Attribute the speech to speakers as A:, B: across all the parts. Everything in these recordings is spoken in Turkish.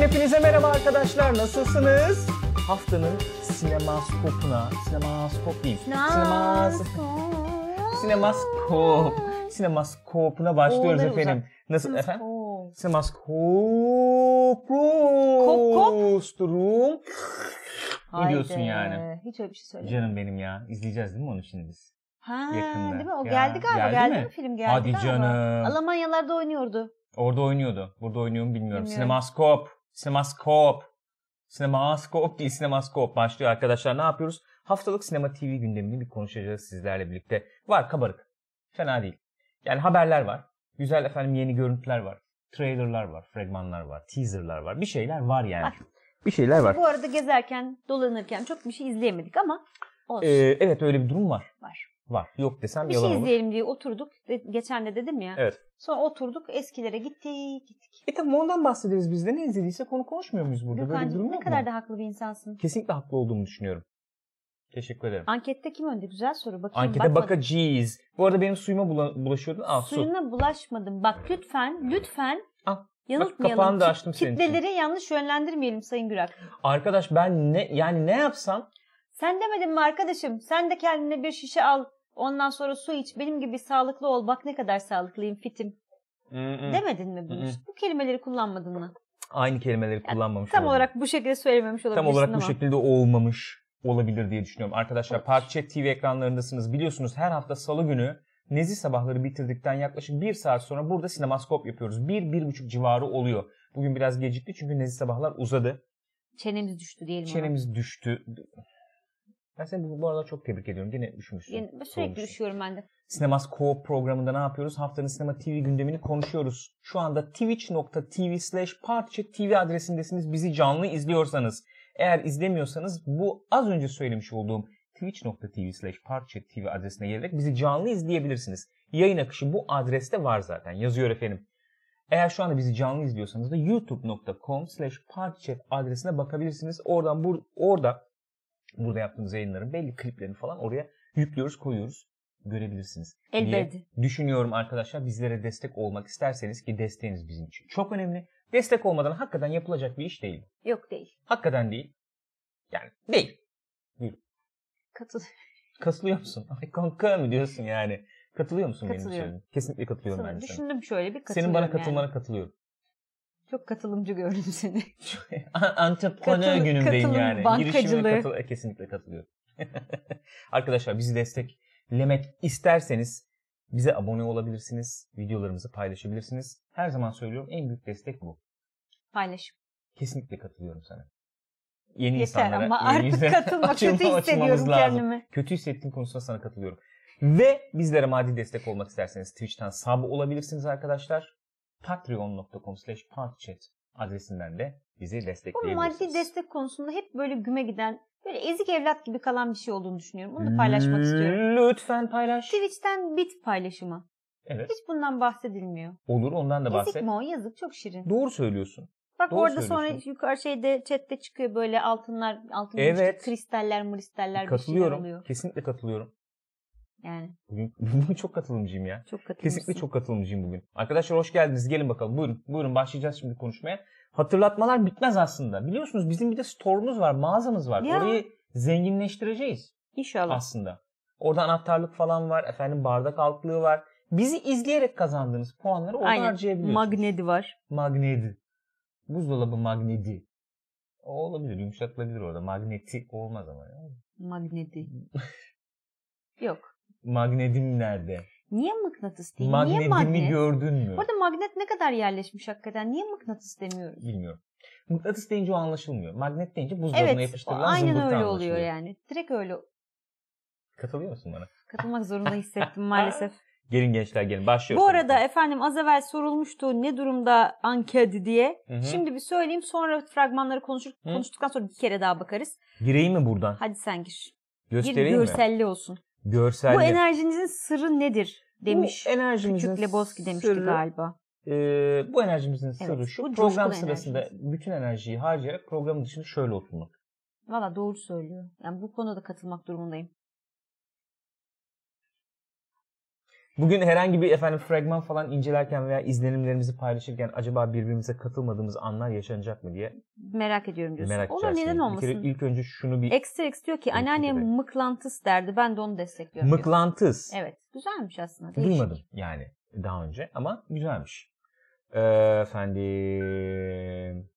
A: Hepinize merhaba arkadaşlar. Nasılsınız? Haftanın sinemaskopuna, sinemaskop değil. Sinemas, sinemaskop. Sinemaskopuna başlıyoruz
B: Oğulları
A: efendim. Nasıl efendim?
B: Sinemaskop.
A: Sinemaskoposturum. Ne
B: Haydi.
A: diyorsun yani?
B: Hiç öyle bir şey söyle.
A: Canım benim ya. İzleyeceğiz değil mi onu şimdi biz?
B: Ha,
A: yakında.
B: değil mi? O
A: Ya,
B: geldi galiba.
A: geldi
B: Geldi,
A: mi?
B: mi? film geldi
A: Hadi
B: galiba.
A: canım.
B: Almanyalarda oynuyordu.
A: Orada oynuyordu. Burada oynuyor mu bilmiyorum.
B: Bilmiyorum.
A: Sinemaskop. Sinemaskop. Sinemaskop değil sinemaskop başlıyor arkadaşlar. Ne yapıyoruz? Haftalık sinema TV gündemini bir konuşacağız sizlerle birlikte. Var kabarık. Fena değil. Yani haberler var. Güzel efendim yeni görüntüler var. Trailerlar var. Fragmanlar var. Teaserlar var. Bir şeyler var yani.
B: Var.
A: Bir şeyler var.
B: Bu arada gezerken, dolanırken çok bir şey izleyemedik ama olsun.
A: Ee, evet öyle bir durum var.
B: var.
A: Var. Yok desem
B: Bir
A: yalan
B: şey
A: olur.
B: izleyelim diye oturduk. De- Geçen de dedim ya.
A: Evet.
B: Sonra oturduk eskilere gittik gittik.
A: E tamam ondan bahsederiz biz de. Ne izlediysek onu konuşmuyor muyuz burada? Böyle bir
B: Gökhan'cığım
A: durum
B: ne
A: yok
B: kadar
A: mu?
B: da haklı bir insansın.
A: Kesinlikle haklı olduğumu düşünüyorum. Teşekkür ederim.
B: Ankette kim önde? Güzel soru. Bakayım,
A: Ankete
B: bakmadım.
A: bakacağız. Bu arada benim suyuma bula- bulaşıyordun. Al su.
B: Suyuna bulaşmadım. Bak lütfen, lütfen
A: Al.
B: yanıltmayalım.
A: Bak, kapağını da
B: Kit-
A: açtım senin için.
B: Kitleleri yanlış yönlendirmeyelim Sayın Gürak.
A: Arkadaş ben ne yani ne yapsam
B: Sen demedin mi arkadaşım? Sen de kendine bir şişe al. Ondan sonra su iç. Benim gibi sağlıklı ol. Bak ne kadar sağlıklıyım, fitim. Demedin mi bunu?
A: Hı hı.
B: Bu kelimeleri kullanmadın mı?
A: aynı kelimeleri kullanmamış
B: Tam
A: olabilir.
B: olarak bu şekilde söylememiş olabilirsin
A: tam olarak
B: ama.
A: bu şekilde olmamış olabilir diye düşünüyorum. Arkadaşlar Parkçet TV ekranlarındasınız. Biliyorsunuz her hafta salı günü Nezi sabahları bitirdikten yaklaşık bir saat sonra burada sinemaskop yapıyoruz. Bir, bir buçuk civarı oluyor. Bugün biraz gecikti çünkü Nezi sabahlar uzadı.
B: Çenemiz düştü diyelim ona.
A: Çenemiz düştü. Ben seni bu, bu arada çok tebrik ediyorum. Gene üşümüşsün.
B: Yani sürekli
A: soğumuşsun.
B: üşüyorum ben de.
A: Sinemas Co-op programında ne yapıyoruz? Haftanın sinema TV gündemini konuşuyoruz. Şu anda twitch.tv slash TV adresindesiniz. Bizi canlı izliyorsanız. Eğer izlemiyorsanız bu az önce söylemiş olduğum twitch.tv slash TV adresine gelerek bizi canlı izleyebilirsiniz. Yayın akışı bu adreste var zaten. Yazıyor efendim. Eğer şu anda bizi canlı izliyorsanız da youtube.com slash adresine bakabilirsiniz. Oradan bur orada burada yaptığımız yayınların belli kliplerini falan oraya yüklüyoruz, koyuyoruz. Görebilirsiniz. diye
B: Elbette.
A: düşünüyorum arkadaşlar. Bizlere destek olmak isterseniz ki desteğiniz bizim için çok önemli. Destek olmadan hakikaten yapılacak bir iş değil.
B: Yok değil.
A: Hakikaten değil. Yani değil.
B: Katıl.
A: Kasılıyor musun? Ay kanka mı diyorsun yani? Katılıyor musun benim
B: Katılıyorum.
A: söylediğim? Kesinlikle katılıyorum ben de sana.
B: Düşündüm şöyle bir katılıyorum
A: Senin bana
B: yani.
A: katılmana katılıyorum.
B: Çok katılımcı gördüm seni.
A: Anteprenör
B: Katıl-
A: günümdeyim
B: katılım,
A: yani.
B: bankacılığı.
A: Girişimle katıl- E, kesinlikle katılıyorum. Arkadaşlar bizi desteklemek isterseniz bize abone olabilirsiniz. Videolarımızı paylaşabilirsiniz. Her zaman söylüyorum en büyük destek bu.
B: Paylaşım.
A: Kesinlikle katılıyorum sana. Yeni
B: Yeter
A: insanlara
B: ama
A: yeni
B: artık
A: yüzlere
B: katılma.
A: açılma-
B: Kötü hissediyorum
A: açılmamız lazım.
B: kendimi.
A: Kötü hissettiğim konusunda sana katılıyorum. Ve bizlere maddi destek olmak isterseniz Twitch'ten sub olabilirsiniz arkadaşlar. Patreon.com slash adresinden de bizi
B: Bu
A: destekleyebilirsiniz.
B: maddi destek konusunda hep böyle güme giden, böyle ezik evlat gibi kalan bir şey olduğunu düşünüyorum. Bunu da paylaşmak istiyorum.
A: Lütfen Hmm. paylaş.
B: Twitch'ten bit paylaşımı.
A: Evet.
B: Hiç bundan bahsedilmiyor.
A: Olur ondan da
B: Ezik
A: bahset.
B: mi o? Yazık çok şirin.
A: Doğru söylüyorsun.
B: Bak
A: doğru
B: orada sonra
A: söylüyorsun.
B: yukarı şeyde chatte çıkıyor böyle altınlar, altın
A: Evet.
B: işte kristaller, mristaller bir şeyler
A: Katılıyorum.
B: oluyor.
A: Kesinlikle katılıyorum.
B: Yani
A: Bugün, bugün çok katılımcıyım ya.
B: çok katılmışsın.
A: Kesinlikle çok katılımcıyım bugün. Arkadaşlar hoş geldiniz. Gelin bakalım. Buyurun. Buyurun başlayacağız şimdi konuşmaya. Hatırlatmalar bitmez aslında. Biliyorsunuz bizim bir de store'umuz var, mağazamız var.
B: Ya.
A: Orayı zenginleştireceğiz.
B: İnşallah.
A: aslında. Orada anahtarlık falan var. Efendim bardak altlığı var. Bizi izleyerek kazandığınız puanları orada
B: Aynen.
A: harcayabiliyorsunuz.
B: Magnedi var.
A: Magnedi. Buzdolabı magnedi. O olabilir. Yumuşatılabilir orada. Magneti olmaz ama. ya.
B: Magnedi. Yok.
A: Magnedim nerede?
B: Niye mıknatıs değil? Niye
A: Magnetimi
B: magnet?
A: gördün mü?
B: Orada magnet ne kadar yerleşmiş hakikaten? Niye mıknatıs demiyoruz?
A: Bilmiyorum. Mıknatıs deyince o anlaşılmıyor. Magnet deyince buzdolabına
B: Evet, o
A: yapıştırılan
B: aynen
A: zımbırtı
B: öyle
A: anlaşılıyor.
B: oluyor yani. Direkt öyle
A: Katılıyor musun bana?
B: katılmak zorunda hissettim maalesef.
A: Gelin gençler gelin. Başlıyoruz.
B: Bu arada efendim az evvel sorulmuştu ne durumda anket diye.
A: Hı hı.
B: Şimdi bir söyleyeyim sonra fragmanları konuşur,
A: Hı.
B: konuştuktan sonra bir kere daha bakarız.
A: Gireyim mi buradan?
B: Hadi sen gir. Gir
A: Göstereyim mi?
B: görselli olsun.
A: Görselli.
B: Bu enerjinizin sırrı nedir demiş.
A: Bu enerjimizin
B: Küçük Lebowski demişti
A: sırrı-
B: galiba.
A: Ee, bu enerjimizin sırrı şu.
B: bu coşkulu
A: program sırasında
B: enerjimiz.
A: bütün enerjiyi harcayarak programın dışında şöyle oturmak.
B: Valla doğru söylüyor. Yani bu konuda da katılmak durumundayım.
A: Bugün herhangi bir efendim fragman falan incelerken veya izlenimlerimizi paylaşırken acaba birbirimize katılmadığımız anlar yaşanacak mı diye
B: Merak ediyorum diyorsun.
A: merak
B: Olur
A: içerisindeyim.
B: neden
A: Bir kere
B: olmasın?
A: ilk önce şunu bir
B: Ekstra X diyor ki
A: Ekstra
B: anneannem
A: X.
B: mıklantıs derdi. Ben de onu destekliyorum. diyor.
A: mıklantıs.
B: Evet. Güzelmiş aslında. Değişik.
A: Duymadım yani daha önce ama güzelmiş. Ee, efendim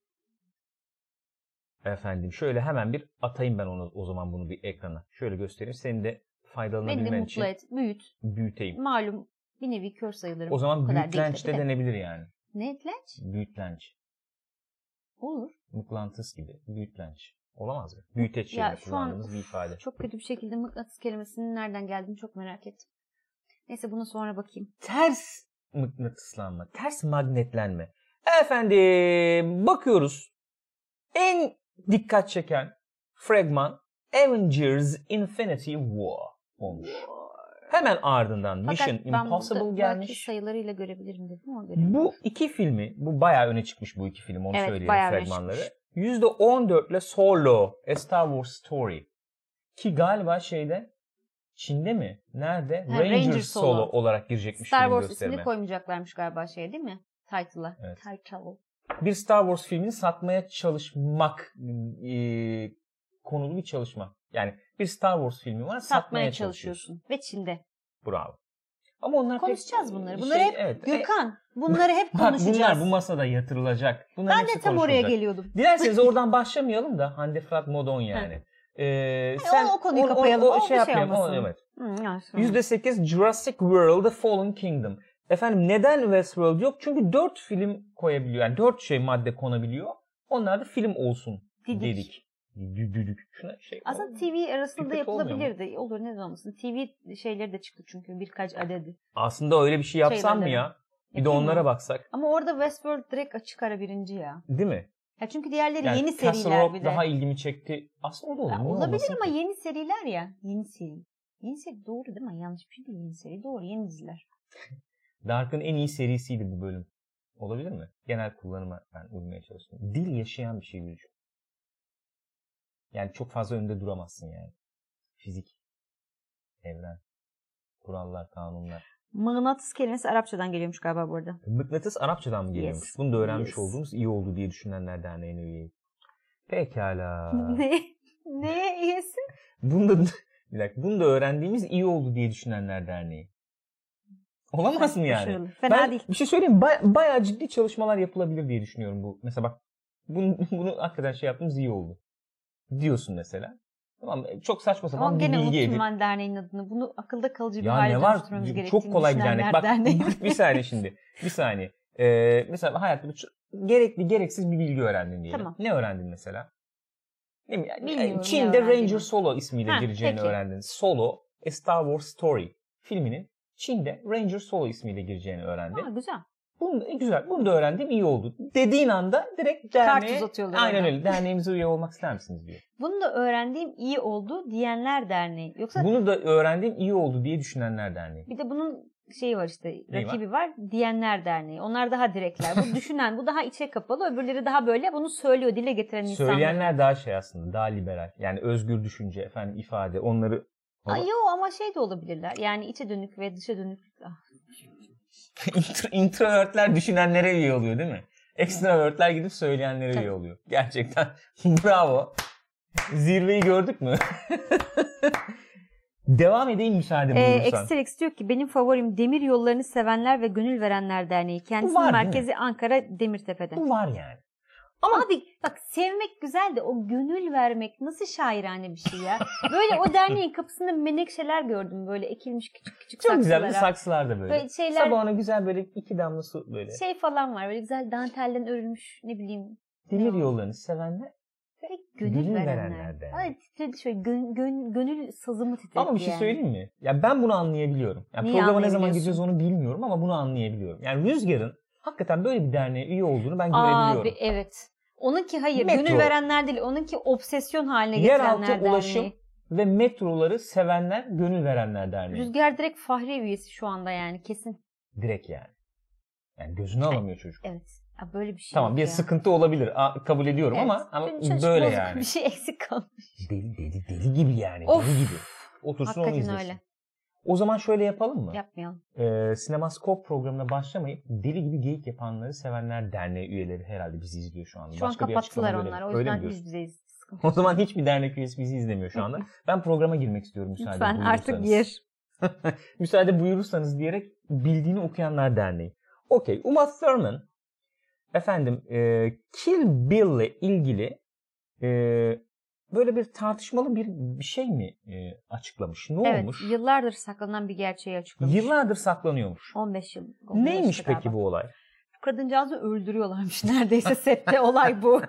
A: efendim şöyle hemen bir atayım ben onu o zaman bunu bir ekrana. Şöyle göstereyim. Senin de
B: Beni de
A: faydalanabilmen
B: mutlu
A: için
B: et. Büyüt.
A: büyüteyim.
B: Malum bir nevi kör sayılırım.
A: O zaman
B: Bu kadar değil
A: büyütlenç de
B: tabii de.
A: denebilir yani.
B: Ne lenç?
A: Büyütlenç.
B: Olur.
A: Mıklantıs gibi. Büyütlenç. Olamaz mı? Büyüteç
B: ya
A: yerine
B: şu an
A: kullandığımız bir
B: uf,
A: ifade.
B: çok kötü bir şekilde mıknatıs kelimesinin nereden geldiğini çok merak ettim. Neyse buna sonra bakayım.
A: Ters mıknatıslanma, ters magnetlenme. Efendim bakıyoruz. En dikkat çeken fragman Avengers Infinity War olmuş. Hemen ardından
B: Fakat
A: Mission
B: ben
A: Impossible
B: burada belki
A: gelmiş.
B: sayılarıyla görebilirim dedim ama göremedim.
A: Bu iki filmi, bu bayağı öne çıkmış bu iki film onu
B: Evet,
A: söyleyelim
B: bayağı öne
A: fragmanları.
B: çıkmış.
A: %14 ile Solo, A Star Wars Story. Ki galiba şeyde Çin'de mi? Nerede?
B: Ha,
A: Ranger,
B: Ranger
A: Solo.
B: Solo.
A: olarak girecekmiş
B: Star
A: film
B: Wars
A: gösterime.
B: ismini koymayacaklarmış galiba şey değil mi? Title'a.
A: Evet.
B: Title.
A: Bir Star Wars filmini satmaya çalışmak e, konulu bir çalışma. Yani bir Star Wars filmi var satmaya,
B: Satmaya
A: çalışıyorsun.
B: çalışıyorsun. Ve Çin'de.
A: Bravo. Ama onlar pek-
B: Konuşacağız bunları. Bunları hep
A: evet. E,
B: Gürkan bunları hep
A: Bak
B: konuşacağız.
A: bunlar bu masada yatırılacak. Bunların
B: ben de
A: hepsi
B: tam oraya
A: konuşulacak.
B: geliyordum.
A: Dilerseniz oradan başlamayalım da Hande Fırat Modon yani. Ee,
B: E, o- o konuyu kapayalım. O bir şey olmasın.
A: evet.
B: Hı, ya sonra.
A: %8 Jurassic World The Fallen Kingdom. Efendim neden Westworld yok? Çünkü 4 film koyabiliyor. Yani 4 şey madde konabiliyor. Onlar da film olsun
B: Didik.
A: dedik. Dü- Düdük. Şuna şey.
B: Aslında TV arasında
A: Kötü olmuyor mu?
B: yapılabilirdi. Olur ne zaman olmasın. TV şeyleri de çıktı çünkü birkaç adedi.
A: Aslında öyle bir şey yapsam mı
B: Şeylerden.
A: ya? Bir de
B: Yapayım mı?
A: onlara baksak.
B: Ama orada Westworld direkt açık ara birinci ya.
A: Değil mi?
B: Ya çünkü diğerleri
A: Yani
B: yeni
A: Castle
B: seriler
A: Rock
B: bir de.
A: daha ilgimi çekti. Aslında o da olur.
B: Ya
A: Niye
B: olabilir
A: olmasın
B: ama
A: ki?
B: yeni seriler ya. Yeni seri. Yeni seri doğru değil mi? Yanlış bir şey değil yeni seri. Doğru yeni diziler.
A: Dark'ın en iyi serisiydi bu bölüm. Olabilir mi? Genel kullanıma ben uymaya çalıştım. Dil yaşayan bir şey Gülcüm. Yani çok fazla önde duramazsın yani. Fizik, evren, kurallar, kanunlar.
B: Mıknatıs kelimesi Arapçadan geliyormuş galiba bu arada.
A: Mıknatıs Arapçadan mı geliyormuş?
B: Yes.
A: Bunu da öğrenmiş
B: Yes.
A: olduğumuz iyi oldu diye düşünenlerden en üyeyim. Pekala.
B: ne? Neye iyisin?
A: Bunu da, bir dakika, bunu da öğrendiğimiz iyi oldu diye düşünenler derneği. Olamaz mı yani?
B: Başarılı. Fena
A: ben
B: değil.
A: bir şey söyleyeyim mi? Ba- bayağı ciddi çalışmalar yapılabilir diye düşünüyorum bu. Mesela bak bunu, bunu hakikaten şey yaptığımız iyi oldu. Diyorsun mesela. Tamam mı? çok saçma sapan
B: Ama
A: bir
B: gene
A: bilgi edin.
B: unuttum ben derneğin adını. Bunu akılda kalıcı bir
A: Ya
B: hale
A: ne var?
B: dönüştürmemiz gerektiğini
A: Çok kolay bir dernek. Bak,
B: düşünenler derneği.
A: bak bir saniye şimdi. Bir saniye. Ee, mesela hayatta bir ç- gerekli gereksiz bir bilgi öğrendin diyelim.
B: Tamam.
A: Ne öğrendin mesela? Ne bileyim, yani
B: Bilmiyorum ne
A: Çin'de Ranger
B: öğrendiğimi.
A: Solo ismiyle
B: Ha,
A: gireceğini
B: peki.
A: öğrendin. Solo, A Star Wars Story filminin Çin'de Ranger Solo ismiyle gireceğini öğrendin.
B: Ha, güzel.
A: Bunu da, e, güzel. Bunu da öğrendim. iyi oldu. Dediğin anda direkt derneğe...
B: Kart uzatıyorlar
A: Aynen
B: ona.
A: öyle. Derneğimize üye olmak ister misiniz diyor.
B: Bunu da öğrendiğim iyi oldu diyenler derneği. Yoksa
A: Bunu da öğrendim. iyi oldu diye düşünenler derneği.
B: bir de bunun şeyi var işte
A: var?
B: rakibi var. diyenler derneği. Onlar daha direkler. Bu düşünen bu daha içe kapalı. Öbürleri daha böyle bunu söylüyor dile getiren insanlar.
A: Söyleyenler daha şey aslında. Daha liberal. Yani özgür düşünce, efendim ifade. Onları...
B: Ay, yo ama şey de olabilirler. Yani içe dönük ve dışa dönük. Ah,
A: Intro- Introvertler düşünenlere üye oluyor değil mi? Extrovertler gidip söyleyenlere üye
B: Tabii.
A: oluyor. Gerçekten. Bravo. Zirveyi gördük mü? Devam edeyim müsaade
B: Ee,
A: buyurursan.
B: Excel X diyor ki benim favorim demir yollarını sevenler ve gönül verenler derneği.
A: Bu var
B: Kendisinin
A: değil
B: merkezi Ankara Demirtepe'de.
A: Bu var yani.
B: Abi bak sevmek güzel de o gönül vermek nasıl şairane bir şey ya. Böyle o derneğin kapısında menekşeler gördüm böyle ekilmiş küçük küçük
A: Çok güzel bir
B: saksılara.
A: saksılar da böyle.
B: Böyle şeyler
A: Sabahına güzel böyle iki damla su böyle.
B: şey falan var böyle güzel dantelden örülmüş ne bileyim.
A: Demir
B: Ne o?
A: yollarını sevenler.
B: Böyle gönül,
A: Gönül verenler
B: verenler.
A: de.
B: Ay titredi şöyle gön, gön- gönül sazımı titredi
A: Ama bir şey
B: yani.
A: söyleyeyim mi? Ya ben bunu anlayabiliyorum. Ya
B: Niye
A: programa ne zaman
B: anlayabiliyorsun?
A: gideceğiz onu bilmiyorum ama bunu anlayabiliyorum. Yani Rüzgar'ın hakikaten böyle bir derneğe üye olduğunu ben
B: Abi
A: görebiliyorum.
B: evet. Onunki hayır
A: Metro.
B: gönül verenler değil. Onunki obsesyon haline
A: Yeraltı
B: getirenler derneği.
A: ulaşım Ve metroları sevenler, gönül verenler derneği.
B: Rüzgar direkt Fahri üyesi şu anda yani kesin.
A: Direkt yani. Yani gözünü alamıyor çocuk.
B: Evet. Ya böyle bir şey
A: Tamam
B: yok
A: bir
B: ya.
A: sıkıntı olabilir. Aa, kabul ediyorum
B: Evet.
A: ama, ama
B: Dün çocuk
A: böyle
B: bozuk
A: yani.
B: Bir şey eksik kaldı.
A: Deli deli deli gibi yani.
B: Of.
A: Deli gibi. Otursun onu
B: Hakikaten
A: izlesin.
B: öyle.
A: O zaman şöyle yapalım mı?
B: Yapmayalım.
A: Ee, Sinemaskop programına başlamayıp Deli Gibi Geyik Yapanları Sevenler Derneği üyeleri herhalde bizi izliyor şu anda.
B: Şu an
A: Başka bir
B: kapattılar
A: açıklama
B: onlar.
A: göremedim.
B: O
A: Öyle mi
B: yüzden
A: diyorsun?
B: biz bizeyiz.
A: O zaman hiçbir dernek üyesi bizi izlemiyor şu anda. Ben programa girmek istiyorum müsaade
B: Lütfen artık
A: buyurursanız.
B: gir.
A: müsaade buyurursanız diyerek Bildiğini Okuyanlar Derneği. Okey. Uma Thurman efendim e, Kill Bill'le ilgili e, böyle bir tartışmalı bir, bir şey mi e, açıklamış? Ne
B: Evet,
A: olmuş?
B: yıllardır saklanan bir gerçeği açıklamış.
A: Yıllardır saklanıyormuş.
B: 15 yıl. 15 yıl
A: Neymiş peki
B: galiba.
A: bu olay?
B: Kadıncağızı öldürüyorlarmış neredeyse sette olay bu.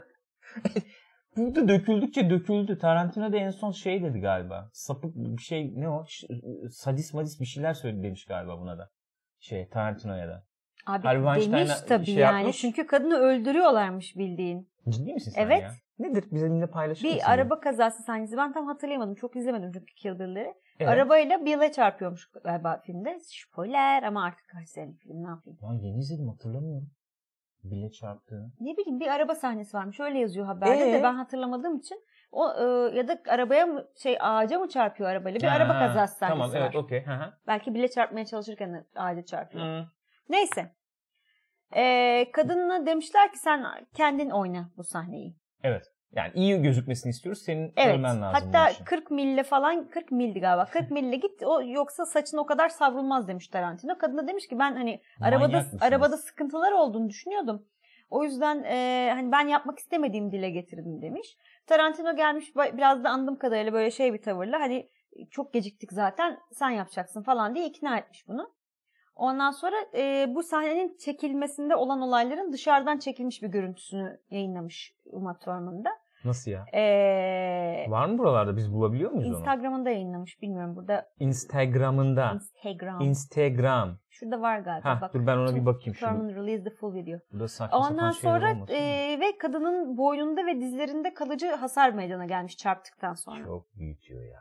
A: Bu da döküldükçe döküldü. Tarantino da en son şey dedi galiba. Sapık bir şey ne o? Ş- Sadist madist bir şeyler söyledi demiş galiba buna da. Şey Tarantino'ya da.
B: Abi
A: Harvey Weinstein'a
B: demiş tabii
A: şey
B: yani.
A: yapmış.
B: Çünkü kadını öldürüyorlarmış bildiğin.
A: Ciddi misin sen
B: Evet.
A: ya? Nedir? Bizimle paylaşır
B: Bir
A: mısın?
B: araba kazası sahnesi. Ben tam hatırlayamadım. Çok izlemedim çünkü Kill Bill'leri.
A: Evet.
B: Arabayla Bill'e çarpıyormuş galiba filmde. Spoiler ama artık kaç senelik film ne yapayım.
A: Lan yeni izledim hatırlamıyorum. Bile çarptı.
B: Ne bileyim bir araba sahnesi varmış. Öyle yazıyor haberde
A: Ee?
B: de ben hatırlamadığım için. O e, ya da arabaya mı şey ağaca mı çarpıyor arabayla? Bir
A: Ha,
B: araba kazası sahnesi
A: Tamam
B: var.
A: evet okey. hı hı.
B: Belki bile çarpmaya çalışırken de ağaca çarpıyor.
A: Hı.
B: Neyse. Ee, kadınla demişler ki sen kendin oyna bu sahneyi.
A: Yani iyi gözükmesini istiyoruz. Senin
B: Evet.
A: ölmen lazım. bunun için.
B: Hatta 40 mille falan 40 mildi galiba. 40 mille git o yoksa saçın o kadar savrulmaz demiş Tarantino. Kadın da demiş ki ben hani
A: Manyak
B: arabada
A: mısınız?
B: arabada sıkıntılar olduğunu düşünüyordum. O yüzden e, hani ben yapmak istemediğim dile getirdim demiş. Tarantino gelmiş ba- biraz da andığım kadarıyla böyle şey bir tavırla hani çok geciktik zaten sen yapacaksın falan diye ikna etmiş bunu. Ondan sonra e, bu sahnenin çekilmesinde olan olayların dışarıdan çekilmiş bir görüntüsünü yayınlamış Uma Thurman'da.
A: Nasıl ya?
B: E,
A: Var mı buralarda biz bulabiliyor muyuz onu?
B: Instagram'ında yayınlamış bilmiyorum burada
A: Instagram'ında.
B: Instagram.
A: Instagram.
B: Şurada var galiba
A: Ha
B: bak.
A: dur ben ona bir
B: Tüm-
A: bakayım şimdi.
B: Thurman released the full video.
A: Burada saçma
B: Ondan
A: sapan şeyler
B: sonra
A: olmasın.
B: e, ve kadının boynunda ve dizlerinde kalıcı hasar meydana gelmiş çarptıktan sonra.
A: Çok büyütüyor ya.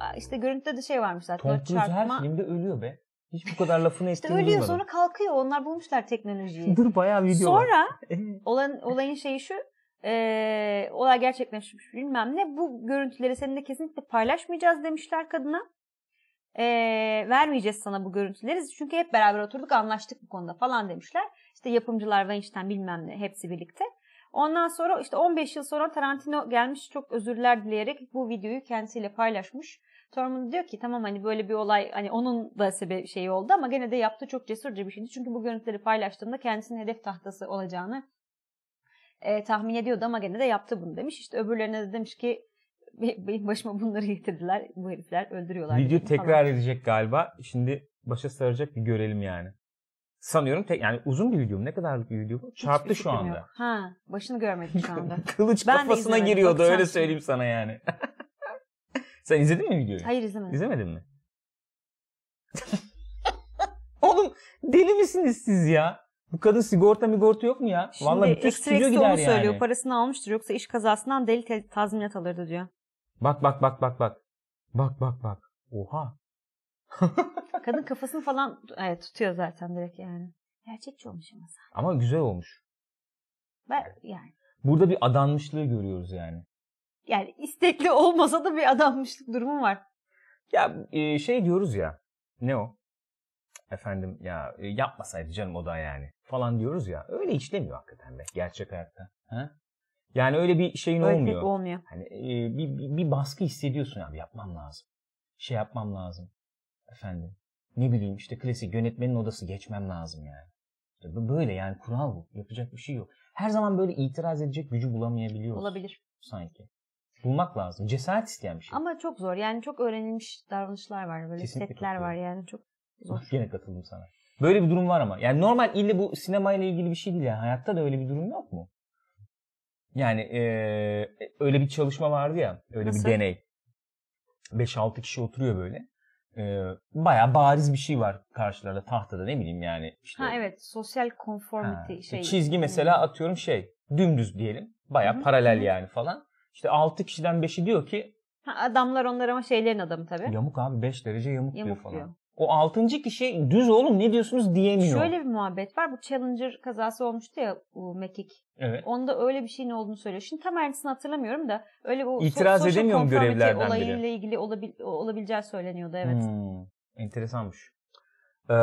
B: Aa, İşte görüntüde de şey varmış zaten.
A: Tom
B: böyle
A: Cruise her
B: çarpma.
A: filmde ölüyor be. Hiç bu kadar lafını
B: İşte
A: ettiğini
B: ölüyor
A: duymadım.
B: sonra kalkıyor. Onlar bulmuşlar teknolojiyi.
A: Dur bayağı video var.
B: sonra
A: Evet.
B: olan, olayın şeyi şu. e, olay gerçekleşmiş bilmem ne. Bu görüntüleri seninle kesinlikle paylaşmayacağız demişler kadına. E, vermeyeceğiz sana bu görüntüleri. Çünkü hep beraber oturduk anlaştık bu konuda falan demişler. İşte yapımcılar Weinstein bilmem ne hepsi birlikte. Ondan sonra işte 15 yıl sonra Tarantino gelmiş çok özürler dileyerek bu videoyu kendisiyle paylaşmış. Thurman diyor ki tamam hani böyle bir olay hani onun da sebebi şeyi oldu ama gene de yaptığı çok cesurca bir şeydi. Çünkü bu görüntüleri paylaştığımda kendisinin hedef tahtası olacağını e, tahmin ediyordu ama gene de yaptı bunu demiş. İşte öbürlerine de demiş ki "Be- benim başıma bunları getirdiler. Bu herifler öldürüyorlar.
A: Video
B: demiş falan.
A: tekrar edecek galiba. Şimdi başa saracak bir görelim yani. Sanıyorum tek yani uzun bir video mu? Ne kadarlık bir video bu?
B: Hiçbir
A: Çarptı şu
B: fikrim
A: anda.
B: yok. Ha, başını görmedim şu anda.
A: Kılıç
B: Ben de
A: kafasına
B: izlemedim,
A: giriyordu
B: bakacağım
A: öyle
B: şimdi.
A: söyleyeyim sana yani. Sen izledin mi videoyu?
B: Hayır izlemedim.
A: İzlemedin mi? Oğlum deli misiniz siz ya? Bu kadın sigorta migorta yok mu ya?
B: Şimdi
A: Vallahi bütün
B: ekstra
A: stüdyo
B: ekstra
A: gider
B: onu
A: yani.
B: söylüyor. Parasını almıştır yoksa iş kazasından deli te- tazminat alırdı diyor.
A: Bak bak bak bak bak. Bak bak bak. Oha.
B: Kadın kafasını falan evet, tutuyor zaten direkt yani. Gerçekçi olmuş ama sen.
A: Ama güzel olmuş.
B: Ben yani.
A: Burada bir adanmışlığı görüyoruz yani.
B: Yani istekli olmasa da bir adammışlık durumu var.
A: Ya e, şey diyoruz ya. Ne o? Efendim ya e, yapmasaydı canım o da yani falan diyoruz ya. Öyle işlemiyor hakikaten be gerçek hayatta. Ha? Yani öyle bir şeyin
B: Böyle
A: olmuyor.
B: pek olmuyor.
A: Hani e, bir, bir, bir baskı hissediyorsun abi yapmam lazım. Şey yapmam lazım. Efendim ne bileyim işte klasik yönetmenin odası geçmem lazım yani. İşte bu böyle yani kural bu. Yapacak bir şey yok. Her zaman böyle itiraz edecek gücü bulamayabiliyoruz.
B: Olabilir.
A: Sanki. Bulmak lazım. Cesaret isteyen bir şey.
B: Ama çok zor. Yani çok öğrenilmiş davranışlar var. Böyle
A: Kesinlikle
B: setler
A: katılıyorum.
B: var yani çok
A: Bak,
B: zor.
A: Gene katıldım sana. Böyle bir durum var ama. Yani normal ille bu sinemayla ilgili bir şey değil. Yani. Hayatta da öyle bir durum yok mu? Yani eee, öyle bir çalışma vardı ya. Öyle
B: Nasıl?
A: bir deney. 5-6 kişi oturuyor böyle. Eee bayağı bariz bir şey var karşılarında tahtada ne bileyim yani. Işte,
B: Ha evet sosyal conformity
A: Ha, e,
B: şey.
A: Çizgi mesela atıyorum şey dümdüz diyelim.
B: Hı
A: Bayağı
B: hı.
A: paralel
B: Hı hı.
A: yani falan. İşte 6 kişiden 5'i diyor ki
B: Ha, adamlar onlar ama şeylerin adamı tabii.
A: yamuk abi 5 derece yamuk, diyor
B: Yamuk
A: falan.
B: diyor.
A: O 6. kişi düz oğlum ne diyorsunuz diyemiyor.
B: Şöyle bir muhabbet var. Bu Challenger kazası olmuştu ya bu Mekik.
A: Evet.
B: Onda öyle bir şeyin olduğunu söylüyor. Şimdi tam ayrıntısını hatırlamıyorum da öyle bu so-
A: İtiraz
B: social
A: edemiyorum
B: conformity
A: görevlerden biri.
B: olayıyla ilgili olabil- olabileceği söyleniyordu evet.
A: Hmm. Enteresanmış. Ee,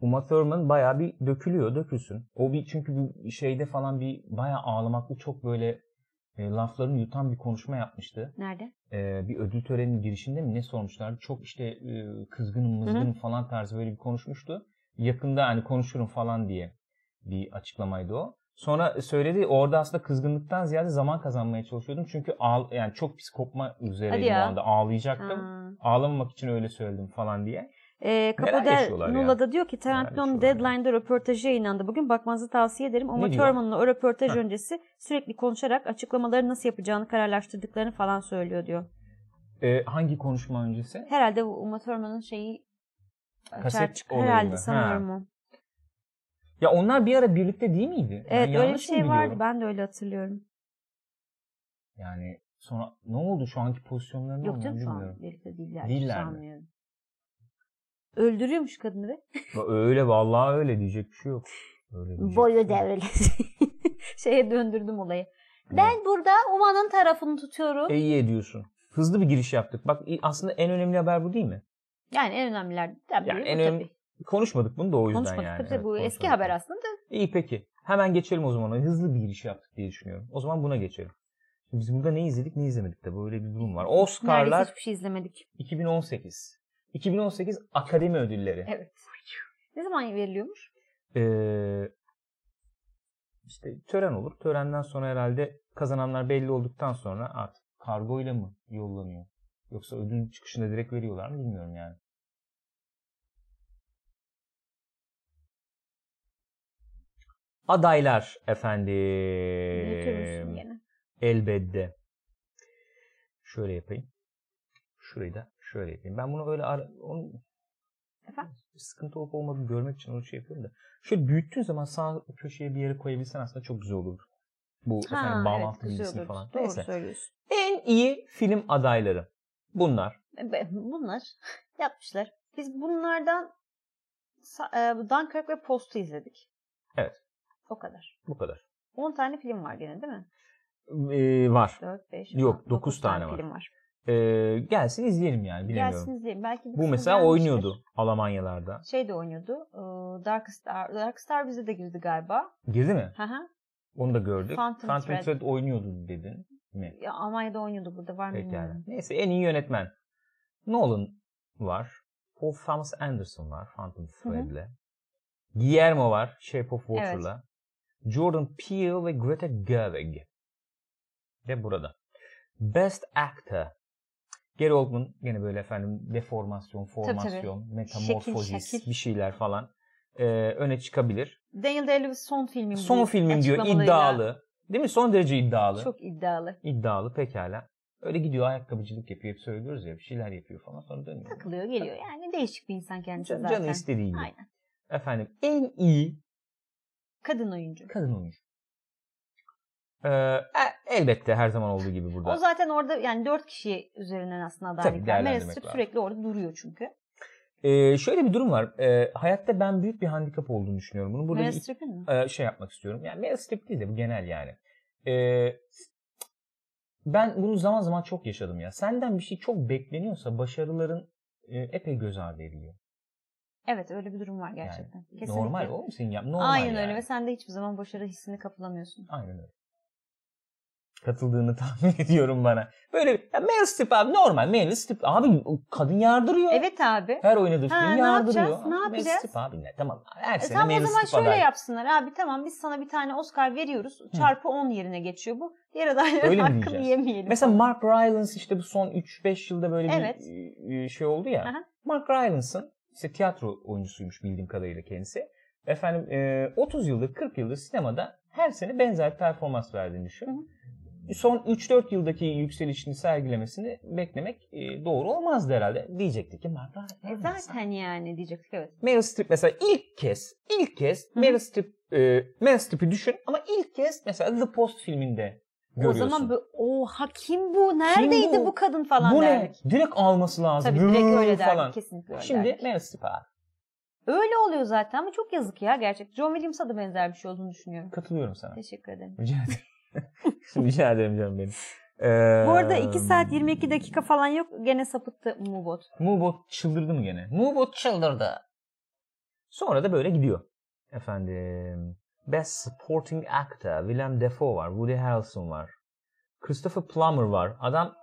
A: Uma Thurman bayağı bir dökülüyor, dökülsün. O bir çünkü bir şeyde falan bir bayağı ağlamaklı çok böyle e, laflarını yutan bir konuşma yapmıştı.
B: Nerede?
A: Ee, bir ödül töreninin girişinde mi ne sormuşlardı? Çok işte e, kızgınım, mızgınım falan tarzı böyle bir konuşmuştu. Yakında hani konuşurum falan diye bir açıklamaydı o. Sonra söyledi orada aslında kızgınlıktan ziyade zaman kazanmaya çalışıyordum. Çünkü ağl yani çok pis kopma üzereydim o
B: ya.
A: anda ağlayacaktım
B: Ha.
A: ağlamamak için öyle söyledim falan diye.
B: E, Capo del
A: yaşıyorlar ya?
B: Nola'da diyor ki
A: yaşıyorlar
B: Tarantino'nun
A: ya?
B: Deadline'da röportajı yayınlandı. Bugün bakmanızı tavsiye ederim. Uma
A: Ne diyor?
B: Thurman'la o röportaj
A: Heh.
B: öncesi sürekli konuşarak açıklamaları nasıl yapacağını kararlaştırdıklarını falan söylüyor diyor.
A: Ee, hangi konuşma öncesi?
B: Herhalde bu Uma Thurman'ın şeyi
A: Kaset
B: çer-
A: olayı
B: herhalde
A: mı?
B: sanıyorum o.
A: Ya onlar bir ara birlikte değil miydi? Ben
B: Evet öyle bir
A: yanlış mı
B: şey vardı.
A: biliyorum?
B: Ben de öyle hatırlıyorum.
A: Yani sonra ne oldu şu anki pozisyonlarında
B: Yok
A: mı
B: canım şu
A: bilmiyorum.
B: an birlikte değiller.
A: Değiller mi?
B: sanmıyorum. Öldürüyormuş kadını be.
A: Va- Öyle vallahi öyle diyecek bir şey yok. Öyle diyecek bir şey
B: Boyu
A: yok.
B: da öyle. Şeye döndürdüm olayı. Ben burada Uma'nın tarafını tutuyorum.
A: E, iyi ediyorsun. Hızlı bir giriş yaptık. Bak i- aslında en önemli haber bu değil mi?
B: Yani en önemlilerden biri
A: Yani
B: bu
A: en
B: tabii.
A: önemli- Konuşmadık bunu da o yüzden
B: Konuşmadık
A: yani.
B: tabii
A: Evet,
B: tabii. bu eski
A: konuşmadık.
B: haber aslında. da.
A: İyi peki. Hemen geçelim o zaman. Hızlı bir giriş yaptık diye düşünüyorum. O zaman buna geçelim. Şimdi biz burada ne izledik ne izlemedik de böyle bir durum var. Oscar'lar
B: Neredeyse hiçbir şey izlemedik.
A: 2018. 2018 Akademi Ödülleri.
B: Evet. Ne zaman veriliyormuş?
A: Ee, işte tören olur. Törenden sonra herhalde kazananlar belli olduktan sonra artık kargo ile mi yollanıyor? Yoksa ödül çıkışında direkt veriyorlar mı bilmiyorum yani. Adaylar E,
B: Yutuyormuşsun
A: efendim.
B: gene.
A: Elbette. Şöyle yapayım. Şurayı da şöyle yapayım. Ben bunu öyle ara, onu
B: Efendim?
A: sıkıntı olup olmadığını görmek için onu şey yapıyorum da. Şöyle büyüttüğün zaman sağ köşeye bir yere koyabilsen aslında çok güzel olur. Bu efendim bağlantı
B: güzel
A: bilgisini
B: olur.
A: falan.
B: Doğru
A: Neyse.
B: söylüyorsun.
A: En iyi film adayları. Bunlar.
B: E, Be- Bunlar yapmışlar. Biz bunlardan Sa- e, Dunkirk ve Post'u izledik.
A: Evet.
B: O kadar.
A: Bu kadar.
B: 10 tane film var gene değil mi?
A: Ee, var.
B: 4, 5,
A: Yok, dokuz tane var.
B: film var.
A: Ee, gelsin izleyelim yani bilemiyorum.
B: Gelsin izleyelim. Belki bir
A: Bu
B: kısmı
A: mesela
B: beğenmiştir.
A: oynuyordu Almanyalarda.
B: Şey de oynuyordu. e, Dark Star. Dark Star bize de girdi galiba.
A: Girdi mi?
B: Hı hı.
A: Onu da gördük.
B: Phantom
A: Phantom
B: Thread.
A: Thread oynuyordu dedin mi?
B: Ya Almanya'da oynuyordu burada var mı
A: Pekala.
B: bilmiyorum.
A: Neyse en iyi yönetmen. Nolan var. Paul Thomas Anderson var. Phantom Thread'le. Guillermo var. Shape of Water'la. Jordan Peele ve Greta Gerwig. De burada. Best Actor. Gary Oldman gene böyle efendim deformasyon,
B: tabii.
A: formasyon, metamorfozis
B: şekil.
A: bir şeyler falan ee, öne çıkabilir.
B: Daniel Day-Lewis son filmim.
A: Son
B: bu
A: filmim diyor
B: açıklamalarıyla.
A: iddialı. Değil mi? Son derece iddialı.
B: Çok iddialı.
A: İddialı pekala. Öyle gidiyor ayakkabıcılık yapıyor. Hep söylüyoruz ya bir şeyler yapıyor falan sonra dönüyor.
B: Takılıyor geliyor. Yani değişik bir insan kendisi
A: Can-
B: zaten.
A: Canı istediği gibi.
B: Aynen.
A: Efendim en iyi
B: Kadın oyuncu.
A: kadın oyuncu. Ee, e- elbette her zaman olduğu gibi burada.
B: O zaten orada yani dört kişi üzerinden aslında
A: Tabii,
B: adaylık var.
A: değerlendirmek
B: Meryl Streep
A: lazım.
B: sürekli orada duruyor çünkü.
A: Ee, şöyle bir durum var. Ee, hayatta ben büyük bir handikap olduğunu düşünüyorum. Bunu burada
B: Meryl
A: bir-
B: Streep'in mi?
A: e, şey yapmak istiyorum. Yani Meryl Streep değil de bu genel yani. Ee, ben bunu zaman zaman çok yaşadım ya. Senden bir şey çok bekleniyorsa başarıların e, epey göz ardı ediliyor.
B: Evet öyle bir durum var gerçekten. Kesinlikle.
A: Normal o mu senin yap? Normal
B: Aynen
A: yani.
B: öyle ve sen de hiçbir zaman başarı hissini kapılamıyorsun.
A: Aynen öyle. Katıldığını tahmin ediyorum bana. Böyle ya Meryl Streep abi normal Meryl Streep abi o kadın yardırıyor.
B: Evet abi. E,
A: Her oynadığı
B: Ha,
A: film
B: ne
A: yardırıyor.
B: yapacağız? Ne
A: Meryl
B: yapacağız?
A: Streep abi ne tamam her
B: E
A: sene
B: tamam
A: Meryl
B: o zaman
A: Streep
B: şöyle
A: aday.
B: yapsınlar abi tamam biz sana bir tane Oscar veriyoruz. Çarpı 10 yerine geçiyor bu. Diğer adayların
A: Öyle mi
B: hakkını
A: diyeceğiz?
B: yemeyelim.
A: Mesela Mark Rylance işte bu son 3-5 yılda böyle
B: Evet.
A: bir e, e, şey oldu ya.
B: Aha.
A: Mark Rylance'ın işte tiyatro oyuncusuymuş bildiğim kadarıyla kendisi. Efendim e, 30 yıldır 40 yıldır sinemada her sene benzer performans verdiğini düşün. Son 3-4 yıldaki yükselişini sergilemesini beklemek e, doğru olmazdı herhalde. Diyecektik ki Mark Rylance.
B: E zaten yani diyecektik evet.
A: Meryl Streep mesela ilk kez, ilk kez
B: hı.
A: Meryl Streep, e, Meryl Streep'i düşün ama ilk kez mesela The Post filminde görüyorsun.
B: O zaman böyle oha kim bu? Neredeydi
A: bu?
B: bu? kadın falan
A: Bu ne?
B: derdik.
A: Direkt alması lazım.
B: Tabii direkt
A: Vıvv
B: öyle derdik
A: falan.
B: kesinlikle öyle
A: Şimdi
B: derdik.
A: Meryl Streep abi.
B: Öyle oluyor zaten ama çok yazık ya gerçek. John Williams'a da benzer bir şey olduğunu düşünüyorum.
A: Katılıyorum sana.
B: Teşekkür ederim.
A: Rica ederim. Rica ederim canım benim. Ee,
B: Bu arada 2 saat 22 dakika falan yok. Gene sapıttı Mubot.
A: Mubot çıldırdı mı gene? Mubot çıldırdı. Sonra da böyle gidiyor. Efendim. Best Supporting Actor. Willem Dafoe var. Woody Harrelson var. Christopher Plummer var. Adam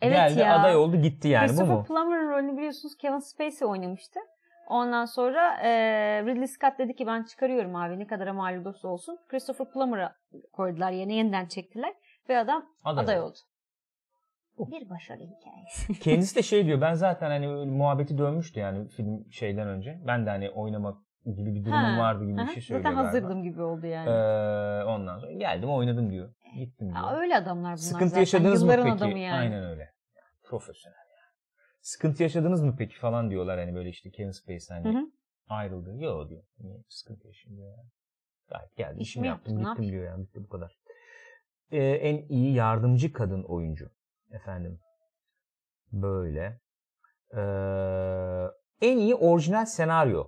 B: Evet
A: geldi
B: ya.
A: aday oldu gitti yani bu
B: Christopher
A: mu?
B: Plummer'ın rolünü biliyorsunuz Kevin Spacey oynamıştı. Ondan sonra e, Ridley Scott dedi ki ben çıkarıyorum abi ne kadar mal olursa olsun. Christopher Plummer'a koydular yeni yeniden çektiler ve adam aday oldu.
A: Oh.
B: Bir başarı hikayesi.
A: Kendisi de şey diyor ben zaten hani öyle muhabbeti dönmüştü yani film şeyden önce. Ben de hani oynamak gibi bir durumum
B: Ha,
A: vardı gibi
B: Aha,
A: bir şey söylüyor
B: Zaten
A: galiba.
B: hazırdım gibi oldu yani.
A: Ee, ondan sonra geldim oynadım diyor. Gittim diyor.
B: Aa, öyle adamlar bunlar
A: Sıkıntı
B: zaten.
A: yaşadınız mı
B: Yılların
A: peki?
B: adamı yani.
A: Aynen öyle. Yani Profesyonel yani. Sıkıntı yaşadınız mı peki falan diyorlar hani böyle işte Kevin Spacey hani
B: Hı hı.
A: ayrıldı. Yok diyor. Niye sıkıntı yaşadım diyor yani. Gayet geldi.
B: İşimi
A: işimi yaptım.
B: yaptım, ne
A: Gittim diyor yani. Bitti bu kadar. Ee, en iyi yardımcı kadın oyuncu. Efendim. Böyle. Ee, en iyi orijinal senaryo.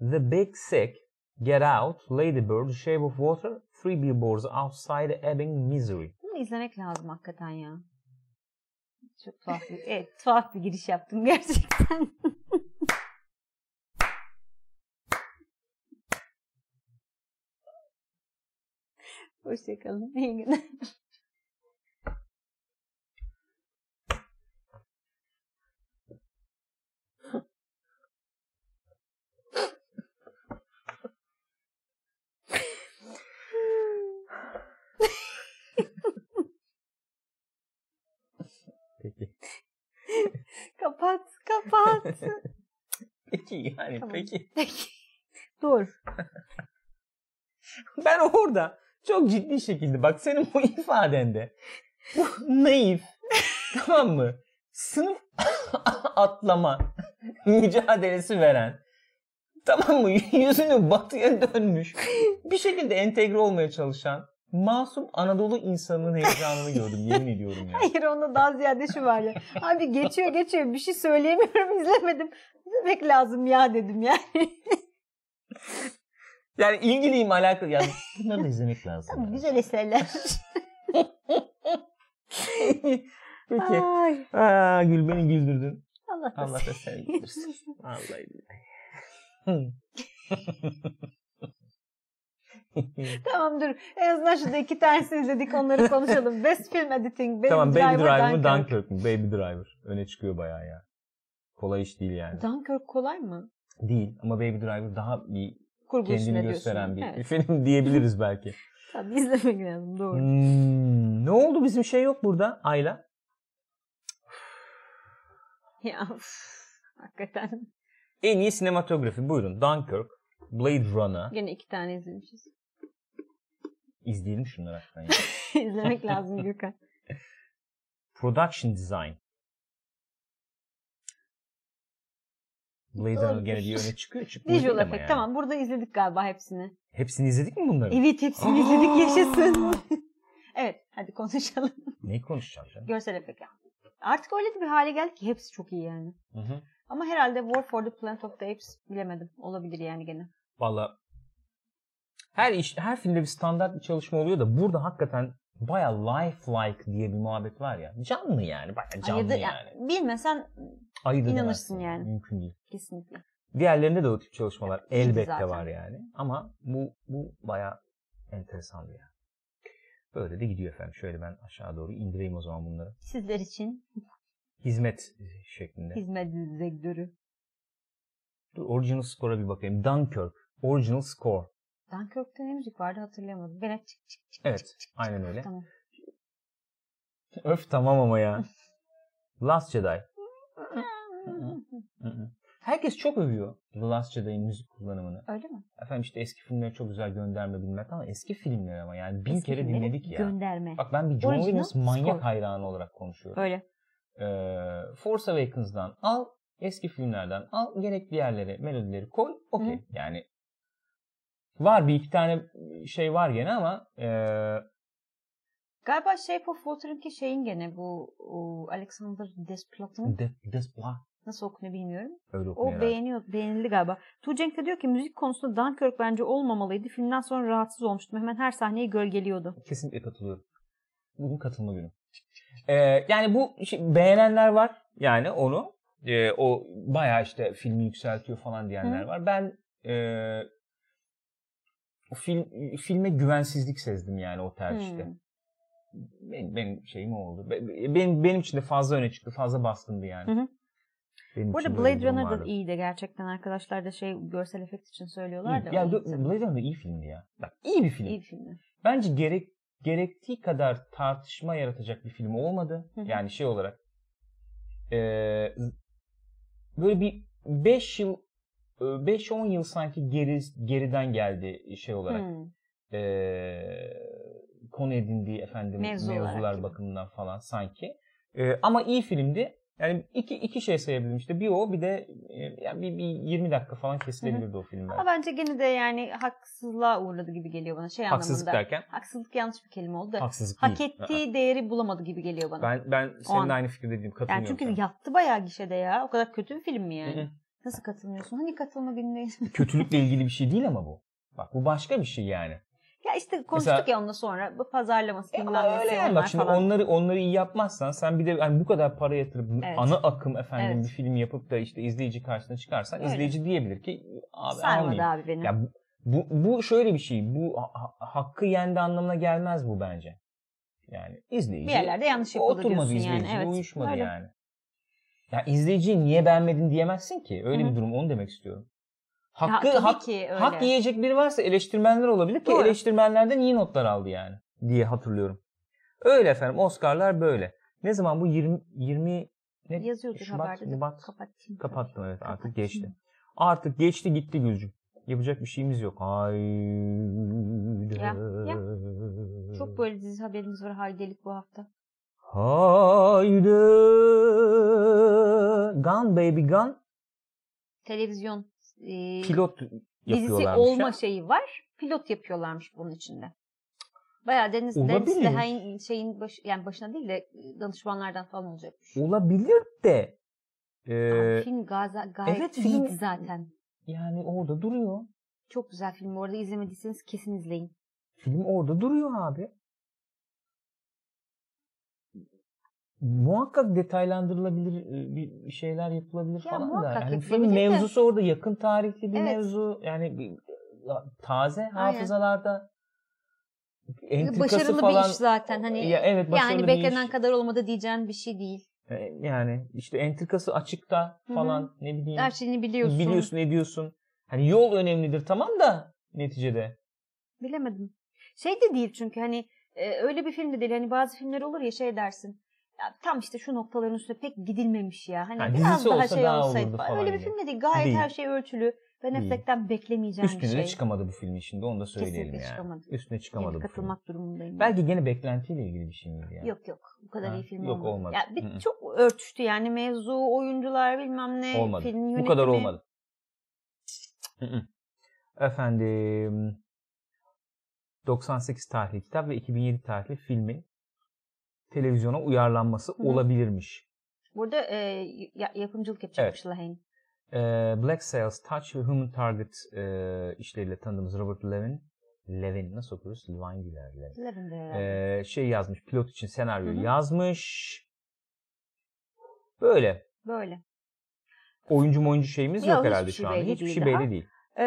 A: The Big Sick, Get Out, Lady Bird, Shape of Water, Three Billboards Outside Ebbing, Missouri.
B: Bunu izlemek lazım hakikaten ya. Çok tuhaf bir, evet, tuhaf bir giriş yaptım gerçekten. Hoşçakalın. İyi günler.
A: Peki.
B: Kapat, kapat.
A: Peki yani
B: Tamam.
A: peki.
B: Dur.
A: Ben orada çok ciddi şekilde bak senin bu ifadende bu naif tamam mı? Sınıf atlama mücadelesi veren tamam mı? Yüzünü batıya dönmüş bir şekilde entegre olmaya çalışan masum Anadolu insanının heyecanını gördüm yemin ediyorum ya.
B: Hayır onda daha ziyade şu var ya. Abi geçiyor geçiyor bir şey söyleyemiyorum izlemedim. Ne demek lazım ya dedim ya.
A: Yani ilgiliyim alakalı yani bunları da izlemek lazım.
B: Güzel eserler.
A: Peki.
B: Ay,
A: Aa, gül beni güldürdün.
B: Allah da
A: Allah da seni güldürsün. Vallahi billahi.
B: Tamam dur. En azından şurada iki tanesini izledik onları konuşalım. Best Film Editing, Baby
A: tamam
B: Driver,
A: Baby Driver mı
B: Dunkirk.
A: Dunkirk mı? Baby Driver. Öne çıkıyor bayağı ya. Kolay iş değil yani.
B: Dunkirk kolay mı?
A: değil ama Baby Driver daha iyi
B: Kurgu üstüne
A: kendini
B: diyorsun.
A: gösteren bir
B: Evet.
A: film diyebiliriz belki.
B: Tabii izlemek lazım doğru.
A: Hmm, ne oldu bizim şey yok burada Ayla?
B: Ya üf, hakikaten.
A: En iyi sinematografi buyurun Dunkirk, Blade Runner.
B: Gene iki tane izlemişiz.
A: İzleyelim şunları hakikaten. ya.
B: izlemek lazım Gökhan.
A: Production Design. Blade
B: Doğru.
A: Runner gene diye öne çıkıyor. çıkmıyor
B: Visual
A: değil ama
B: Effect
A: yani.
B: tamam burada izledik galiba hepsini.
A: Hepsini izledik mi bunları?
B: Evet hepsini izledik yaşasın. evet hadi konuşalım.
A: Neyi konuşacağız canım?
B: Görsel efekt ya. Artık öyle de bir hale geldi ki hepsi çok iyi yani.
A: Hı hı.
B: Ama herhalde War for the Planet of the Apes bilemedim. Olabilir yani gene.
A: Valla her iş, her filmde bir standart bir çalışma oluyor da burada hakikaten baya lifelike diye bir muhabbet var ya. Canlı yani. Baya canlı
B: Ayırdı-
A: yani.
B: Bilmesen
A: Ayırt edemezsin.
B: inanırsın yani.
A: Mümkün değil.
B: kesinlikle.
A: Diğerlerinde de o tip çalışmalar elbette
B: zaten.
A: var yani. Ama bu bu baya enteresandı yani. Böyle de gidiyor efendim. Şöyle ben aşağı doğru indireyim o zaman bunları.
B: Sizler için
A: Hizmet e, şeklinde.
B: hizmet sektörü.
A: Dur original score'a bir bakayım. Dunkirk. Original score.
B: Dunkirk'te ne müzik vardı hatırlayamadım. Gene çık çık çık.
A: Evet. Aynen öyle.
B: Tamam.
A: Öf tamam ama ya. Last Jedi. Hı hı. Herkes çok övüyor The Last Jedi'in müzik kullanımını.
B: öyle mi?
A: Efendim işte eski filmlere çok güzel gönderme bilmem ama eski filmler ama yani bin
B: Eski
A: kere
B: filmleri
A: dinledik ya.
B: Gönderme.
A: Bak ben bir John
B: Original
A: Williams manyak
B: score.
A: hayranı olarak konuşuyorum.
B: Öyle.
A: Ee, Force Awakens'dan al, eski filmlerden al, gerekli yerlere melodileri koy, okey. Yani var bir iki tane şey var gene ama e,
B: Galiba Shape of Water'ınki şeyin gene bu o, Alexander Desplat'ın
A: de, Despla
B: nasıl okunuyor bilmiyorum.
A: öyle
B: O
A: okunuyor. herhalde.
B: beğeniyor, beğenildi galiba. Tuğcenk de diyor ki müzik konusunda Dunkirk bence olmamalıydı. Filmden sonra rahatsız olmuştum. Hemen her sahneyi gölgeliyordu.
A: Kesinlikle katılıyorum. Bugün katılma günü. Ee, yani bu şi- beğenenler var yani onu. Ee, o bayağı işte filmi yükseltiyor falan diyenler var. Ben ee, o film filme güvensizlik sezdim yani o tercihte.
B: Hmm.
A: Benim, benim şeyim o oldu. Be- be- Benim benim için de fazla öne çıktı. Fazla baskındı yani.
B: Hı hı.
A: Benim
B: Bu
A: için
B: arada
A: böyle bir
B: Blade
A: durum
B: Runner da
A: vardı.
B: iyiydi gerçekten. Arkadaşlar da şey görsel efekt için söylüyorlar da.
A: İyi. Ya
B: o
A: do-
B: iyiydi.
A: Blade Runner iyi filmdi ya. Bak iyi bir film.
B: İyi filmdi.
A: Bence gerek gerektiği kadar tartışma yaratacak bir film olmadı.
B: Hı hı.
A: Yani şey olarak eee, böyle bir 5 yıl 5-10 yıl sanki geri, geriden geldi şey olarak.
B: Hmm.
A: eee, konu edindiği efendim
B: Mevzu olarak
A: mevzular
B: gibi.
A: bakımından falan sanki. Eee, ama iyi filmdi. Yani iki, iki şey sayabilirim işte. Bir o bir de eee, yani bir, bir 20 dakika falan kesilebilirdi o filmler.
B: Ama bence gene de yani haksızlığa uğradı gibi geliyor bana şey
A: Haksızlık
B: anlamında.
A: derken
B: Haksızlık yanlış bir kelime oldu da.
A: haksızlık
B: Hak
A: değil. Aa.
B: ettiği değeri bulamadı gibi geliyor bana.
A: Ben ben senin
B: an.
A: de aynı fikirdeyim. Katılıyorum.
B: yani çünkü
A: sana.
B: yattı bayağı gişede ya. O kadar kötü bir film mi yani?
A: Hı hı.
B: Nasıl katılmıyorsun? Hani katılma günündeyiz.
A: kötülükle ilgili bir şey değil ama bu. Bak bu başka bir şey yani.
B: ya işte konuştuk ya onunla sonra. Bu pazarlaması
A: E
B: bilmem
A: ama
B: nesi
A: öyle yani.
B: onlar
A: Bak şimdi
B: falan.
A: onları onları iyi yapmazsan sen bir de hani bu kadar para yatırıp
B: Evet.
A: ana akım efendim
B: Evet.
A: bir film yapıp da işte izleyici karşısına çıkarsan
B: Öyle.
A: izleyici diyebilir ki abi
B: Sarmadı
A: almayayım.
B: abi beni.
A: Ya bu, bu bu şöyle bir şey. Bu ha- ha- hakkı yendi anlamına gelmez bu bence. Yani izleyici
B: bir yerlerde yanlış yapıldı
A: oturmadı
B: diyorsun yani.
A: izleyici,
B: Evet.
A: uyuşmadı
B: Öyle.
A: yani. Ya izleyiciyi niye beğenmedin diyemezsin ki. Öyle
B: Hı hı.
A: bir durum onu demek istiyorum.
B: Ya
A: Hakkı
B: tabii
A: hak,
B: ki öyle.
A: hak yiyecek biri varsa eleştirmenler olabilir ki
B: Doğru.
A: eleştirmenlerden iyi notlar aldı yani diye hatırlıyorum. Öyle efendim Oscar'lar böyle. Ne zaman bu 20 20 ne
B: Yazıyordur
A: Şubat,
B: haberde de.
A: Şubat.
B: Kapatayım.
A: Kapattım evet artık
B: Kapattım.
A: geçti. Artık geçti gitti Gülcüm. Yapacak bir şeyimiz yok. Ay.
B: Ya, ya. Çok böyle dizi haberimiz var haydelik bu hafta.
A: Haydi. Gun Baby Gun
B: Televizyon e,
A: pilot
B: dizisi
A: yapıyorlarmış.
B: olma
A: ya.
B: şeyi var. Pilot yapıyorlarmış bunun içinde. Bayağı Deniz, Deniz
A: Olabilir.
B: Lehain şeyin baş, yani başına değil de e, danışmanlardan falan olacakmış.
A: Olabilir de.
B: Abi
A: Ee,
B: film gaza, gayet
A: evet,
B: iyiydi
A: film-
B: zaten.
A: yani orada duruyor.
B: Çok güzel film. Orada izlemediyseniz kesin izleyin.
A: Film orada duruyor abi. Muhakkak detaylandırılabilir e, bir bir şeyler yapılabilir
B: Ya
A: falan da.
B: muhakkak
A: Yani
B: yapılabilir
A: filmin
B: de.
A: mevzusu orada yakın tarihli bir
B: Evet.
A: mevzu. Yani bir- taze hafızalarda entrikası
B: Başarılı
A: falan.
B: bir iş zaten. Hani
A: Ya evet başarılı
B: yani
A: bir
B: beklenen
A: iş.
B: kadar olmadı diyeceğin bir şey değil.
A: E, Yani işte entrikası açıkta
B: Hı hı.
A: falan ne bileyim.
B: Her şeyini biliyorsun.
A: Biliyorsun ediyorsun. Hani yol önemlidir tamam da neticede.
B: Bilemedim. Şey de değil çünkü hani e, öyle bir film de değil. Hani bazı filmler olur ya şey dersin. Ya tam işte şu noktaların üstüne pek gidilmemiş ya. Hani
A: Ha,
B: biraz
A: dizisi
B: daha
A: olsa
B: şey
A: daha
B: olsaydı
A: olurdu
B: falan.
A: falan
B: Öyle bir
A: gibi.
B: film de değil. Gayet
A: Değil.
B: her şey ölçülü. Ben
A: Değil.
B: Affleck'ten beklemeyeceğim bir
A: Üstüne
B: şey.
A: de çıkamadı bu film şimdi onu da söyleyelim
B: Kesinlikle
A: yani.
B: çıkamadı.
A: Üstüne çıkamadı
B: Yani
A: bu film.
B: katılmak durumundayım.
A: Belki gene beklentiyle ilgili bir şey miydi yani?
B: Yok yok. Bu kadar
A: Ha,
B: iyi film
A: yok,
B: olmadı.
A: olmadı.
B: Ya bir,
A: Hı hı.
B: çok örtüştü yani mevzu, oyuncular bilmem ne,
A: olmadı.
B: film yönetimi.
A: bu kadar olmadı. Hı-hı. Efendim 98 tarihli kitap ve 2007 tarihli filmin televizyona uyarlanması
B: Hı.
A: olabilirmiş.
B: Burada e, ya- yapımcılık yapacakmış Lahane.
A: Ee, Black Sails, Touch ve Human Target e, işleriyle tanıdığımız Robert Levin, Levin nasıl okuyoruz? Levine değil herhalde. Levin.
B: Eleven'de herhalde.
A: Ee, şey yazmış, pilot için senaryoyu
B: Hı hı.
A: yazmış. Böyle.
B: Böyle.
A: Oyuncu oyuncu şeyimiz
B: Ya,
A: yok
B: hiçbir
A: herhalde
B: şey
A: şu anda.
B: belli
A: Hiçbir
B: değil
A: şey
B: daha.
A: belli değil.
B: Ee,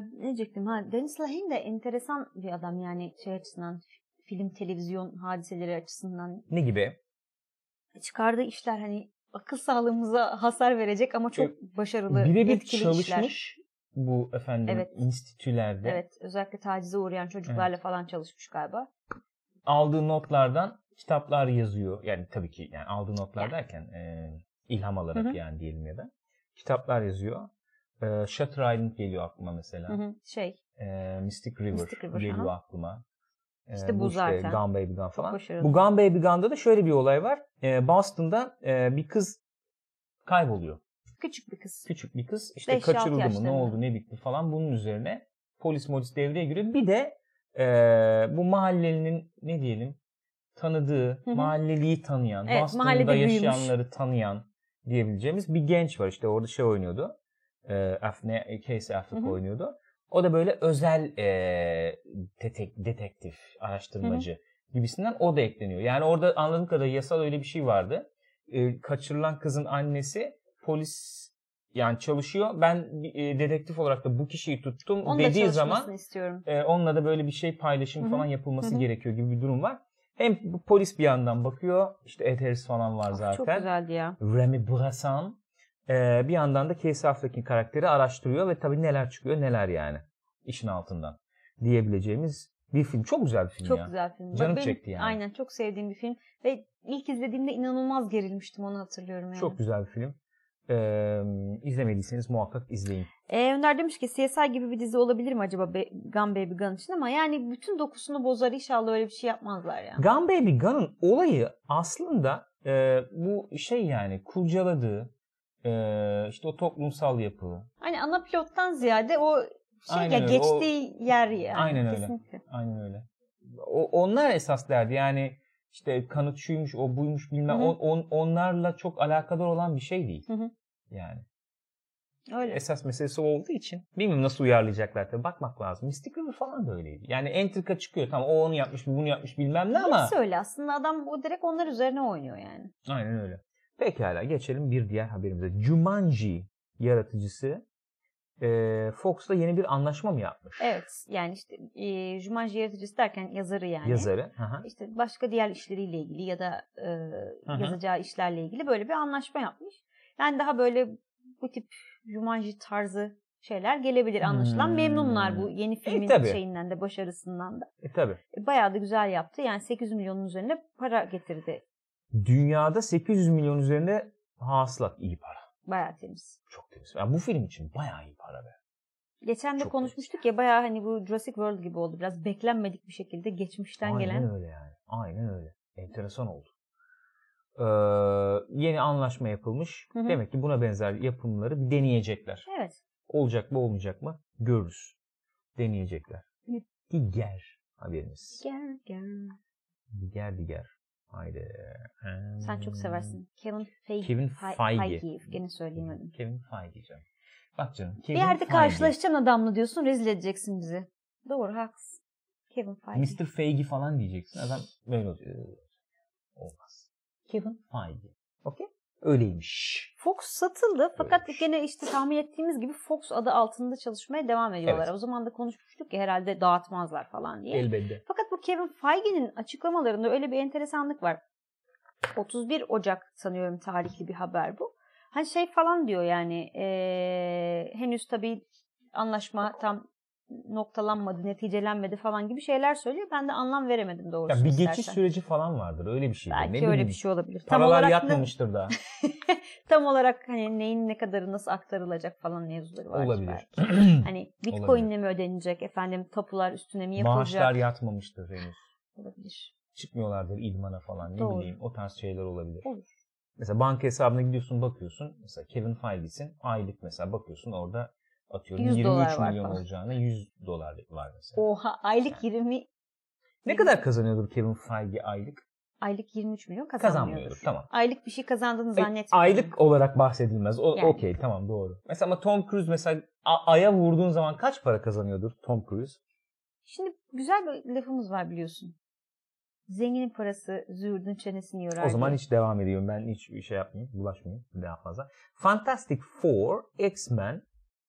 B: ne diyecektim ha Deniz Lahin de enteresan bir adam yani şey açısından film televizyon hadiseleri açısından
A: Ne gibi?
B: çıkardığı işler hani akıl sağlığımıza hasar verecek ama çok başarılı
A: E, Birebir
B: etkili işler.
A: çalışmış bu efendim
B: Evet.
A: institülerde.
B: Evet özellikle tacize uğrayan çocuklarla falan çalışmış galiba.
A: Aldığı notlardan kitaplar yazıyor. Yani tabii ki yani aldığı notlar
B: Yani.
A: derken e, ilham alarak
B: Hı hı.
A: yani diyelim ya da. Kitaplar yazıyor. E, Shutter Island geliyor aklıma mesela.
B: Hı hı, şey
A: Ee, Mystic River,
B: Mystic River,
A: geliyor
B: aha.
A: aklıma. Ee,
B: İşte bu zaten.
A: Gun Baby Gun falan.
B: başarılı.
A: Bu Gun Baby Gun'da da şöyle bir olay var. Ee, Boston'da e, bir kız kayboluyor.
B: küçük bir kız.
A: Küçük bir kız. İşte
B: Beş, altı
A: kaçırıldı mı ne
B: yaşlarında.
A: oldu ne bitti falan bunun üzerine polis modis devreye giriyor. Bir de e, bu mahallenin ne diyelim tanıdığı,
B: Hı hı.
A: mahalleliyi tanıyan,
B: Evet,
A: Boston'da
B: mahallede büyümüş.
A: yaşayanları tanıyan diyebileceğimiz bir genç var. İşte orada şey oynuyordu. E, Af- ne, Casey Affleck
B: Hı hı.
A: oynuyordu. O da böyle özel e, detek- detektif, araştırmacı gibisinden o da ekleniyor. Yani orada anladığım kadarıyla yasal öyle bir şey vardı. Ee, kaçırılan kızın annesi polis yani çalışıyor. Ben bir, e, dedektif olarak da bu kişiyi tuttum
B: Onun da
A: dediği
B: çalışmasını
A: zaman
B: istiyorum.
A: e, onunla da böyle bir şey paylaşım
B: Hı hı.
A: falan yapılması
B: Hı hı.
A: gerekiyor gibi bir durum var. Hem bu polis bir yandan bakıyor. işte Ed Harris falan var
B: Of, Ah, Çok
A: zaten.
B: güzeldi ya.
A: Remy Brassan e, bir yandan da Casey Affleck'in karakteri araştırıyor ve tabii neler çıkıyor neler yani işin altından diyebileceğimiz bir film. Çok güzel bir film
B: Çok
A: ya.
B: güzel film. Bak
A: Canım
B: benim-
A: çekti yani.
B: Aynen çok sevdiğim bir film. Ve ilk izlediğimde inanılmaz gerilmiştim onu hatırlıyorum yani.
A: Çok güzel bir film. E, izlemediyseniz muhakkak izleyin.
B: Ee, Önder demiş ki CSI gibi bir dizi olabilir mi acaba Be- Gun Baby Gun için ama yani bütün dokusunu bozar inşallah öyle bir şey yapmazlar ya.
A: Gun Baby Gun'ın olayı aslında e, bu şey yani kurcaladığı e, işte o toplumsal yapı.
B: Hani ana pilottan ziyade o şey
A: Aynen
B: ya
A: öyle,
B: geçtiği yer yani.
A: Aynen öyle.
B: kesinlikle.
A: Aynen öyle. O, onlar esas derdi yani işte kanıt şuymuş o buymuş bilmem
B: Hı hı.
A: on, on- onlarla çok alakadar olan bir şey değil.
B: Hı hı.
A: Yani
B: Öyle.
A: esas meselesi o olduğu için bilmiyorum nasıl uyarlayacaklar tabii bakmak lazım. Mystic River falan da öyleydi. Yani entrika çıkıyor tamam o onu yapmış bu bunu yapmış bilmem ne ama.
B: Hepsi öyle aslında adam o direkt onlar üzerine oynuyor yani.
A: Aynen öyle. Pekala geçelim bir diğer haberimize. Jumanji yaratıcısı eee, Fox'la yeni bir anlaşma mı yapmış?
B: Evet yani işte e, Jumanji yaratıcısı derken yazarı yani.
A: Yazarı. Hı hı.
B: İşte başka diğer işleriyle ilgili ya da e,
A: Hı hı.
B: yazacağı işlerle ilgili böyle bir anlaşma yapmış. Yani daha böyle bu tip Jumanji tarzı şeyler gelebilir anlaşılan.
A: Hmm.
B: Memnunlar bu yeni filmin
A: tabii.
B: şeyinden de başarısından da.
A: E tabi.
B: E, Bayağı da güzel yaptı. Yani 800 milyonun üzerine para getirdi.
A: Dünyada 800 milyon üzerinde hasılat iyi para.
B: Bayağı temiz.
A: Çok temiz. Yani bu film için bayağı iyi para be.
B: Geçen de
A: Çok
B: konuşmuştuk ya bayağı hani bu Jurassic World gibi oldu. Biraz beklenmedik bir şekilde geçmişten
A: Aynen
B: gelen.
A: öyle yani. Aynen öyle. Enteresan oldu. Ee, yeni anlaşma yapılmış.
B: Hı hı.
A: Demek ki buna benzer yapımları bir deneyecekler.
B: Evet.
A: Olacak mı olmayacak mı görürüz. Deneyecekler.
B: Evet.
A: Diğer haberimiz.
B: Gel gel.
A: Diğer diğer. Haydi.
B: Sen çok seversin. Kevin Feige.
A: Kevin
B: Fe-
A: Feige. Hmm.
B: Feige. Gene söyleyemedim.
A: Kevin Feige canım. Bak canım.
B: Bir
A: Kevin
B: yerde
A: Feige.
B: karşılaşacaksın adamla diyorsun rezil edeceksin bizi. Doğru haklısın. Kevin Feige.
A: Mr. Feige falan diyeceksin. Adam böyle oluyor. Olmaz. Kevin Feige. Okey? Öyleymiş.
B: Fox satıldı fakat
A: Evet.
B: gene işte tahmin ettiğimiz gibi Fox adı altında çalışmaya devam ediyorlar.
A: Evet.
B: O zaman da konuşmuştuk ya herhalde dağıtmazlar falan diye.
A: Elbette.
B: Fakat bu Kevin Feige'nin açıklamalarında öyle bir enteresanlık var. 31 Ocak sanıyorum tarihli bir haber bu. Hani şey falan diyor yani eee, henüz tabii anlaşma tam noktalanmadı, neticelenmedi falan gibi şeyler söylüyor. Ben de anlam veremedim doğrusu.
A: Ya bir geçiş
B: istersen.
A: süreci falan vardır. Öyle bir şey.
B: Belki
A: ne
B: öyle
A: bileyim.
B: bir şey olabilir. Tam
A: Paralar
B: olarak, ne-
A: yatmamıştır daha.
B: tam olarak hani neyin ne kadarı nasıl aktarılacak falan mevzuları var.
A: Olabilir.
B: belki. Hani bitcoinle mi ödenecek efendim tapular üstüne mi yapılacak?
A: Maaşlar yatmamıştır henüz.
B: Olabilir.
A: Çıkmıyorlardır idmana falan. Ne
B: Doğru.
A: bileyim. O tarz şeyler olabilir.
B: Olur.
A: Mesela banka hesabına gidiyorsun bakıyorsun. Mesela Kevin Feige'sin. Aylık mesela bakıyorsun orada atıyorum
B: 100
A: 23
B: dolar var
A: milyon
B: falan.
A: olacağına 100 dolar var mesela.
B: Oha aylık 20
A: Ne kadar kazanıyordur Kevin Feige aylık?
B: Aylık 23 milyon kazanmıyordur.
A: Kazanmıyordur. Tamam.
B: Aylık bir şey kazandığını
A: Ay-
B: zannetmiyorum.
A: E, Aylık olarak bahsedilmez. O
B: Yani.
A: okey tamam doğru. Mesela ama Tom Cruise mesela a- aya vurduğun zaman kaç para kazanıyordur Tom Cruise?
B: Şimdi güzel bir lafımız var biliyorsun. Zenginin parası züğürdün çenesini yorar.
A: O zaman
B: diye.
A: hiç devam ediyorum. Ben hiç şey yapmayayım, bulaşmayayım daha fazla. Fantastic Four, X-Men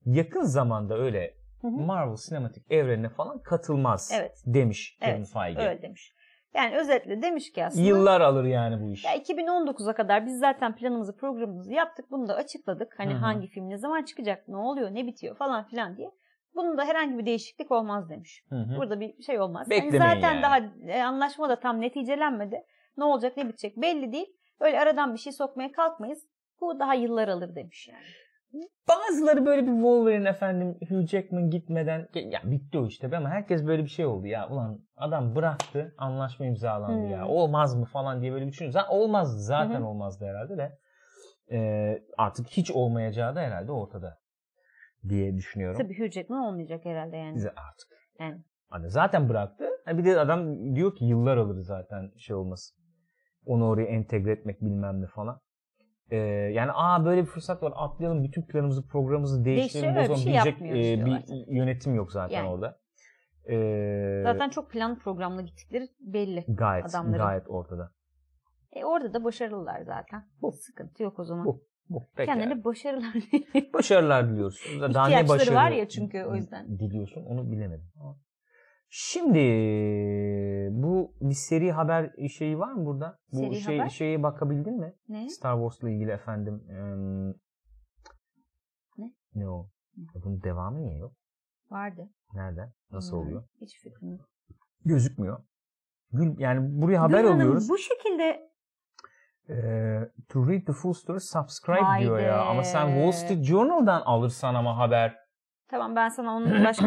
A: yakın zamanda öyle
B: Hı hı.
A: Marvel sinematik evrenine falan katılmaz
B: Evet.
A: demiş Kevin
B: Evet,
A: Feige.
B: öyle demiş. Yani özetle demiş ki aslında
A: Yıllar alır yani bu iş.
B: ya 2019'a kadar biz zaten planımızı programımızı yaptık. Bunu da açıkladık. Hani
A: Hı hı.
B: hangi film ne zaman çıkacak, ne oluyor, ne bitiyor falan filan diye. Bunda herhangi bir değişiklik olmaz demiş.
A: Hı hı.
B: Burada bir şey olmaz. Yani
A: Beklemeyin
B: zaten
A: yani.
B: daha e, anlaşma da tam neticelenmedi. Ne olacak ne bitecek belli değil. Öyle aradan bir şey sokmaya kalkmayız. Bu daha yıllar alır demiş yani.
A: Bazıları böyle bir Wolverine efendim Hugh Jackman gitmeden ya bitti o işte be ama herkes böyle bir şey oldu ya ulan adam bıraktı anlaşma imzalandı
B: Hmm.
A: ya olmaz mı falan diye böyle düşünüyor. Zaten olmazdı zaten
B: Hı
A: olmazdı herhalde de Ee, artık hiç olmayacağı da herhalde ortada diye düşünüyorum.
B: Tabii Hugh Jackman olmayacak herhalde yani.
A: Bize artık.
B: Yani.
A: Hani zaten bıraktı. Ha bir de adam diyor ki yıllar alır zaten şey olması. Onu oraya entegre etmek bilmem ne falan. Ee, yani aa böyle bir fırsat var atlayalım bütün planımızı programımızı değiştirelim
B: Değiştirelim,
A: o zaman
B: öyle bir şey
A: diyecek
B: yapmıyoruz
A: e,
B: diyorlar
A: bir yönetim yok zaten
B: Yani.
A: orada. Ee,
B: Zaten çok plan programla gittikleri belli.
A: gayet
B: adamların-
A: gayet ortada.
B: E orada da başarılılar zaten. Sıkıntı yok o zaman.
A: Bu. Bu. Peki.
B: Kendilerine başarılar dileyelim.
A: Başarılar diliyorsun. Daha ne
B: İhtiyaçları
A: başarı
B: var ya çünkü o yüzden.
A: Diliyorsun onu bilemedim. Ama Şimdi bu bir seri haber şeyi var mı burada? Bu
B: Seri
A: şey,
B: haber?
A: şeye bakabildin mi?
B: ne?
A: Star Wars'la ilgili efendim em,
B: Ne?
A: Ne o? Ya Bunun devamı niye yok?
B: Vardı.
A: Nereden? Nasıl
B: Bilmiyorum.
A: oluyor?
B: Hiç fikrim yok.
A: Gözükmüyor. Gül yani buraya haber
B: Gülhan Hanım,
A: alıyoruz.
B: bu şekilde
A: Ee, to read the full story subscribe
B: Vay
A: diyor ya. Ama sen
B: be.
A: Wall Street Journal'dan alırsan ama haber.
B: tamam ben sana onun başka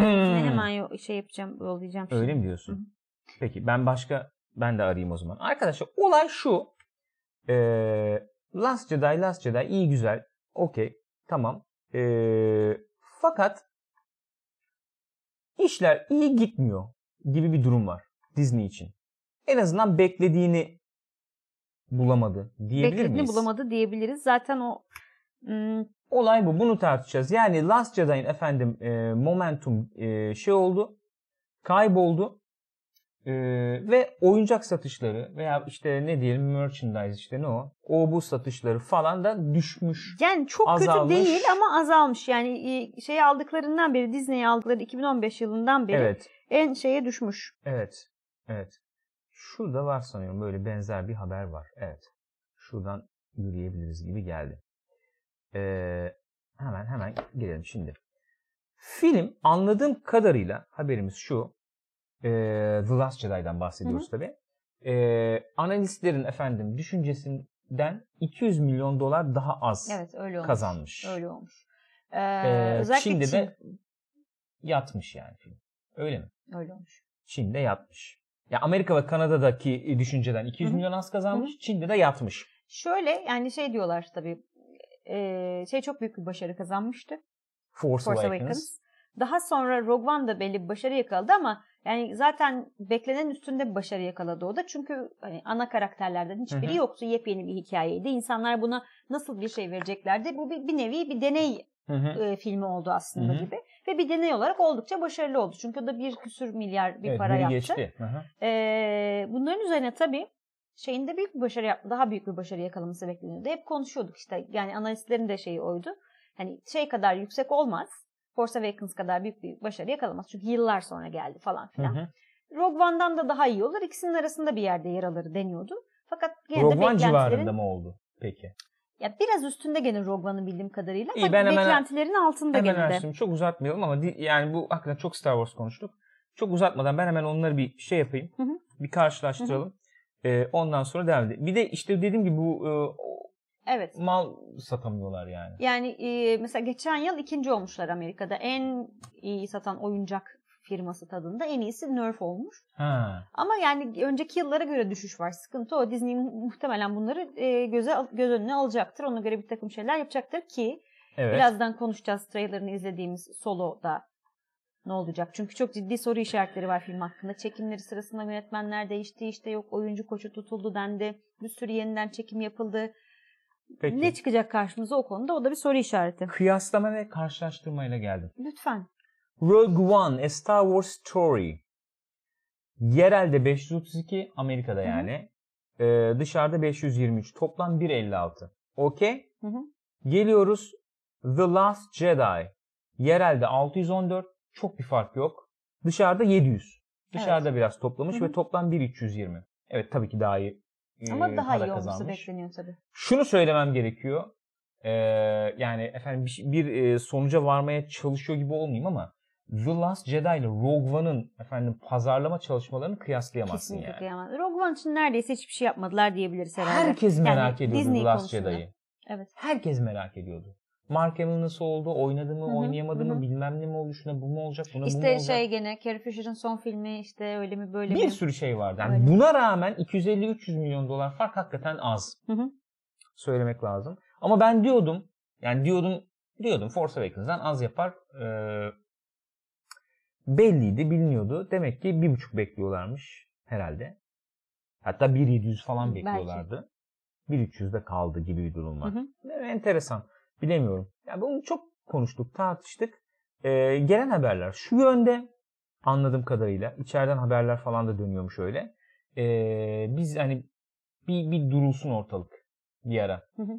B: linkini hemen yo- şey yapacağım yollayacağım. şimdi.
A: Öyle mi
B: Hı.
A: diyorsun? Peki ben başka ben de arayayım o zaman. Arkadaşlar olay şu. Ee, Last Jedi Last Jedi iyi güzel. Okey. Tamam. Ee, fakat işler iyi gitmiyor gibi bir durum var Disney için. En azından beklediğini bulamadı diyebilir
B: Beklediğini
A: miyiz?
B: bulamadı diyebiliriz. Zaten o hmm,
A: Olay bu. Bunu tartışacağız. Yani Last Jedi'in efendim e, momentum e, şey oldu. Kayboldu. E, ve oyuncak satışları veya işte ne diyelim merchandise işte ne o. O bu satışları falan da düşmüş.
B: yani çok
A: Azalmış.
B: kötü değil ama azalmış. Yani e, şey aldıklarından beri Disney'i aldıkları 2015 yılından beri
A: Evet.
B: en şeye düşmüş.
A: Evet. Evet. Şurada var sanıyorum. Böyle benzer bir haber var. Evet. Şuradan yürüyebiliriz gibi geldi. Ee, hemen hemen gelelim şimdi. Film anladığım kadarıyla haberimiz şu. Ee, The Last Jedi'dan bahsediyoruz tabii. Ee, analistlerin efendim düşüncesinden 200 milyon dolar daha az
B: Evet öyle olmuş.
A: kazanmış.
B: Öyle olmuş. Ee,
A: Ee,
B: özellikle
A: Çin'de
B: Çin.
A: de yatmış yani film. Öyle mi?
B: Öyle olmuş.
A: Çin'de yatmış. Ya Amerika ve Kanada'daki e, düşünceden 200
B: Hı hı.
A: milyon az kazanmış, Çin'de de yatmış.
B: Şöyle yani şey diyorlar tabii. e, şey çok büyük bir başarı kazanmıştı.
A: Force,
B: Force
A: Awakens.
B: Awakens. Daha sonra Rogue One da belli bir başarı yakaladı ama yani zaten beklenen üstünde bir başarı yakaladı o da. Çünkü hani ana karakterlerden hiçbiri
A: Hı hı.
B: yoktu. Yepyeni bir hikayeydi. İnsanlar buna nasıl bir şey vereceklerdi. Bu bir, bir nevi bir deney
A: Hı hı.
B: e, filmi oldu aslında
A: Hı hı.
B: gibi. Ve bir deney olarak oldukça başarılı oldu. Çünkü o da bir küsür milyar bir
A: Evet,
B: para
A: biri
B: yaptı.
A: geçti. Hı hı.
B: Ee, bunların üzerine tabii şeyinde büyük bir başarı yap- daha büyük bir başarı yakalaması bekleniyordu. Hep konuşuyorduk işte yani analistlerin de şeyi oydu. Hani şey kadar yüksek olmaz. Force Awakens kadar büyük bir başarı yakalamaz. Çünkü yıllar sonra geldi falan
A: Hı
B: filan.
A: hı.
B: Rogue One'dan da daha iyi olur. İkisinin arasında bir yerde yer alır deniyordu. Fakat gene de
A: Rogue One civarında
B: beklentilerin
A: mı oldu? Peki.
B: ya biraz üstünde gene Rogue One'ın bildiğim kadarıyla
A: İyi,
B: ama
A: ben hemen-
B: beklentilerin altında
A: Hemen
B: gene de.
A: açtım. Çok uzatmayalım ama di- yani bu hakikaten çok Star Wars konuştuk. Çok uzatmadan ben hemen onları bir şey yapayım.
B: Hı hı.
A: Bir karşılaştıralım. Ee, ondan sonra devam edelim. Bir de işte dediğim gibi bu e, o-
B: Evet.
A: mal satamıyorlar yani.
B: Yani e, mesela geçen yıl ikinci olmuşlar Amerika'da. En iyi satan oyuncak firması tadında en iyisi Nerf olmuş.
A: Ha.
B: Ama yani önceki yıllara göre düşüş var. Sıkıntı o. Disney muhtemelen bunları e, göze al- göz önüne alacaktır. Ona göre bir takım şeyler yapacaktır ki
A: Evet.
B: birazdan konuşacağız trailerını izlediğimiz Solo'da ne olacak? Çünkü çok ciddi soru işaretleri var film hakkında. Çekimleri sırasında yönetmenler değişti işte yok oyuncu koçu tutuldu dendi. Bir sürü yeniden çekim yapıldı.
A: Peki.
B: Ne çıkacak karşımıza o konuda o da bir soru işareti.
A: Kıyaslama ve karşılaştırmayla geldim.
B: Lütfen.
A: Rogue One, A Star Wars Story. Yerelde 532, Amerika'da
B: Hı hı.
A: yani. Ee, dışarıda 523. Toplam 156. Okey.
B: Hı hı.
A: Geliyoruz The Last Jedi. Yerelde 614. Çok bir fark yok. Dışarıda 700. Dışarıda biraz toplamış
B: Hı hı.
A: ve toplam 1320. Evet tabii ki daha iyi. e,
B: Ama daha
A: para
B: iyi olması
A: kazanmış
B: bekleniyor tabii.
A: şunu söylemem gerekiyor. Ee, yani efendim bir, şey- bir, e, sonuca varmaya çalışıyor gibi olmayayım ama The Last Jedi ile Rogue One'ın efendim pazarlama çalışmalarını kıyaslayamazsın
B: Kesinlikle
A: yani.
B: kıyamam. Rogue One için neredeyse hiçbir şey yapmadılar diyebiliriz herhalde.
A: Herkes merak
B: Yani
A: ediyordu
B: Disney
A: The Last
B: konusunda.
A: Jedi'yi.
B: Evet.
A: Herkes merak ediyordu. Mark Hamill nasıl oldu? Oynadı mı?
B: Hı hı,
A: oynayamadı
B: hı hı.
A: mı? Bilmem ne mi oldu? Şuna bu mu olacak? Buna bu mu
B: İşte
A: olacak?
B: şey gene Carrie Fisher'ın son filmi işte öyle mi böyle mi?
A: bir sürü şey vardı. Yani
B: Öyle.
A: buna rağmen 250-300 milyon dolar fark hakikaten az.
B: Hı hı.
A: söylemek lazım. Ama ben diyordum yani diyordum diyordum Force Awakens'dan az yapar. Ee, belliydi biliniyordu. Demek ki bir buçuk bekliyorlarmış herhalde. Hatta 1700 falan
B: Belki.
A: bekliyorlardı. 1300'de kaldı gibi bir durum var.
B: Hı hı.
A: Enteresan. Ee, Bilemiyorum. Ya bunu çok konuştuk, tartıştık. Ee, gelen haberler şu yönde. Anladığım kadarıyla. içeriden haberler falan da dönüyormuş öyle. Ee, biz hani bir, bir durulsun ortalık bir ara.
B: Hı hı.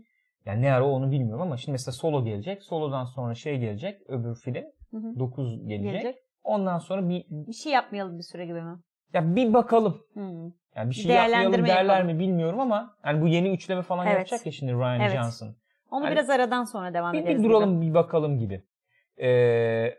A: Yani ne ara onu bilmiyorum ama şimdi mesela Solo gelecek. Solo'dan sonra şey gelecek. Öbür film
B: Hı hı.
A: 9 gelecek.
B: Gelecek.
A: Ondan sonra bir
B: Bir şey yapmayalım bir süre gibi mi?
A: ya bir bakalım.
B: Hmm.
A: Yani bir şey
B: Değerlendirme
A: yapmayalım derler
B: yapalım.
A: mi bilmiyorum ama yani bu yeni üçleme falan
B: Evet.
A: yapacak ya şimdi Ryan
B: Evet.
A: Johnson.
B: Onu
A: Yani-
B: biraz aradan sonra devam
A: Hani Bir,
B: ederiz.
A: bir duralım bir bakalım gibi. Ee,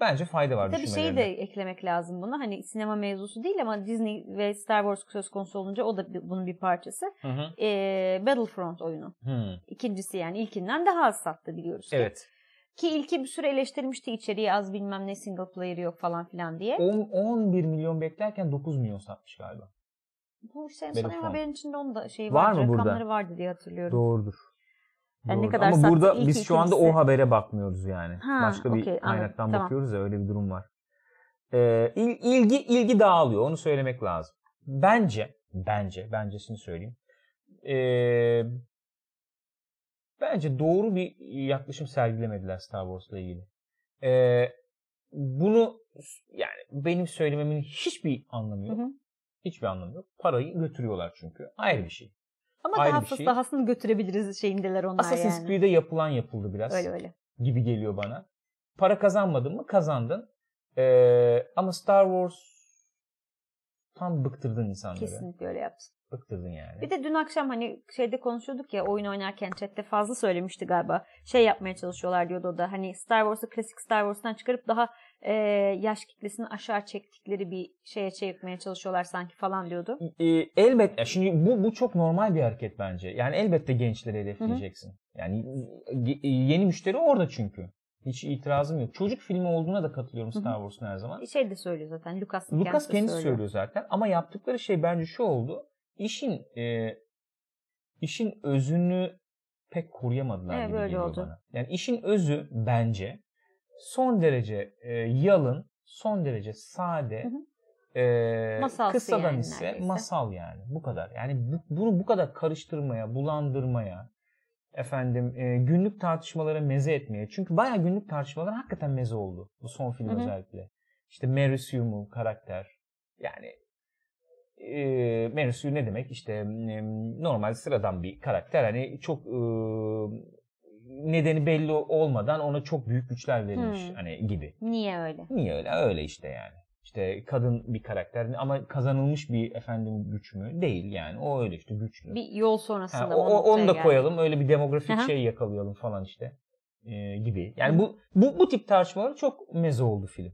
A: bence fayda var
B: Tabii şeyi de
A: düşünmelerinde.
B: eklemek lazım buna. Hani sinema mevzusu değil ama Disney ve Star Wars söz konusu olunca o da bir- bunun bir parçası.
A: Hı hı.
B: Ee, Battlefront oyunu.
A: Hı.
B: İkincisi yani ilkinden daha az sattı biliyoruz ki.
A: Evet.
B: Ki ilki bir süre eleştirmişti içeriği az bilmem ne single player yok falan filan diye.
A: 10, 11 milyon beklerken 9 milyon satmış galiba.
B: Bu işte sanırım
A: Battlefront.
B: haberin içinde onun da şeyi
A: Var
B: vardı,
A: mı burada?
B: rakamları vardı diye hatırlıyorum.
A: Doğrudur.
B: Yani ne
A: Doğrudur.
B: kadar
A: Ama
B: sattı
A: burada
B: ilk,
A: biz şu anda o
B: ikincisi.
A: habere bakmıyoruz yani.
B: Ha,
A: Başka bir
B: okey, anladım.
A: kaynaktan
B: Tamam.
A: bakıyoruz ya öyle bir durum var. Ee, il- ilgi ilgi dağılıyor. Onu söylemek lazım. Bence bence bencesini söyleyeyim. Ee, bence doğru bir yaklaşım sergilemediler Star Wars'la ilgili. Ee, bunu yani benim söylememin hiçbir anlamı yok.
B: Hı hı.
A: Hiçbir anlamı yok. Parayı götürüyorlar çünkü. Ayrı bir şey.
B: Ama
A: Ayrı
B: daha
A: bir
B: fıs
A: şey.
B: dahasını götürebiliriz şeyindeler onlar
A: Assassin's
B: yani.
A: Creed'e yapılan yapıldı biraz.
B: Öyle öyle.
A: gibi geliyor bana. Para kazanmadın mı? Kazandın. Ee, ama Star Wars tam bıktırdın insanları.
B: Kesinlikle öyle yaptı.
A: Bıktırdın yani.
B: Bir de dün akşam hani şeyde konuşuyorduk ya oyun oynarken chatte fazla söylemişti galiba. Şey yapmaya çalışıyorlar diyordu o da. Hani Star Wars'ı klasik Star Wars'tan çıkarıp daha e, yaş kitlesini aşağı çektikleri bir şeye çevirmeye çalışıyorlar sanki falan diyordu.
A: Ee, elbette şimdi bu bu çok normal bir hareket bence. Yani elbette gençleri hedefleyeceksin. Yani ge- yeni müşteri orada çünkü. Hiç itirazım yok. Çocuk filmi olduğuna da katılıyorum
B: Hı hı.
A: Star Wars'un her zaman.
B: Şey de söylüyor zaten Lucas,
A: Lucas
B: de
A: kendisi söylüyor. zaten ama yaptıkları şey bence şu oldu. İşin e, işin özünü pek koruyamadılar
B: Evet,
A: gibi
B: öyle
A: geliyor
B: oldu.
A: bana. Yani işin özü bence son derece e, yalın, son derece sade,
B: Hı
A: e,
B: Masalsı
A: kısadan
B: yani
A: ise
B: neredeyse.
A: masal yani. Bu kadar. Yani bu- bunu bu kadar karıştırmaya, bulandırmaya, efendim e, günlük tartışmalara meze etmeye. Çünkü bayağı günlük tartışmalar hakikaten meze oldu bu son film
B: Hı hı.
A: özellikle. İşte Mary Sue'mu karakter. Yani e, Mary Sue ne demek? İşte e, normal sıradan bir karakter. Hani çok e, nedeni belli olmadan ona çok büyük güçler verilmiş
B: Hı.
A: hani gibi.
B: Niye öyle?
A: Niye öyle? Öyle işte yani. İşte kadın bir karakter ama kazanılmış bir efendim güç mü? Değil yani. O öyle işte güçlü.
B: Bir yol
A: Ha,
B: sonrasında
A: o- o-
B: noktaya
A: onu da
B: geldi.
A: koyalım. Öyle bir demografik
B: Aha.
A: şey yakalayalım falan işte. Ee, gibi. Yani bu, bu bu tip tartışmaları çok meze oldu film.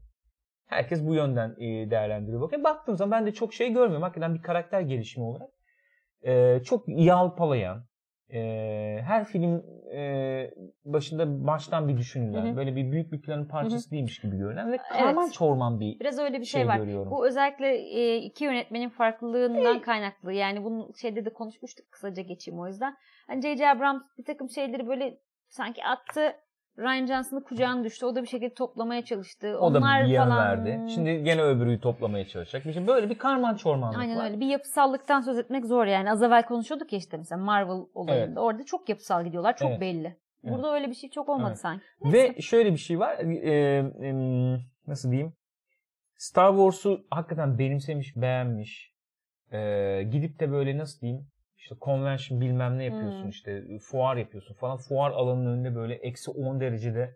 A: Herkes bu yönden e, değerlendiriyor. Bakın baktığım zaman ben de çok şey görmüyorum. Hakikaten bir karakter gelişimi olarak. Ee, çok yalpalayan. e, her film e, başında baştan bir düşünülen.
B: Hı hı.
A: Böyle bir büyük bir planın parçası değilmiş gibi görünen ve
B: Evet.
A: karman çorman bir
B: Biraz öyle bir şey,
A: şey,
B: var.
A: görüyorum.
B: Bu özellikle e, iki yönetmenin farklılığından kaynaklı. Yani bunu şeyde de konuşmuştuk kısaca geçeyim o yüzden. Hani J.J. Abrams bir takım şeyleri böyle sanki attı. Ryan Johnson'ı kucağına düştü. O da bir şekilde toplamaya çalıştı.
A: o da
B: Onlar
A: bir yön
B: falan...
A: verdi. Şimdi gene öbürüyü toplamaya çalışacak. Bir şey- Böyle bir karman çormanlık
B: Aynen
A: var.
B: öyle. Bir yapısallıktan söz etmek zor yani. Az evvel konuşuyorduk ya işte mesela Marvel olayında. Orada çok yapısal gidiyorlar. Çok
A: Evet.
B: belli. Burada öyle bir şey çok olmadı
A: Evet.
B: sanki.
A: Ve şöyle bir şey var. e, e, nasıl diyeyim? Star Wars'u hakikaten benimsemiş, beğenmiş. E, gidip de böyle nasıl diyeyim? İşte convention bilmem ne yapıyorsun
B: Hmm.
A: işte fuar yapıyorsun falan. Fuar alanının önünde böyle eksi 10 derecede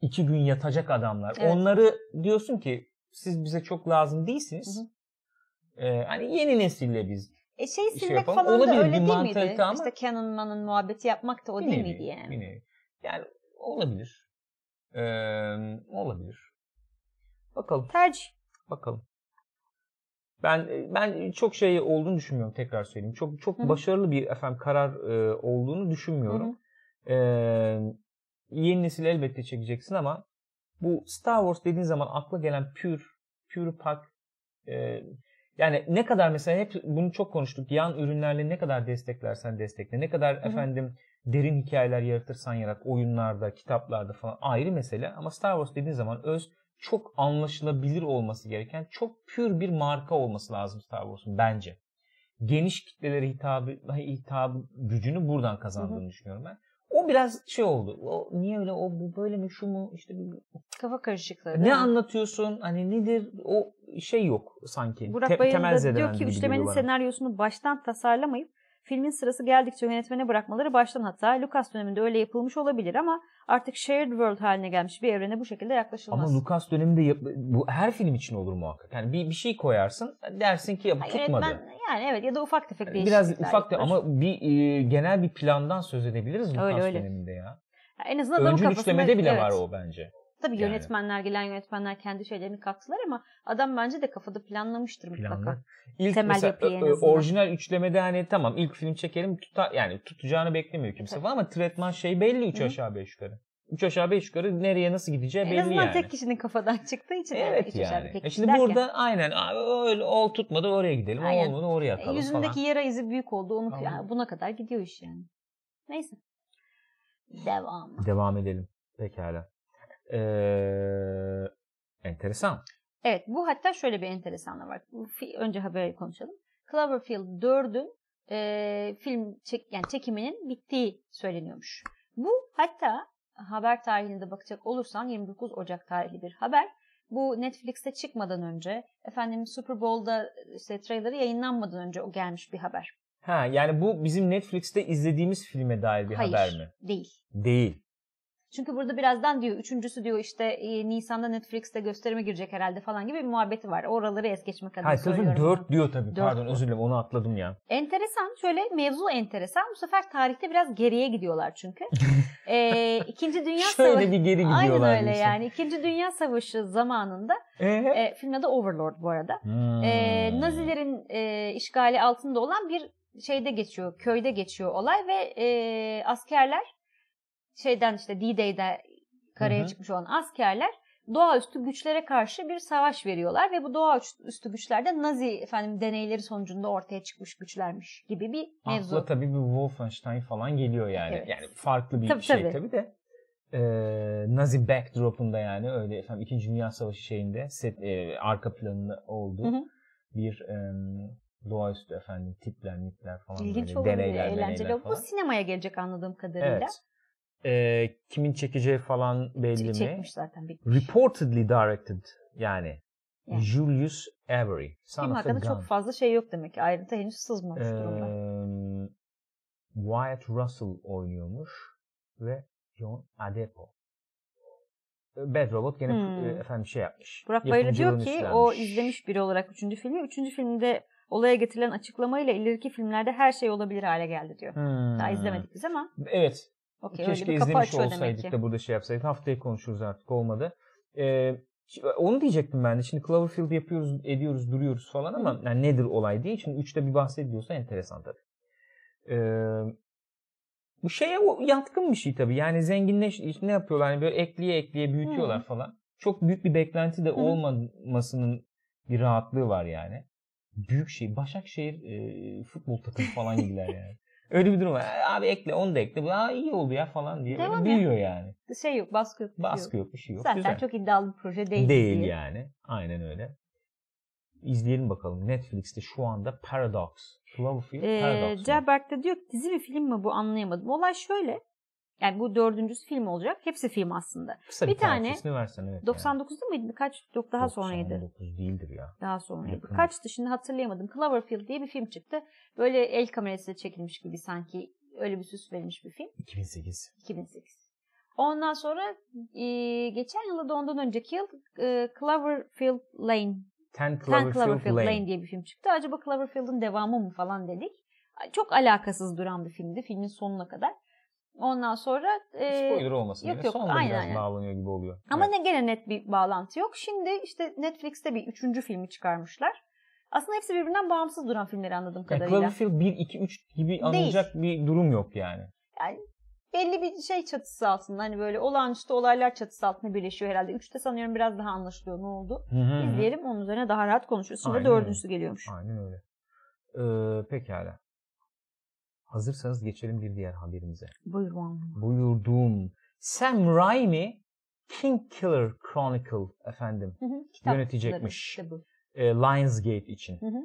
A: iki gün yatacak adamlar.
B: Evet.
A: Onları diyorsun ki siz bize çok lazım değilsiniz. E, hani yeni nesille biz.
B: E şey
A: şey
B: silmek
A: yapalım.
B: falan
A: Olabilir
B: da
A: bir
B: öyle değil miydi?
A: mantalite ama-
B: İşte Canon Man'ın muhabbeti yapmak da o
A: bir
B: değil
A: nevi,
B: miydi yani?
A: bir nevi. Yani olabilir. E, olabilir. Bakalım.
B: Tercih.
A: Bakalım. Ben ben çok şey olduğunu düşünmüyorum tekrar söyleyeyim. Çok çok
B: Hı hı.
A: başarılı bir efendim karar e, olduğunu düşünmüyorum. Ee, yeni nesil elbette çekeceksin ama bu Star Wars dediğin zaman akla gelen pür pür pak e, yani ne kadar mesela hep bunu çok konuştuk. Yan ürünlerle ne kadar desteklersen destekle. Ne kadar
B: hı.
A: efendim derin hikayeler yaratırsan yarat oyunlarda, kitaplarda falan ayrı mesele ama Star Wars dediğin zaman öz çok anlaşılabilir olması gereken çok pür bir marka olması lazım Star Wars'un bence. Geniş kitlelere hitabı, hitap gücünü buradan kazandığını düşünüyorum ben. O O biraz şey oldu. O niye öyle o bu böyle mi şu mu işte bu-
B: Kafa karışıklığı. değil
A: ne
B: mi?
A: anlatıyorsun? Hani nedir? O şey yok sanki.
B: Burak
A: Te-
B: Bayırlı
A: temel
B: da
A: zedemen
B: diyor ki
A: gibi
B: üçlemenin
A: geliyor bana.
B: senaryosunu baştan tasarlamayıp filmin sırası geldikçe yönetmene bırakmaları baştan hata. Lucas döneminde öyle yapılmış olabilir ama artık shared world haline gelmiş bir evrene bu şekilde yaklaşılmaz.
A: Ama Lucas döneminde yap- bu her film için olur muhakkak. Yani bir, bir şey koyarsın dersin ki ya bu
B: Hayır,
A: tutmadı.
B: yönetmen- yani evet ya da ufak tefek değişiklikler.
A: Biraz ufak da
B: yapılır.
A: ama bir e, genel bir plandan söz edebiliriz Lucas
B: Öyle, öyle.
A: döneminde ya.
B: Yani en azından adamın
A: Öncül
B: kafasında.
A: üçlemede bile
B: evet.
A: var o bence.
B: Tabii
A: yani.
B: yönetmenler gelen yönetmenler kendi şeylerini kattılar ama adam bence de kafada planlamıştır mutlaka.
A: Planlı. İlk
B: Temel
A: mesela
B: yapıyı en
A: ö- ö-
B: azından.
A: orijinal üçlemede hani tamam ilk film çekelim tuta, yani tutacağını beklemiyor kimse
B: Tabii.
A: falan ama tretman şey belli 3
B: Hı hı.
A: aşağı 5 yukarı. 3 aşağı 5 yukarı nereye nasıl gideceği
B: En
A: belli
B: azından
A: yani.
B: tek kişinin kafadan çıktığı için.
A: Evet
B: üç aşağı
A: yani.
B: tek
A: E
B: kişi
A: şimdi
B: derken,
A: burada aynen abi öyle o tutmadı oraya gidelim.
B: Aynen.
A: O olmadı oraya
B: e,
A: atalım
B: yüzündeki
A: falan.
B: yara izi büyük oldu. Onu
A: Tamam.
B: yani buna kadar gidiyor iş yani. Neyse. Devam.
A: Devam edelim. Pekala. Ee, enteresan.
B: Evet bu hatta şöyle bir enteresanlığı var. Bu fi- Önce haberi konuşalım. Cloverfield 4'ün e, film çek, yani çekiminin bittiği söyleniyormuş. Bu hatta haber tarihine de bakacak olursan 29 Ocak tarihli bir haber. Bu Netflix'te çıkmadan önce efendim Super Bowl'da işte trailerı yayınlanmadan önce o gelmiş bir haber.
A: Ha yani bu bizim Netflix'te izlediğimiz filme dair bir
B: Hayır.
A: haber mi?
B: Değil.
A: Değil.
B: Çünkü burada birazdan diyor üçüncüsü diyor işte e, Nisan'da Netflix'te gösterime girecek herhalde falan gibi bir muhabbeti var. Oraları es geçmek adına
A: Hayır sözüm
B: söylüyorum.
A: 4 diyor tabii.
B: Dört
A: Pardon
B: bu.
A: özür dilerim onu atladım ya.
B: Enteresan şöyle mevzu enteresan. Bu sefer tarihte biraz geriye gidiyorlar çünkü. ee, İkinci Dünya
A: Şöyle
B: Savaşı.
A: bir geri gidiyorlar.
B: Aynen öyle
A: diyorsun.
B: yani. İkinci Dünya Savaşı zamanında
A: Ee?
B: e, filmin adı Overlord bu arada.
A: Hmm.
B: Ee, Nazilerin e, işgali altında olan bir şeyde geçiyor, köyde geçiyor olay ve e, askerler şeyden işte D-Day'de karaya
A: Hı hı.
B: çıkmış olan askerler doğaüstü güçlere karşı bir savaş veriyorlar ve bu doğaüstü güçlerde Nazi efendim deneyleri sonucunda ortaya çıkmış güçlermiş gibi bir mevzu.
A: Akla tabii bir Wolfenstein falan geliyor yani.
B: Evet.
A: Yani farklı bir
B: Tabii,
A: şey
B: tabii.
A: tabii, de. Ee, Nazi backdrop'unda yani öyle efendim 2. Dünya Savaşı şeyinde set, e, arka planında olduğu
B: Hı hı.
A: bir e, doğaüstü efendim tipler, mitler falan
B: İlginç
A: böyle
B: olabilir,
A: hani deneyler,
B: eğlenceli.
A: deneyler
B: Bu
A: falan.
B: sinemaya gelecek anladığım kadarıyla.
A: Evet. Ee, kimin çekeceği falan belli mi?
B: Çekmiş zaten bir
A: Reportedly directed yani.
B: Yani.
A: Julius Avery. Son
B: Film
A: of a
B: hakkında
A: Gun.
B: çok fazla şey yok demek ki. Ayrıntı henüz sızmamış durumda.
A: Eee, Wyatt Russell oynuyormuş ve John Adepo. Bad Robot gene
B: Hmm.
A: e, efendim şey yapmış.
B: Burak Bayırlı diyor
A: yapımcılığını
B: ki
A: üstlenmiş.
B: o izlemiş biri olarak 3. filmi. 3. filmde olaya getirilen açıklamayla ileriki filmlerde her şey olabilir hale geldi diyor.
A: Hmm.
B: Daha izlemedik biz ama
A: Evet.
B: okey öyle
A: keşke
B: bir kapı
A: izlemiş
B: açıyor demek
A: olsaydık
B: ki.
A: da burada şey yapsaydık. Haftaya konuşuruz artık olmadı. Ee, şi- onu diyecektim ben de. Şimdi Cloverfield yapıyoruz, ediyoruz, duruyoruz falan ama yani nedir olay diye. Şimdi 3'te bir bahsediyorsa enteresan tabii. Ee, bu şeye o yatkın bir şey tabii. Yani zenginleş ne yapıyorlar? Yani böyle ekleye ekleye büyütüyorlar falan. Çok büyük bir beklenti de
B: Hı.
A: olmamasının bir rahatlığı var yani. Büyük şey. Başakşehir e, futbol takımı falan gibiler yani. Öyle bir durum var. "Aa, Abi ekle onu da ekle. Aa iyi oldu ya falan diye. Böyle
B: Devam ya.
A: büyüyor yani.
B: Şey yok baskı yok. bir şey yok.
A: Baskı yok bir şey yok.
B: Zaten
A: Güzel.
B: çok iddialı bir proje değil.
A: Değil
B: diye.
A: yani. Aynen öyle. İzleyelim bakalım. Netflix'te şu anda Paradox. Cloverfield
B: Ee,
A: Paradox. var.
B: Cevberk de diyor ki dizi mi film mi bu anlayamadım. Olay şöyle. Yani bu dördüncüsü film olacak. Hepsi film aslında.
A: Kısa
B: bir
A: bir,
B: tane
A: tarihçesini versen evet.
B: 99'da mıydı? Kaç? Yok daha sonraydı.
A: 99 değildir ya.
B: Daha sonraydı.
A: Yakın.
B: Kaçtı şimdi hatırlayamadım. Cloverfield diye bir film çıktı. Böyle el kamerasıyla çekilmiş gibi sanki. Öyle bir süs verilmiş bir film.
A: 2008.
B: 2008. Ondan sonra e, geçen yılda da ondan önceki yıl e, Cloverfield Lane.
A: Ten
B: Ten
A: Cloverfield,
B: Cloverfield
A: Lane.
B: Lane. diye bir film çıktı. Acaba Cloverfield'ın devamı mı falan dedik. Ay, Çok alakasız duran bir filmdi. Filmin sonuna kadar. Ondan sonra e,
A: Spoiler olmasın.
B: yok
A: Yok
B: yok,
A: Sonunda
B: aynen,
A: biraz
B: aynen.
A: bağlanıyor gibi oluyor.
B: Ama
A: Evet.
B: ne gene net bir bağlantı yok. Şimdi işte Netflix'te bir üçüncü filmi çıkarmışlar. Aslında hepsi birbirinden bağımsız duran filmleri anladığım
A: Yani
B: kadarıyla.
A: Cloverfield 1, 2, 3 gibi anılacak bir durum yok yani.
B: Belli bir şey çatısı altında. Hani böyle olağanüstü olaylar çatısı altında birleşiyor herhalde. Üçte sanıyorum biraz daha anlaşılıyor ne oldu.
A: Hı hı.
B: İzleyelim onun üzerine daha rahat konuşuruz. Şimdi
A: Aynen
B: dördüncüsü geliyormuş.
A: Aynen öyle. Ee, pekala. Hazırsanız geçelim bir diğer haberimize.
B: Buyur Muhammed.
A: Buyurduğum Sam Raimi King Killer Chronicle efendim
B: Hı hı, kitap
A: Yönetecekmiş.
B: işte bu.
A: e, Lionsgate için.
B: Hı hı.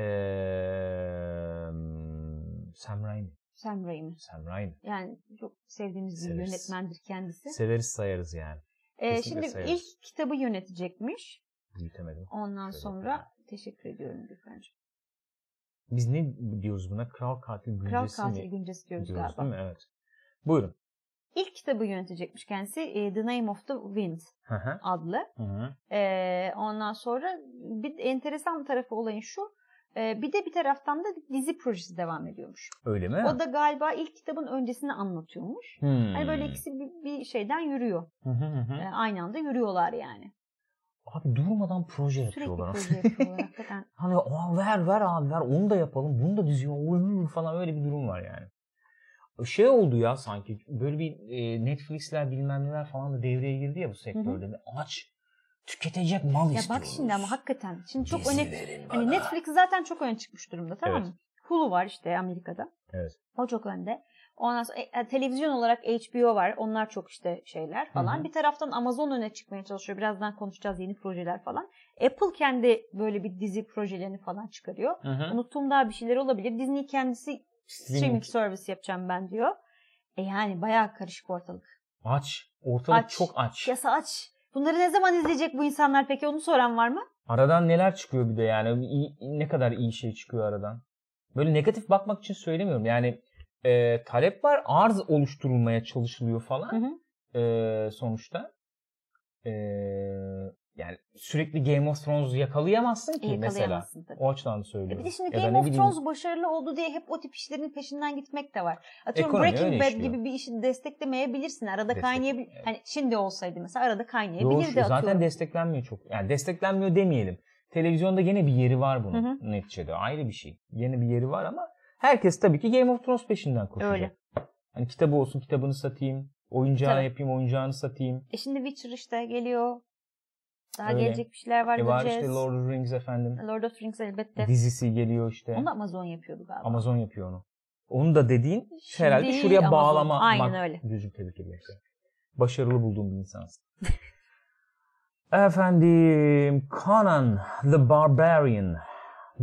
A: Ee, Sam Raimi.
B: Sam Raimi.
A: Sam Raimi.
B: Yani çok sevdiğimiz bir
A: Severiz.
B: yönetmendir kendisi.
A: Severiz sayarız yani.
B: Ee,
A: kesinlikle
B: şimdi
A: severiz.
B: ilk kitabı yönetecekmiş.
A: Büyütemedim.
B: Ondan
A: Şöyle
B: sonra teşekkür ediyorum Gürkan'cığım.
A: Biz ne diyoruz buna? Kral katil güncesi
B: Kral Katil
A: mi?
B: Güncesi diyoruz
A: diyoruz değil
B: galiba.
A: mi? Evet. Buyurun.
B: İlk kitabı yönetecekmiş kendisi. e, The Name of the Wind
A: Hı hı.
B: adlı.
A: Hı hı.
B: Ee, ondan sonra bir enteresan bir tarafı olayın şu. ee, bir de bir taraftan da dizi projesi devam ediyormuş.
A: Öyle mi?
B: O da galiba ilk kitabın öncesini anlatıyormuş.
A: Hmm.
B: Hani böyle ikisi bir, bir şeyden yürüyor.
A: Hı hı hı hı.
B: Ee, aynı anda yürüyorlar yani.
A: Abi durmadan proje
B: Sürekli
A: yapıyorlar.
B: proje yapıyorlar hakikaten.
A: Hani "Aa, ver ver abi ver onu da yapalım bunu da diziyor oy" falan öyle bir durum var yani. Şey oldu ya sanki böyle bir e, Netflix'ler bilmem neler falan da devreye girdi ya bu sektörde. Bir Aç tüketecek mal
B: ya
A: istiyoruz.
B: bak şimdi ama hakikaten. Şimdi çok
A: Dizi
B: öne...
A: verin bana.
B: Hani Netflix zaten çok öne çıkmış durumda tamam
A: Evet.
B: mı? Hulu var işte Amerika'da.
A: Evet.
B: O çok önde. Ondan sonra e, televizyon olarak HBO var. Onlar çok işte şeyler falan.
A: Hı hı.
B: Bir taraftan Amazon öne çıkmaya çalışıyor. Birazdan konuşacağız yeni projeler falan. Apple kendi böyle bir dizi projelerini falan çıkarıyor.
A: Hı hı.
B: Unuttuğum daha bir şeyler olabilir. Disney kendisi streaming
A: Streaming.
B: service yapacağım ben diyor. E yani bayağı karışık ortalık.
A: Aç. Ortalık
B: Aç.
A: çok aç.
B: Yasa aç. Bunları ne zaman izleyecek bu insanlar peki? Onu soran var mı?
A: Aradan neler çıkıyor bir de yani İyi- ne kadar iyi şey çıkıyor aradan. Böyle negatif bakmak için söylemiyorum yani e, talep var arz oluşturulmaya çalışılıyor
B: Hı
A: falan
B: hı.
A: e, sonuçta. E, yani sürekli Game of Thrones yakalayamazsın ki mesela.
B: Yakalayamazsın tabii.
A: O açıdan
B: E
A: söylüyorum.
B: Bir de şimdi
A: Ya da
B: Game
A: ne
B: of
A: bileyim,
B: Thrones başarılı oldu diye hep o tip işlerin peşinden gitmek de var. Atıyorum
A: Ekonomi öyle
B: Breaking Bad
A: işliyor.
B: gibi bir işi desteklemeyebilirsin. Arada
A: Destek-
B: kaynayabilir.
A: evet.
B: Hani şimdi olsaydı mesela arada
A: Doğru,
B: kaynayabilirdi
A: zaten
B: atıyorum.
A: desteklenmiyor çok. Yani desteklenmiyor demeyelim. Televizyonda gene bir yeri var bunun
B: Hı
A: neticede. Ayrı bir şey. Yine bir yeri var ama herkes tabii ki Game of Thrones peşinden koşuyor.
B: Öyle.
A: Hani kitabı olsun kitabını satayım. Oyuncağını
B: Tabii.
A: yapayım oyuncağını satayım.
B: E şimdi Witcher işte geliyor. Daha
A: Öyle.
B: gelecek bir şeyler var.
A: E var
B: göreceğiz.
A: işte Lord of the Rings efendim.
B: Lord of the Rings elbette.
A: Dizisi geliyor işte.
B: Onu da Amazon yapıyordu galiba.
A: Amazon yapıyor onu. Onu da dediğin
B: Şimdi
A: herhalde
B: değil,
A: şuraya
B: Amazon.
A: bağlama.
B: Aynen
A: Bak,
B: öyle.
A: Gülcüm tebrik ediyorum seni. Başarılı bulduğum bir insansın. Efendim Conan the Barbarian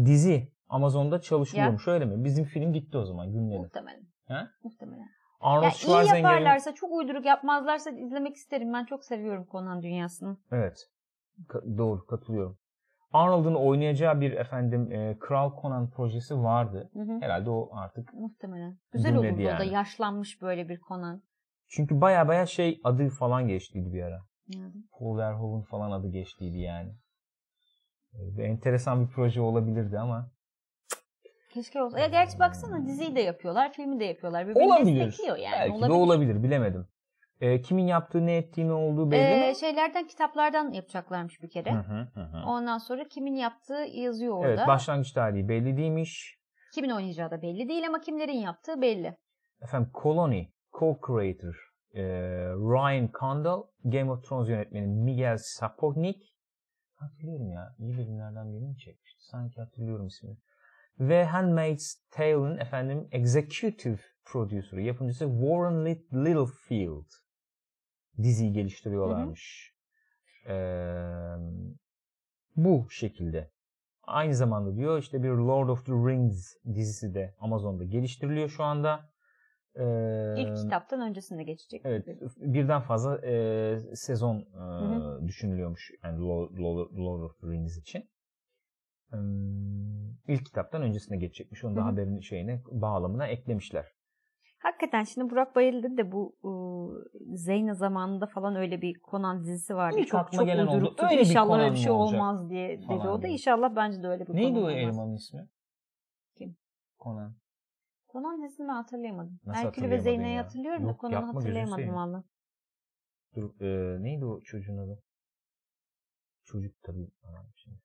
A: dizi Amazon'da çalışıyormuş öyle mi? Bizim film gitti o zaman günleri.
B: Muhtemelen.
A: He?
B: Muhtemelen.
A: Arnold
B: Ya iyi
A: Schwarzenegger'in
B: yaparlarsa, çok uyduruk yapmazlarsa izlemek isterim. Ben çok seviyorum Conan dünyasını.
A: Evet. Ka- doğru katılıyorum. Arnold'un oynayacağı bir efendim e, Kral Conan projesi vardı.
B: Hı hı.
A: Herhalde o artık.
B: Muhtemelen. Güzel
A: Gümledi
B: olurdu o da
A: yani.
B: yaşlanmış böyle bir Conan.
A: Çünkü baya baya şey adı falan geçtiydi bir ara.
B: Yani.
A: Paul Verhoeven falan adı geçtiydi yani. E, bir enteresan bir proje olabilirdi ama.
B: Keşke olsa. Ya gerçi baksana diziyi de yapıyorlar, filmi de yapıyorlar. Birbirini
A: Olabilir.
B: destekliyor yani.
A: Belki
B: olabilir.
A: de olabilir bilemedim. E, kimin yaptığı ne ettiği ne olduğu belli
B: Ee,
A: mi?
B: şeylerden, kitaplardan yapacaklarmış bir kere.
A: Hı hı, hı hı.
B: Ondan sonra kimin yaptığı yazıyor orada.
A: Evet başlangıç tarihi belli değilmiş.
B: Kimin oynayacağı da belli değil ama kimlerin yaptığı belli.
A: Efendim Colony co-creator e, Ryan Condal, Game of Thrones yönetmeni Miguel Sapochnik hatırlıyorum ya iyi bir günlerden birini mi çekmişti sanki hatırlıyorum ismini ve Handmaid's Tale'ın efendim executive producer'ı yapımcısı Warren Lit- Littlefield diziyi geliştiriyorlarmış. Eee, bu şekilde. Aynı zamanda diyor işte bir Lord of the Rings dizisi de Amazon'da geliştiriliyor şu anda. Eee,
B: İlk kitaptan öncesinde geçecek.
A: Ee, Evet,
B: gibi.
A: birden fazla e, sezon e,
B: hı.
A: düşünülüyormuş yani Lord, Lord, Lord of the Rings için. Hmm, İlk kitaptan öncesine geçecekmiş. Onu da
B: Hı hı.
A: haberin şeyine, bağlamına eklemişler.
B: Hakikaten şimdi Burak Bayıldı de bu ıı, Zeyna zamanında falan öyle bir Conan dizisi vardı.
A: İlk
B: çok
A: aklıma
B: çok
A: gelen oldu.
B: uyduruktu.
A: Öyle bir
B: İnşallah öyle
A: Conan mı
B: bir şey
A: olacak
B: olmaz diye dedi
A: falan
B: o da.
A: diye.
B: İnşallah bence de öyle bir
A: Neydi
B: Conan
A: o
B: olmaz.
A: elemanın ismi?
B: Kim?
A: Conan.
B: Conan dizisini ben hatırlayamadım.
A: Nasıl
B: Herkül ve
A: hatırlayamadın
B: Zeyne'yi
A: ya?
B: hatırlıyorum da
A: Yok,
B: Conan'ı
A: yapma gözünü
B: hatırlayamadım
A: seveyim.
B: valla.
A: Dur, e, neydi o çocuğun adı? Çocuk tabii. Aman şimdi.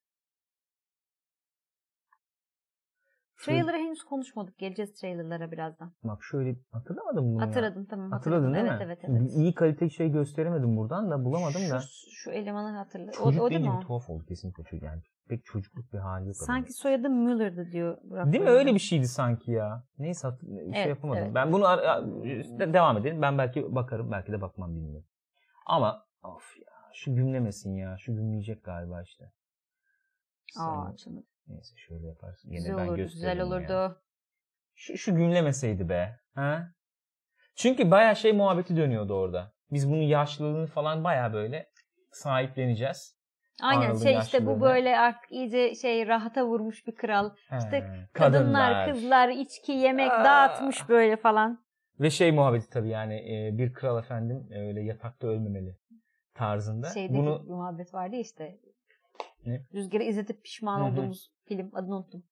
A: Şöyle-
B: Trailer'ı henüz konuşmadık. Geleceğiz trailer'lara birazdan.
A: Bak şöyle hatırlamadım bunu ya.
B: Hatırladım tamam.
A: Hatırladın değil
B: evet,
A: mi?
B: Evet evet evet.
A: İyi kalite şey gösteremedim buradan da bulamadım
B: şu,
A: da.
B: Şu elemanı hatırladım. O,
A: Çocuk
B: o değil
A: deyince
B: mi
A: bir
B: o?
A: tuhaf oldu kesinlikle çocuk. Yani pek çocukluk bir hali yok.
B: Sanki soyadı Müller'dı diyor Burak.
A: adamın. Değil mi?
B: Bayındır.
A: Öyle bir şeydi sanki ya. Neyse hat- şey
B: Evet,
A: yapamadım.
B: evet.
A: Ben bunu ara- de- devam edelim. Ben belki bakarım. Belki de bakmam bilmiyorum. Ama of ya. Şu gümlemesin ya. Şu gümleyecek galiba işte.
B: Aa,
A: Sen-
B: açılmadı.
A: Neyse şöyle yaparsın. şey. Yine
B: Güzel
A: ben
B: olurdu.
A: gösteririm
B: Güzel
A: ya.
B: olurdu.
A: Şu, şu gümlemeseydi be. Ha? Çünkü baya şey muhabbeti dönüyordu orada. Biz bunun yaşlılığını falan baya böyle sahipleneceğiz.
B: Aynen
A: Arnold'un
B: şey işte bu
A: yaşlılığını.
B: böyle artık iyice şey rahata vurmuş bir kral.
A: He,
B: İşte Kadınlar, kızlar, içki, yemek
A: Aa.
B: dağıtmış böyle falan.
A: Ve şey muhabbeti tabii yani e, bir kral efendim e, öyle yatakta ölmemeli tarzında.
B: Şeyde
A: Bunu
B: bir muhabbet vardı ya işte.
A: Ne?
B: Rüzgarı izletip pişman
A: Hı hı.
B: olduğumuz film adını unuttum.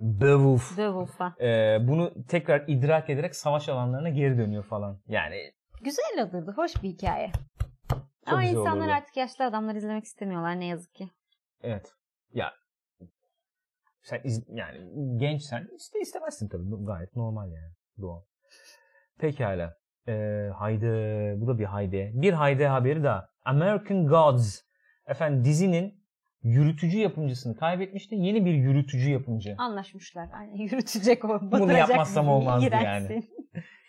A: Beowulf
B: The Wolf falan.
A: Ee, bunu tekrar idrak ederek savaş alanlarına geri dönüyor falan. Yani
B: Güzel olurdu. Hoş bir hikaye.
A: Çok
B: Ama
A: güzel
B: insanlar
A: olurdu.
B: artık yaşlı adamları izlemek istemiyorlar ne yazık ki.
A: evet. Ya sen iz- yani gençsen iste istemezsin tabii. Bu Gayet normal yani. Doğal. Pekala. Ee, haydi. Bu da bir haydi. Bir haydi haberi daha. American Gods. Efendim dizinin yürütücü yapımcısını kaybetmişti. Yeni bir yürütücü yapımcı.
B: Anlaşmışlar. Yani yürütecek o.
A: Bunu
B: batıracak
A: yapmazsam
B: bizi,
A: olmazdı
B: iğrençsin.
A: yani.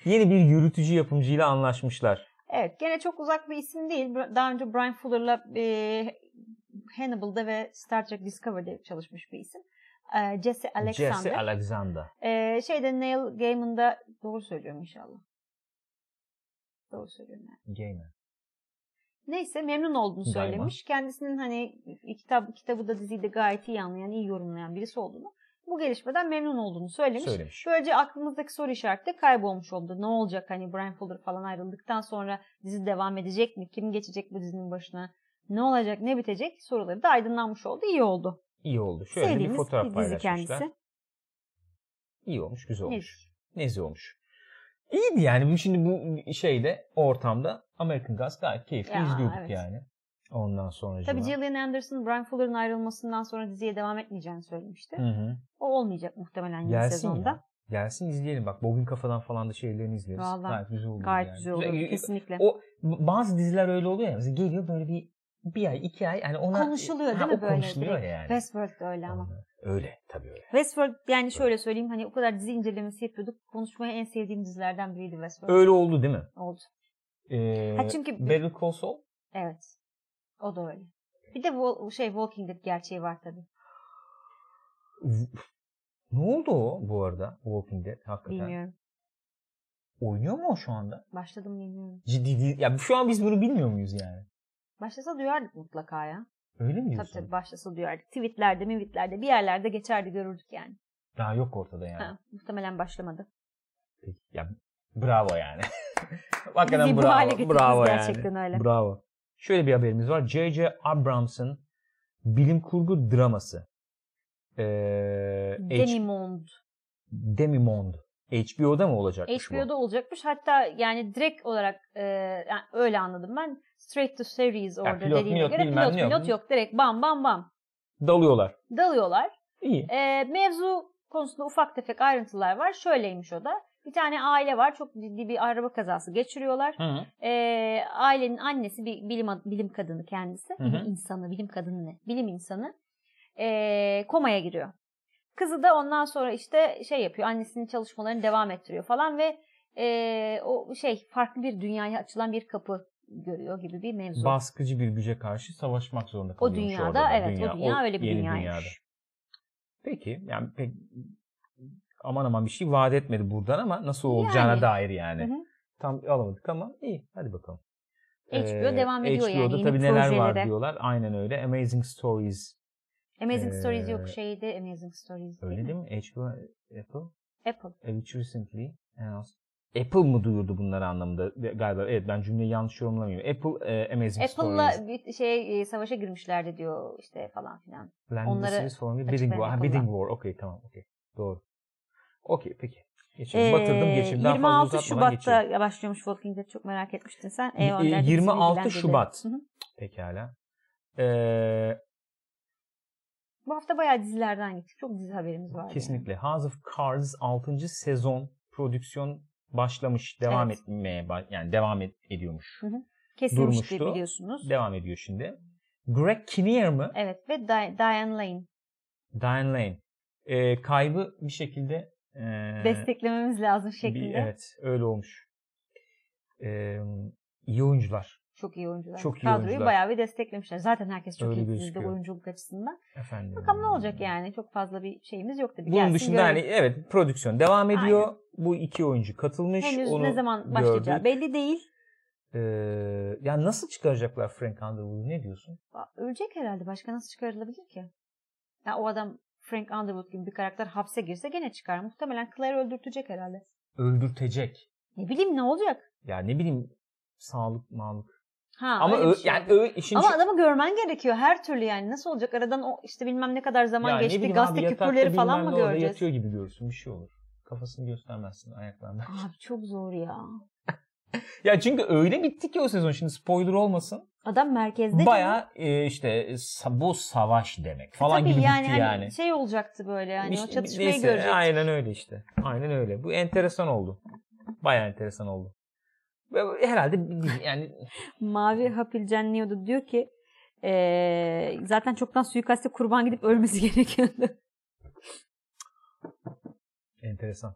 A: Yeni bir yürütücü yapımcıyla anlaşmışlar.
B: Evet gene çok uzak bir isim değil. Daha önce Brian Fuller'la e, Hannibal'da ve Star Trek Discovery'de çalışmış bir isim. E, Jesse Alexander.
A: Jesse Alexander.
B: E, şeyde Neil Gaiman'da doğru söylüyorum inşallah. Doğru söylüyorum yani.
A: Gamer.
B: Neyse memnun olduğunu
A: Gaiman.
B: söylemiş. Kendisinin hani kitap kitabı da diziyi de gayet iyi anlayan, iyi yorumlayan birisi olduğunu. Bu gelişmeden memnun olduğunu söylemiş.
A: Söylemiş.
B: Böylece aklımızdaki soru işareti de kaybolmuş oldu. Ne olacak hani Brian Fuller falan ayrıldıktan sonra dizi devam edecek mi? Kim geçecek bu dizinin başına? Ne olacak, ne bitecek soruları da aydınlanmış oldu. İyi oldu.
A: İyi oldu. Şöyle
B: Sevdiğimiz
A: bir fotoğraf
B: bir dizi
A: paylaşmışlar.
B: kendisi.
A: İyi olmuş, güzel
B: Ne?
A: olmuş. Nezi olmuş. İyiydi yani. Bu şimdi bu şeyde ortamda American Gods gayet keyifli
B: Ya,
A: izliyorduk
B: evet.
A: yani. Ondan sonra
B: Tabii Gillian Anderson Brian Fuller'ın ayrılmasından sonra diziye devam etmeyeceğini söylemişti.
A: Hı hı.
B: O olmayacak muhtemelen yeni
A: Gelsin
B: sezonda.
A: ya. Gelsin izleyelim. Bak Bobin Kafa'dan falan da şeylerini izleriz.
B: Vallahi.
A: Gayet güzel olur
B: Gayet
A: yani.
B: güzel olur kesinlikle.
A: O bazı diziler öyle oluyor ya. Mesela geliyor böyle bir bir ay, iki ay. Yani ona
B: Konuşuluyor değil
A: Ha,
B: mi
A: o
B: böyle
A: Konuşuluyor
B: direkt?
A: yani.
B: Westworld da öyle ama.
A: Ondan- Öyle tabii öyle.
B: Westworld yani şöyle söyleyeyim hani o kadar dizi incelemesi yapıyorduk. Konuşmaya en sevdiğim dizilerden biriydi Westworld.
A: Öyle oldu değil mi?
B: Oldu.
A: Ee,
B: Ha, çünkü-
A: Better Call Saul
B: Evet. O da öyle. Bir de Wol- şey Walking Dead gerçeği var tabii.
A: Ne oldu o bu arada? Walking Dead hakikaten.
B: Bilmiyorum.
A: Oynuyor mu o şu anda?
B: Başladım bilmiyorum.
A: Ciddi değil. Ya şu an biz bunu bilmiyor muyuz yani?
B: Başlasa duyardık mutlaka ya.
A: Öyle mi
B: Tabii
A: diyorsun?
B: tabii başlasa duyardık. Tweetlerde, mivitlerde bir yerlerde geçerdi görürdük yani.
A: Daha yok ortada yani.
B: Ha, muhtemelen başlamadı.
A: Peki. Ya bravo yani.
B: Bizi
A: hakikaten
B: bu
A: bravo.
B: hale getirdiniz
A: bravo
B: gerçekten
A: yani.
B: öyle.
A: Bravo. Şöyle bir haberimiz var. J.J. Abrams'ın bilim kurgu draması. Ee, H-
B: Demimond.
A: Demimond. HBO'da mı olacakmış bu?
B: HBO'da olacakmış. Hatta yani direkt olaak e, yani öyle anladım ben. Straight to series orada
A: pilot,
B: dediğine
A: milot
B: göre
A: bilmem
B: pilot
A: ne yok.
B: pilot yok. Direkt bam bam bam.
A: Dalıyorlar.
B: Dalıyorlar.
A: İyi.
B: Ee, mevzu konusunda ufak tefek ayrıntılar var. Şöyleymiş o da. Bir tane aile var. Çok ciddi bir araba kazası geçiriyorlar.
A: Hı.
B: Ee, ailenin annesi bir bilim ad- bilim kadını kendisi.
A: Hı hı.
B: Bilim insanı, bilim kadını ne? Bilim insanı. Ee, komaya giriyor. Kızı da ondan sonra işte şey yapıyor. Annesinin çalışmalarını devam ettiriyor falan ve ee, o şey farklı bir dünyaya açılan bir kapı görüyor gibi bir mevzu.
A: Baskıcı bir güce karşı savaşmak zorunda
B: o
A: kalıyormuş
B: dünyada
A: orada da.
B: evet o dünya öyle bir
A: yeni
B: dünyaymış.
A: Peki yani pek aman aman bir şey vaat etmedi buradan ama nasıl olacağına
B: Yani.
A: dair yani.
B: Hı hı.
A: Tam alamadık ama iyi hadi bakalım. Ee,
B: HBO devam ediyor yani
A: HBO'da
B: yeni
A: tabii neler var
B: projelere.
A: diyorlar. Aynen öyle. Amazing Stories.
B: Amazing Stories
A: Ee,
B: yok şeydi Amazing Stories değil
A: Öyle
B: mi?
A: değil mi? HBO, Apple,
B: Apple.
A: eh, which recently announced. Apple mı duyurdu bunları anlamında? Ve Galiba evet ben cümleyi yanlış yorumlamıyorum. Apple eh, Amazing Stories.
B: Apple'la bir şey e, savaşa girmişlerdi diyor işte falan filan.
A: Apple'la
B: onları
A: series for me. Bidding
B: açıklayan
A: War. Ha,
B: Apple'la.
A: bidding War. Okey tamam okey. Doğru. Okey peki. Geçelim. Batırdım geçelim. Daha
B: 26
A: fazla uzatmadan
B: Ee, Şubat'ta
A: geçelim.
B: başlıyormuş Walking Dead. Çok merak etmiştin sen.
A: Y-
B: Eyvallah.
A: e,
B: Bizi
A: 26
B: bilgilendirdin.
A: Şubat.
B: Hı hı.
A: Pekala. Ee,
B: Bu hafta bayağı dizilerden gittik. Çok dizi haberimiz var.
A: kesinlikle House of Cards 6. sezon prodüksiyon başlamış. Devam
B: Evet.
A: etmeye ba- yani devam et- ediyormuş.
B: Kesilmişti
A: Durmuştu.
B: biliyorsunuz.
A: Devam ediyor şimdi. Greg Kinnear mı?
B: Evet ve Di- Diane Lane.
A: Diane Lane. Ee, kaybı bir şekilde ee,
B: Desteklememiz lazım şeklinde.
A: bir- evet öyle olmuş. Ee, iyi oyuncular.
B: Çok iyi oyuncular.
A: Çok iyi
B: Kadroyu
A: oyuncular.
B: bayağı bir desteklemişler. Zaten herkes çok
A: Öyle
B: iyi dizide
A: gözüküyor.
B: oyunculuk açısından.
A: Efendim.
B: Bakalım ne olacak yani. Çok fazla bir şeyimiz yok tabii.
A: Bunun
B: Gelsin
A: dışında
B: görelim.
A: hani evet prodüksiyon devam
B: Aynen.
A: ediyor. Bu iki oyuncu katılmış.
B: henüz
A: Onu
B: ne zaman
A: gördük.
B: başlayacağı belli değil.
A: Ee, yani nasıl çıkaracaklar Frank Underwood'u ne diyorsun?
B: Aa, Ölecek herhalde. Başka nasıl çıkarılabilir ki? Ya o adam Frank Underwood gibi bir karakter hapse girse gene çıkar. Muhtemelen Claire öldürtecek herhalde.
A: Öldürtecek.
B: Ne bileyim ne olacak?
A: Yani ne bileyim sağlık mağlık.
B: Ha,
A: Ama
B: öyle
A: ö-
B: bir şey
A: yani
B: oldu.
A: ö- işin
B: ama
A: şu-
B: adamı görmen gerekiyor her türlü yani. Nasıl olacak? Aradan o işte bilmem ne kadar zaman
A: Ya ne
B: geçti.
A: bileyim abi,
B: Gazete
A: yatakta
B: küpürleri falan
A: bilmem
B: mı
A: ne orada
B: göreceğiz?
A: Yatıyor gibi görürsün bir şey olur. Kafasını göstermezsin ayaklarından.
B: Abi çok zor ya.
A: ya çünkü öyle bitti ki o sezon şimdi spoiler olmasın.
B: Adam merkezde. canım.
A: Baya e, işte e, sa- bu savaş demek falan
B: Tabii
A: gibi
B: yani,
A: bitti
B: hani
A: yani.
B: şey olacaktı böyle yani
A: Bir-
B: o çatışmayı
A: neyse,
B: görecektik.
A: Aynen öyle işte. Aynen öyle. Bu enteresan oldu. Baya enteresan oldu. Ve bu Herhalde bir dizi- yani
B: Mavi Hapil Cenniyordu diyor ki eee, zaten çoktan suikaste kurban gidip ölmesi gerekiyordu.
A: enteresan.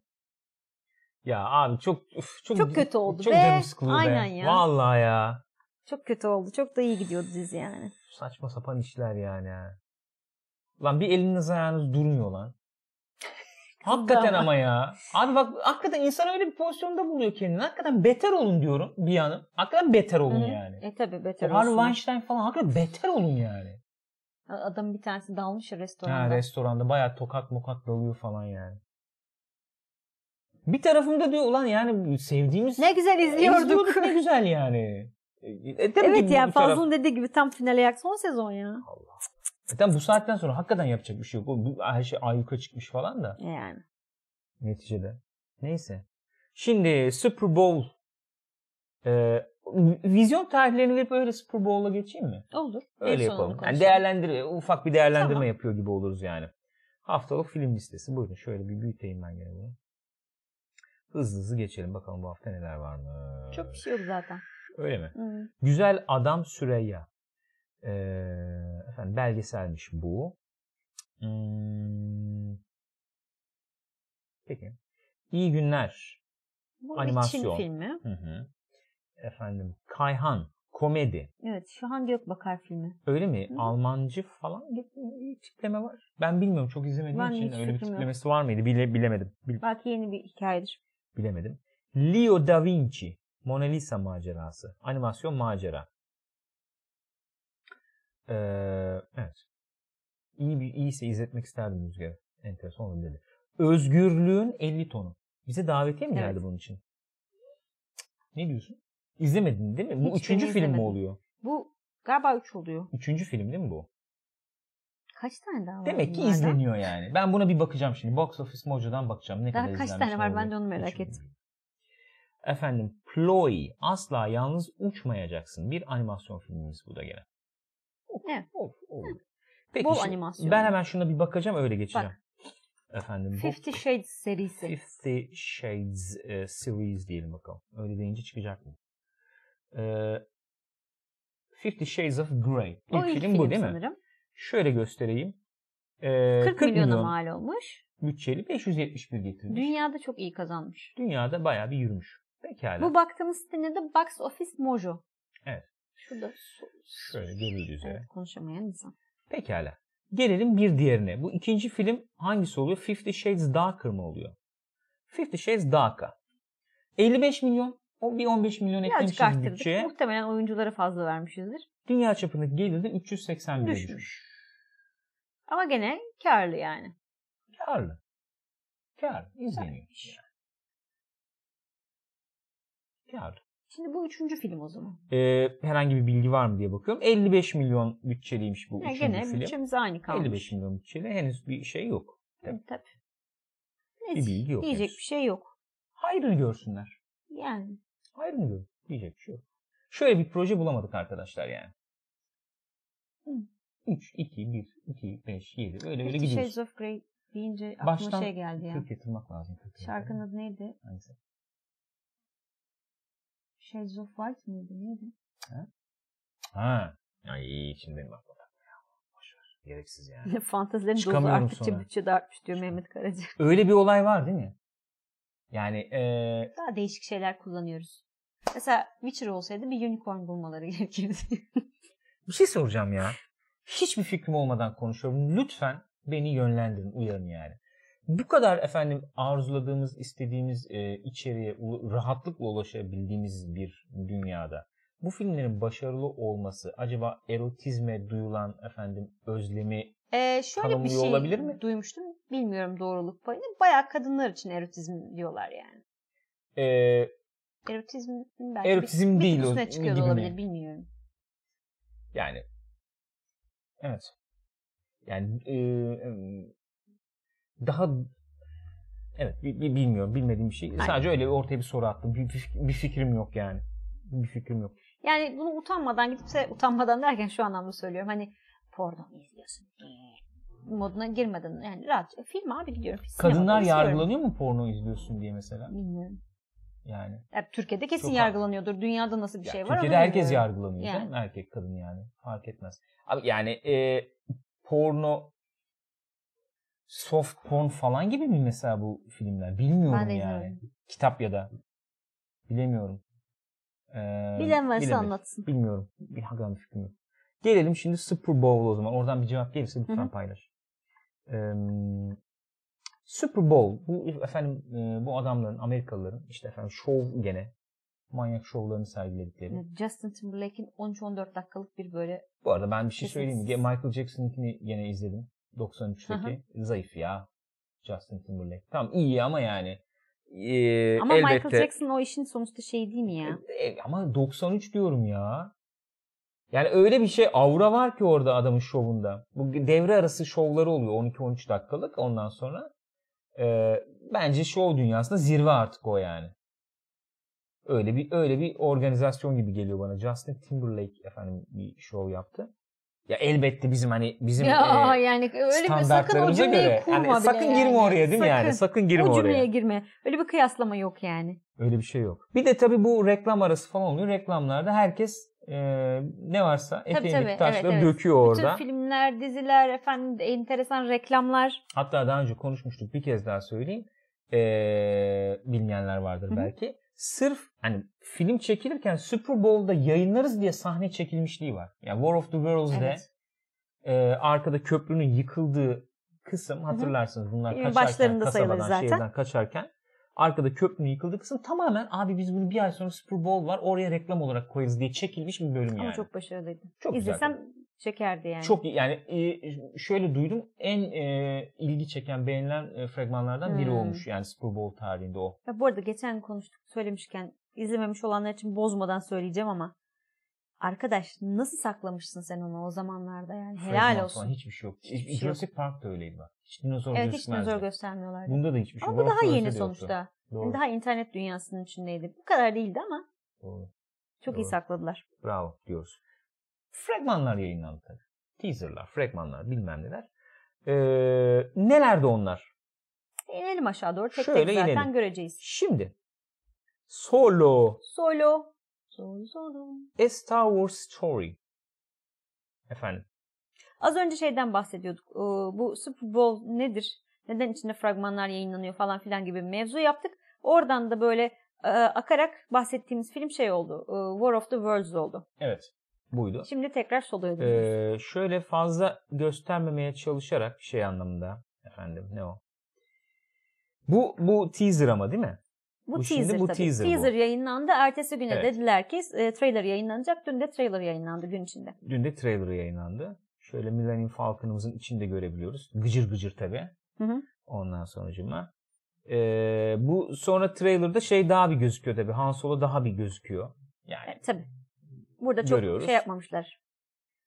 A: Ya abi çok üf, çok,
B: Çok kötü oldu
A: çok
B: be.
A: canım sıkıldı be.
B: Aynen ya.
A: Vallahi ya.
B: Çok kötü oldu. Çok da iyi gidiyordu dizi yani.
A: Saçma sapan işler yani. ha. Lan bir eliniz ayağınız durmuyor lan. hakikaten
B: ama.
A: ama ya. Abi bak hakikaten insan öyle bir pozisyonda buluyor kendini. Hakikaten beter olun diyorum bir yanım. Hakikaten beter olun
B: Hı hı.
A: yani.
B: E tabi beter
A: O Harvey
B: olsun.
A: Weinstein falan hakikaten beter olun yani.
B: Adam bir tanesi dalmış ya restoranda.
A: Ha, restoranda bayağı tokat mokat dalıyor falan yani. Bir tarafımda diyor ulan yani sevdiğimiz
B: ne güzel izliyorduk.
A: E, izliyorduk ne güzel yani. E, tabii
B: evet
A: ki
B: ya
A: bu taraf-
B: Fazlı'nın dediği gibi tam finale yak son sezon ya.
A: E, tamam, bu saatten sonra hakikaten yapacak bir şey yok. O, bu, her şey ayyuka çıkmış falan da
B: Yani.
A: neticede. Neyse. Şimdi Super Bowl e, vizyon tarihlerini verip öyle Super Bowl'a geçeyim mi?
B: Olur.
A: Öyle
B: En son
A: yapalım.
B: onu
A: Yani
B: konuşalım.
A: değerlendir, ufak bir değerlendirme
B: Tamam.
A: yapıyor gibi oluruz yani. Haftalık film listesi. Buyurun şöyle bir büyüteyim ben gene bunu. Hızlı hızlı geçelim bakalım bu hafta neler var mı?
B: Çok bir şey yok zaten.
A: Öyle mi?
B: Hı.
A: Güzel Adam Süreyya. Ee, efendim belgeselmiş bu. Hmm. Peki. İyi günler.
B: Bu
A: Animasyon.
B: bir Çin filmi.
A: Hı hı. Efendim Kayhan komedi.
B: Evet. Şahan Gökbakar filmi.
A: Öyle mi?
B: Hı.
A: Almancı falan gibi bir tipleme var. Ben bilmiyorum çok izlemediğim
B: Ben de
A: için
B: hiç
A: öyle bir
B: fikrim yok.
A: tiplemesi var mıydı Bile, bilemedim. Bil-
B: Belki yeni bir hikayedir.
A: bilemedim. Leo da Vinci Mona Lisa macerası. Animasyon macera. Ee, evet. İyi bir iyiyse izletmek isterdim Rüzgar'ı. Enteresan olabilirdi. Özgürlüğün 50 tonu. Bize davetiye mi geldi
B: Evet.
A: bunun için? Cık, Ne diyorsun? İzlemedin değil mi? Bu
B: Hiçbirini
A: üçüncü film mi
B: izlemedim.
A: oluyor?
B: Bu galiba 3 oluyor.
A: Üçüncü film değil mi bu?
B: Kaç tane daha var?
A: Demek ki
B: bunlardan?
A: izleniyor yani. Ben buna bir bakacağım şimdi. Box Office Mojo'dan bakacağım. Ne
B: Daha
A: kadar
B: kaç
A: izlenmiş,
B: tane
A: ne
B: var? Ben
A: oldu?
B: de onu merak
A: Üç
B: ettim.
A: milyon. Efendim Ploy asla yalnız uçmayacaksın. Bir animasyon filmimiz bu da gene.
B: Evet.
A: Of, of. Peki,
B: Bol
A: şimdi
B: animasyon.
A: Ben hemen şuna bir bakacağım öyle geçeceğim. Efendim bu
B: Fifty Shades serisi.
A: Fifty Shades e, series diyelim bakalım. Öyle deyince çıkacak mı? E, Fifty Shades of Grey. İlk,
B: o ilk
A: film, bu değil mi?
B: sanırım.
A: Şöyle göstereyim. Ee,
B: 40, milyona mal olmuş.
A: bütçeli 571 getirmiş.
B: Dünyada çok iyi kazanmış.
A: Dünyada bayağı bir yürümüş. Pekala.
B: Bu baktığımız sitenin adı Box Office Mojo.
A: Evet.
B: Şurada su- su-
A: Şöyle görüldüğü üzere.
B: Evet, konuşamayan insan.
A: Pekala. Gelelim bir diğerine. Bu ikinci film hangisi oluyor? Fifty Shades Darker mı oluyor? Fifty Shades Darker. 55 milyon. O bir 15 milyon
B: Birazcık
A: eklemişiz
B: arttırdık.
A: bütçeye.
B: Muhtemelen oyunculara fazla vermişizdir.
A: Dünya çapındaki gelir de 381 'e düşmüş.
B: Düşmüş. Ama gene karlı yani.
A: Karlı. Karlı. İzleniyor. Karlı.
B: Şimdi bu üçüncü film o zaman.
A: Ee, herhangi bir bilgi var mı diye bakıyorum. 55 milyon bütçeliymiş bu
B: Yani
A: üçüncü
B: gene
A: film.
B: bütçemiz aynı kalmış.
A: 55 milyon bütçeli henüz bir şey yok.
B: Evet, tabii.
A: Bir bilgi yok
B: Diyecek
A: henüz.
B: bir şey yok.
A: Hayrını görsünler.
B: Yani
A: Hayrını gör. Diyecek bir şey yok. Şöyle bir proje bulamadık arkadaşlar yani.
B: Hı.
A: 3, 2, 1, 2, 5, 7 öyle öyle
B: Fifty
A: gidiyoruz.
B: Shades of Grey deyince aklıma
A: Baştan
B: şey geldi ya.
A: Kırk yatırmak lazım. kırk yatırmak.
B: Şarkının adı neydi?
A: Hangisi?
B: Shades of White miydi? Neydi?
A: Ha. Ay şimdi benim aklıma. Boş ver. Gereksiz yani.
B: Fantazilerin dozu
A: Çıkamıyorum
B: arttıkça
A: sonra.
B: bütçe de artmış diyor Mehmet Karaca.
A: öyle bir olay var değil mi? Yani eee
B: Daha değişik şeyler kullanıyoruz. Mesela Witcher olsaydı bir unicorn bulmaları gerekirdi.
A: Bir şey soracağım ya. Hiçbir fikrim olmadan konuşuyorum. Lütfen beni yönlendirin, uyarın yani. Bu kadar efendim arzuladığımız, istediğimiz e, içeriğe u- rahatlıkla ulaşabildiğimiz bir dünyada bu filmlerin başarılı olması acaba erotizme duyulan efendim özlemi
B: Ee, şöyle bir
A: Tanımlıyor
B: şey
A: olabilir mi?
B: duymuştum. Bilmiyorum doğruluk payını. Bayağı kadınlar için erotizm diyorlar yani.
A: e,
B: Erotizm belki bir-
A: erotizm
B: bir,
A: değil o
B: üstüne çıkıyor da
A: gibi mi?
B: olabilir bilmiyorum.
A: Yani evet. Yani e, em, daha evet bi- bi- bilmiyorum bilmediğim bir şey.
B: Aynen.
A: Sadece öyle bir ortaya bir soru attım. Bir, bir- bir fikrim yok yani. Bir fikrim yok.
B: Yani bunu utanmadan gidipse utanmadan derken şu anlamda söylüyorum. Hani porno mu izliyorsun? Ee, moduna girmeden yani rahat E, film abi gidiyorum. Sinemada
A: Kadınlar
B: izliyorum.
A: yargılanıyor mu porno izliyorsun diye mesela?
B: Bilmiyorum.
A: Yani.
B: Ya, Türkiye'de kesin
A: Çok-
B: yargılanıyordur. Dünyada nasıl bir
A: Ya,
B: şey var
A: Türkiye'de
B: ama
A: herkes
B: bilmiyorum.
A: yargılanıyor
B: Yani.
A: değil mi? Erkek kadın yani. Fark etmez. Abi yani e, porno soft porn falan gibi mi mesela bu filmler? Bilmiyorum
B: Ben de
A: yani.
B: izliyorum.
A: Kitap ya da. Bilemiyorum. Ee,
B: Bilen varsa
A: bilemedim.
B: anlatsın.
A: Bilmiyorum. Bir hakan fikrim yok. Gelelim şimdi Super Bowl o zaman. Oradan bir cevap gelirse
B: Hı
A: lütfen
B: hı.
A: paylaş. Ee, Super Bowl bu efendim e, bu adamların Amerikalıların işte efendim şov gene manyak şovlarını sergiledikleri.
B: Yani Ee, Justin Timberlake'in 13-14 dakikalık bir böyle
A: Bu arada ben bir şey
B: Kesin.
A: söyleyeyim mi? Ge- Michael Jackson'ınkini gene izledim.
B: Hı
A: 93'teki. Zayıf ya. Justin Timberlake. Tamam iyi ama yani. Ee,
B: ama
A: elbette.
B: Michael Jackson o işin sonuçta şey değil mi ya?
A: E, e, ama 93 diyorum ya. Yani öyle bir şey aura var ki orada adamın şovunda. Bu devre arası şovları oluyor 12-13 dakikalık ondan sonra. e, bence şov dünyasında zirve artık o yani. Öyle bir öyle bir organizasyon gibi geliyor bana. Justin Timberlake efendim bir şov yaptı. Ya elbette bizim hani bizim
B: Ya
A: e,
B: yani öyle bir sakın o
A: standartlarımıza
B: cümleyi
A: göre
B: kurma
A: hani sakın
B: bile
A: girme
B: yani.
A: oraya değil mi yani?
B: Sakın.
A: Sakın girme
B: o
A: oraya.
B: cümleye girme. Öyle bir kıyaslama yok yani.
A: Öyle bir şey yok. Bir de tabii bu reklam arası falan oluyor. Reklamlarda herkes e, ne varsa
B: tabii,
A: eteğindeki
B: evet,
A: taşları
B: evet.
A: döküyor orada.
B: Bütün filmler, diziler, efendim enteresan reklamlar.
A: Hatta daha önce konuşmuştuk bir kez daha söyleyeyim. E, bilmeyenler vardır
B: Hı hı.
A: belki. Sırf hani film çekilirken Super Bowl'da yayınlarız diye sahne çekilmişliği var. Yani War of the Worlds'de
B: Evet.
A: e, arkada köprünün yıkıldığı kısım hatırlarsınız bunlar
B: Filmin
A: kaçarken
B: başlarında sayılır
A: kasabadan
B: zaten.
A: şehirden kaçarken arkada köprünün yıkıldığı kısım tamamen abi biz bunu bir ay sonra Super Bowl var oraya reklam olarak koyarız diye çekilmiş bir bölüm
B: Ama
A: yani.
B: çok başarılıydı.
A: çok güzel.
B: İzlesem çekerdi yani.
A: Çok iyi. yani e, şöyle duydum en e, ilgi çeken beğenilen e, fragmanlardan biri
B: Hmm.
A: olmuş yani Super Bowl tarihinde o.
B: Ya bu arada geçen konuştuk söylemişken izlememiş olanlar için bozmadan söyleyeceğim ama arkadaş nasıl saklamışsın sen onu o zamanlarda yani helal
A: Fragman
B: olsun.
A: Falan, hiçbir şey yok.
B: Hiçbir şey
A: Jurassic Park'ta öyleydi bak. Hiç dinozor
B: evet hiç
A: gözükmezdi.
B: dinozor göstermiyorlardı.
A: Bunda da hiçbir şey
B: Ama
A: yok.
B: bu daha
A: Orası
B: yeni
A: öyle de yoktu.
B: sonuçta.
A: Doğru.
B: Daha internet dünyasının içindeydi. Bu kadar değildi ama
A: Doğru.
B: çok iyi
A: Doğru.
B: sakladılar.
A: Bravo diyoruz. Fragmanlar yayınlandı tabii. Teaserlar, fragmanlar bilmem neler. Ee, nelerdi onlar?
B: İnelim aşağı doğru. Tek
A: Şöyle
B: tek zaten
A: inelim.
B: göreceğiz.
A: Şimdi Solo
B: Solo. Solo solo.
A: A Star Wars Story. Efendim.
B: Az önce şeyden bahsediyorduk. Ee, Bu Super Bowl nedir? Neden içinde fragmanlar yayınlanıyor falan filan gibi bir mevzu yaptık. Oradan da böyle e, akarak bahsettiğimiz film şey oldu. Ee, War of the Worlds oldu.
A: Evet. Buydu.
B: Şimdi tekrar soloya dönüyoruz.
A: Ee, şöyle fazla göstermemeye çalışarak şey anlamında efendim ne o? Bu bu teaser ama değil mi?
B: bu,
A: bu şimdi
B: teaser
A: bu
B: tabii.
A: teaser
B: Teaser,
A: bu.
B: yayınlandı. Ertesi güne
A: Evet.
B: dediler ki e, trailer yayınlanacak. Dün de trailer yayınlandı gün içinde.
A: Dün de trailer yayınlandı. Şöyle Millennium Falcon'ımızın içinde görebiliyoruz. Gıcır gıcır tabii.
B: Hı hı.
A: Ondan sonucuma. Ee, bu sonra trailerda şey daha bir gözüküyor tabii. Han Solo daha bir gözüküyor. Yani
B: Evet, tabii. Burada çok
A: Görüyoruz.
B: şey yapmamışlar.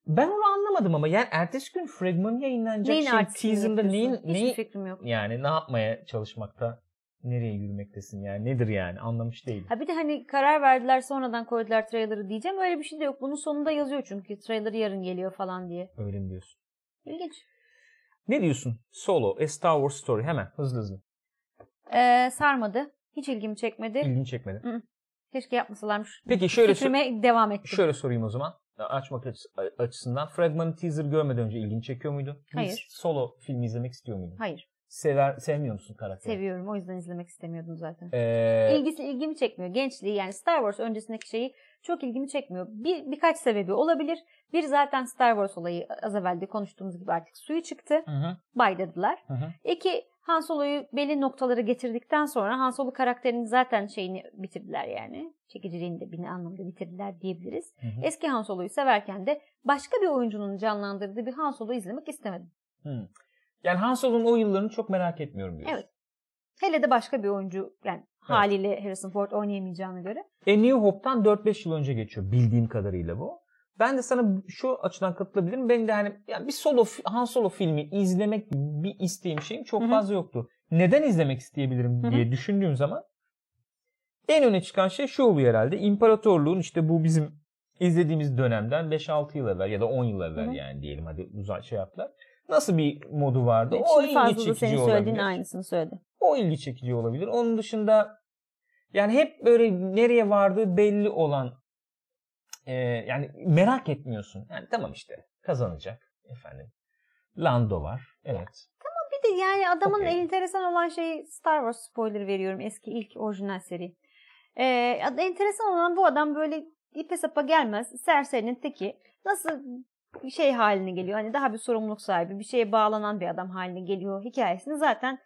A: ben onu anlamadım ama yani ertesi gün fragmanı yayınlanacak
B: Neyin
A: şey
B: artistliğini
A: teaser'da neyin,
B: yapıyorsun? Hiçbir
A: neyin
B: fikrim yok.
A: yani ne yapmaya çalışmakta nereye yürümektesin yani nedir yani anlamış değilim.
B: Ha bir de hani karar verdiler sonradan koydular trailer'ı diyeceğim. Öyle bir şey de yok. Bunun sonunda yazıyor çünkü trailer yarın geliyor falan diye.
A: Öyle mi diyorsun?
B: İlginç.
A: Ne diyorsun? Solo, A Star Wars Story hemen hızlı hızlı.
B: Ee, sarmadı. Hiç ilgimi çekmedi.
A: İlgini çekmedi.
B: Keşke yapmasalarmış.
A: Peki şöyle sor-
B: Fikrime devam ettim.
A: şöyle sorayım o zaman. Açmak açı- açısından fragmanı teaser görmeden önce ilgini çekiyor muydu? Bir
B: Hayır.
A: Solo filmi izlemek istiyor muydun?
B: Hayır.
A: Sever, sevmiyor musun karakteri?
B: Seviyorum. O yüzden izlemek istemiyordum zaten.
A: Ee,
B: İlgisi ilgimi çekmiyor. Gençliği yani Star Wars öncesindeki şeyi çok ilgimi çekmiyor. Bir birkaç sebebi olabilir. Bir zaten Star Wars olayı az evvel de konuştuğumuz gibi artık suyu çıktı.
A: hı hı,
B: Bay dediler.
A: hı hı.
B: İki Han Solo'yu belli noktalara getirdikten sonra Han Solo karakterinin zaten şeyini bitirdiler yani. Çekiciliğini de bir ne anlamda bitirdiler diyebiliriz.
A: Hı hı.
B: Eski Han Solo'yu severken de başka bir oyuncunun canlandırdığı bir Han Solo izlemek istemedim.
A: Hı. Yani Han Solo'nun o yıllarını çok merak etmiyorum diyorsun.
B: Evet. Hele de başka bir oyuncu yani haliyle Harrison Ford oynayamayacağına göre.
A: E New Hope'tan 4-5 yıl önce geçiyor bildiğim kadarıyla bu. Ben de sana şu açıdan katılabilirim. Ben de hani ya bir solo fi- Han Solo filmi izlemek gibi bir isteğim şeyim çok
B: Hı hı.
A: fazla yoktu. Neden izlemek isteyebilirim
B: Hı hı.
A: diye düşündüğüm zaman en öne çıkan şey şu oluyor herhalde. İmparatorluğun işte bu bizim izlediğimiz dönemden 5-6 yıl evvel ya da 10 yıl evvel
B: Hı hı.
A: yani diyelim hadi uzak şey yaptılar. Nasıl bir modu vardı? o
B: Şimdi
A: ilgi
B: fazla da
A: çekici
B: senin söylediğin
A: olabilir.
B: aynısını söyledi.
A: O ilgi çekici olabilir. Onun dışında yani hep böyle nereye vardığı belli olan e, yani merak etmiyorsun. Yani tamam işte kazanacak efendim. Lando var. Evet.
B: Bir de E, yani adamın
A: Okey.
B: enteresan olan şey Star Wars spoiler veriyorum eski ilk orijinal seri. Ee, ad- enteresan olan bu adam böyle ipe sapa gelmez serserinin teki. Nasıl bir şey haline geliyor? Hani daha bir sorumluluk sahibi, bir şeye bağlanan bir adam haline geliyor hikayesini zaten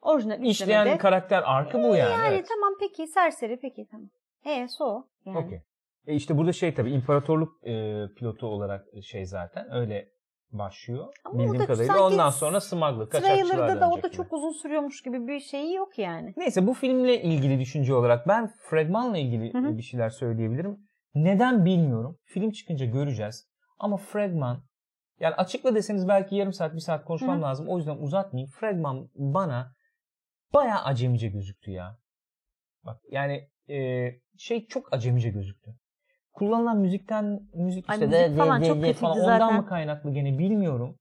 B: orijinal
A: İşleyen
B: işlemede.
A: karakter arkı bu yani.
B: E, Yani
A: evet.
B: tamam peki serseri peki tamam. E so yani.
A: Okey. E işte burada şey tabii imparatorluk e, pilotu olarak şey zaten öyle başlıyor.
B: Ama o
A: bildiğim
B: da
A: kadarıyla.
B: sanki
A: Ondan sonra smuggler, kaçakçılar
B: Trailer'da da o da
A: dönecek gibi.
B: çok uzun sürüyormuş gibi bir şeyi yok yani.
A: Neyse bu filmle ilgili düşünce olarak ben fragmanla ilgili
B: Hı hı.
A: bir şeyler söyleyebilirim. Neden bilmiyorum. Film çıkınca göreceğiz. Ama fragman yani açıkla deseniz belki yarım saat bir saat konuşmam
B: Hı hı.
A: lazım. O yüzden uzatmayayım. Fragman bana bayağı acemice gözüktü ya. Bak yani e, şey çok acemice gözüktü. Kullanılan müzikten müzik
B: Ay,
A: işte
B: müzik
A: de- de-
B: falan
A: de-
B: çok
A: de
B: kötüydü
A: ondan
B: zaten.
A: mı kaynaklı gene bilmiyorum.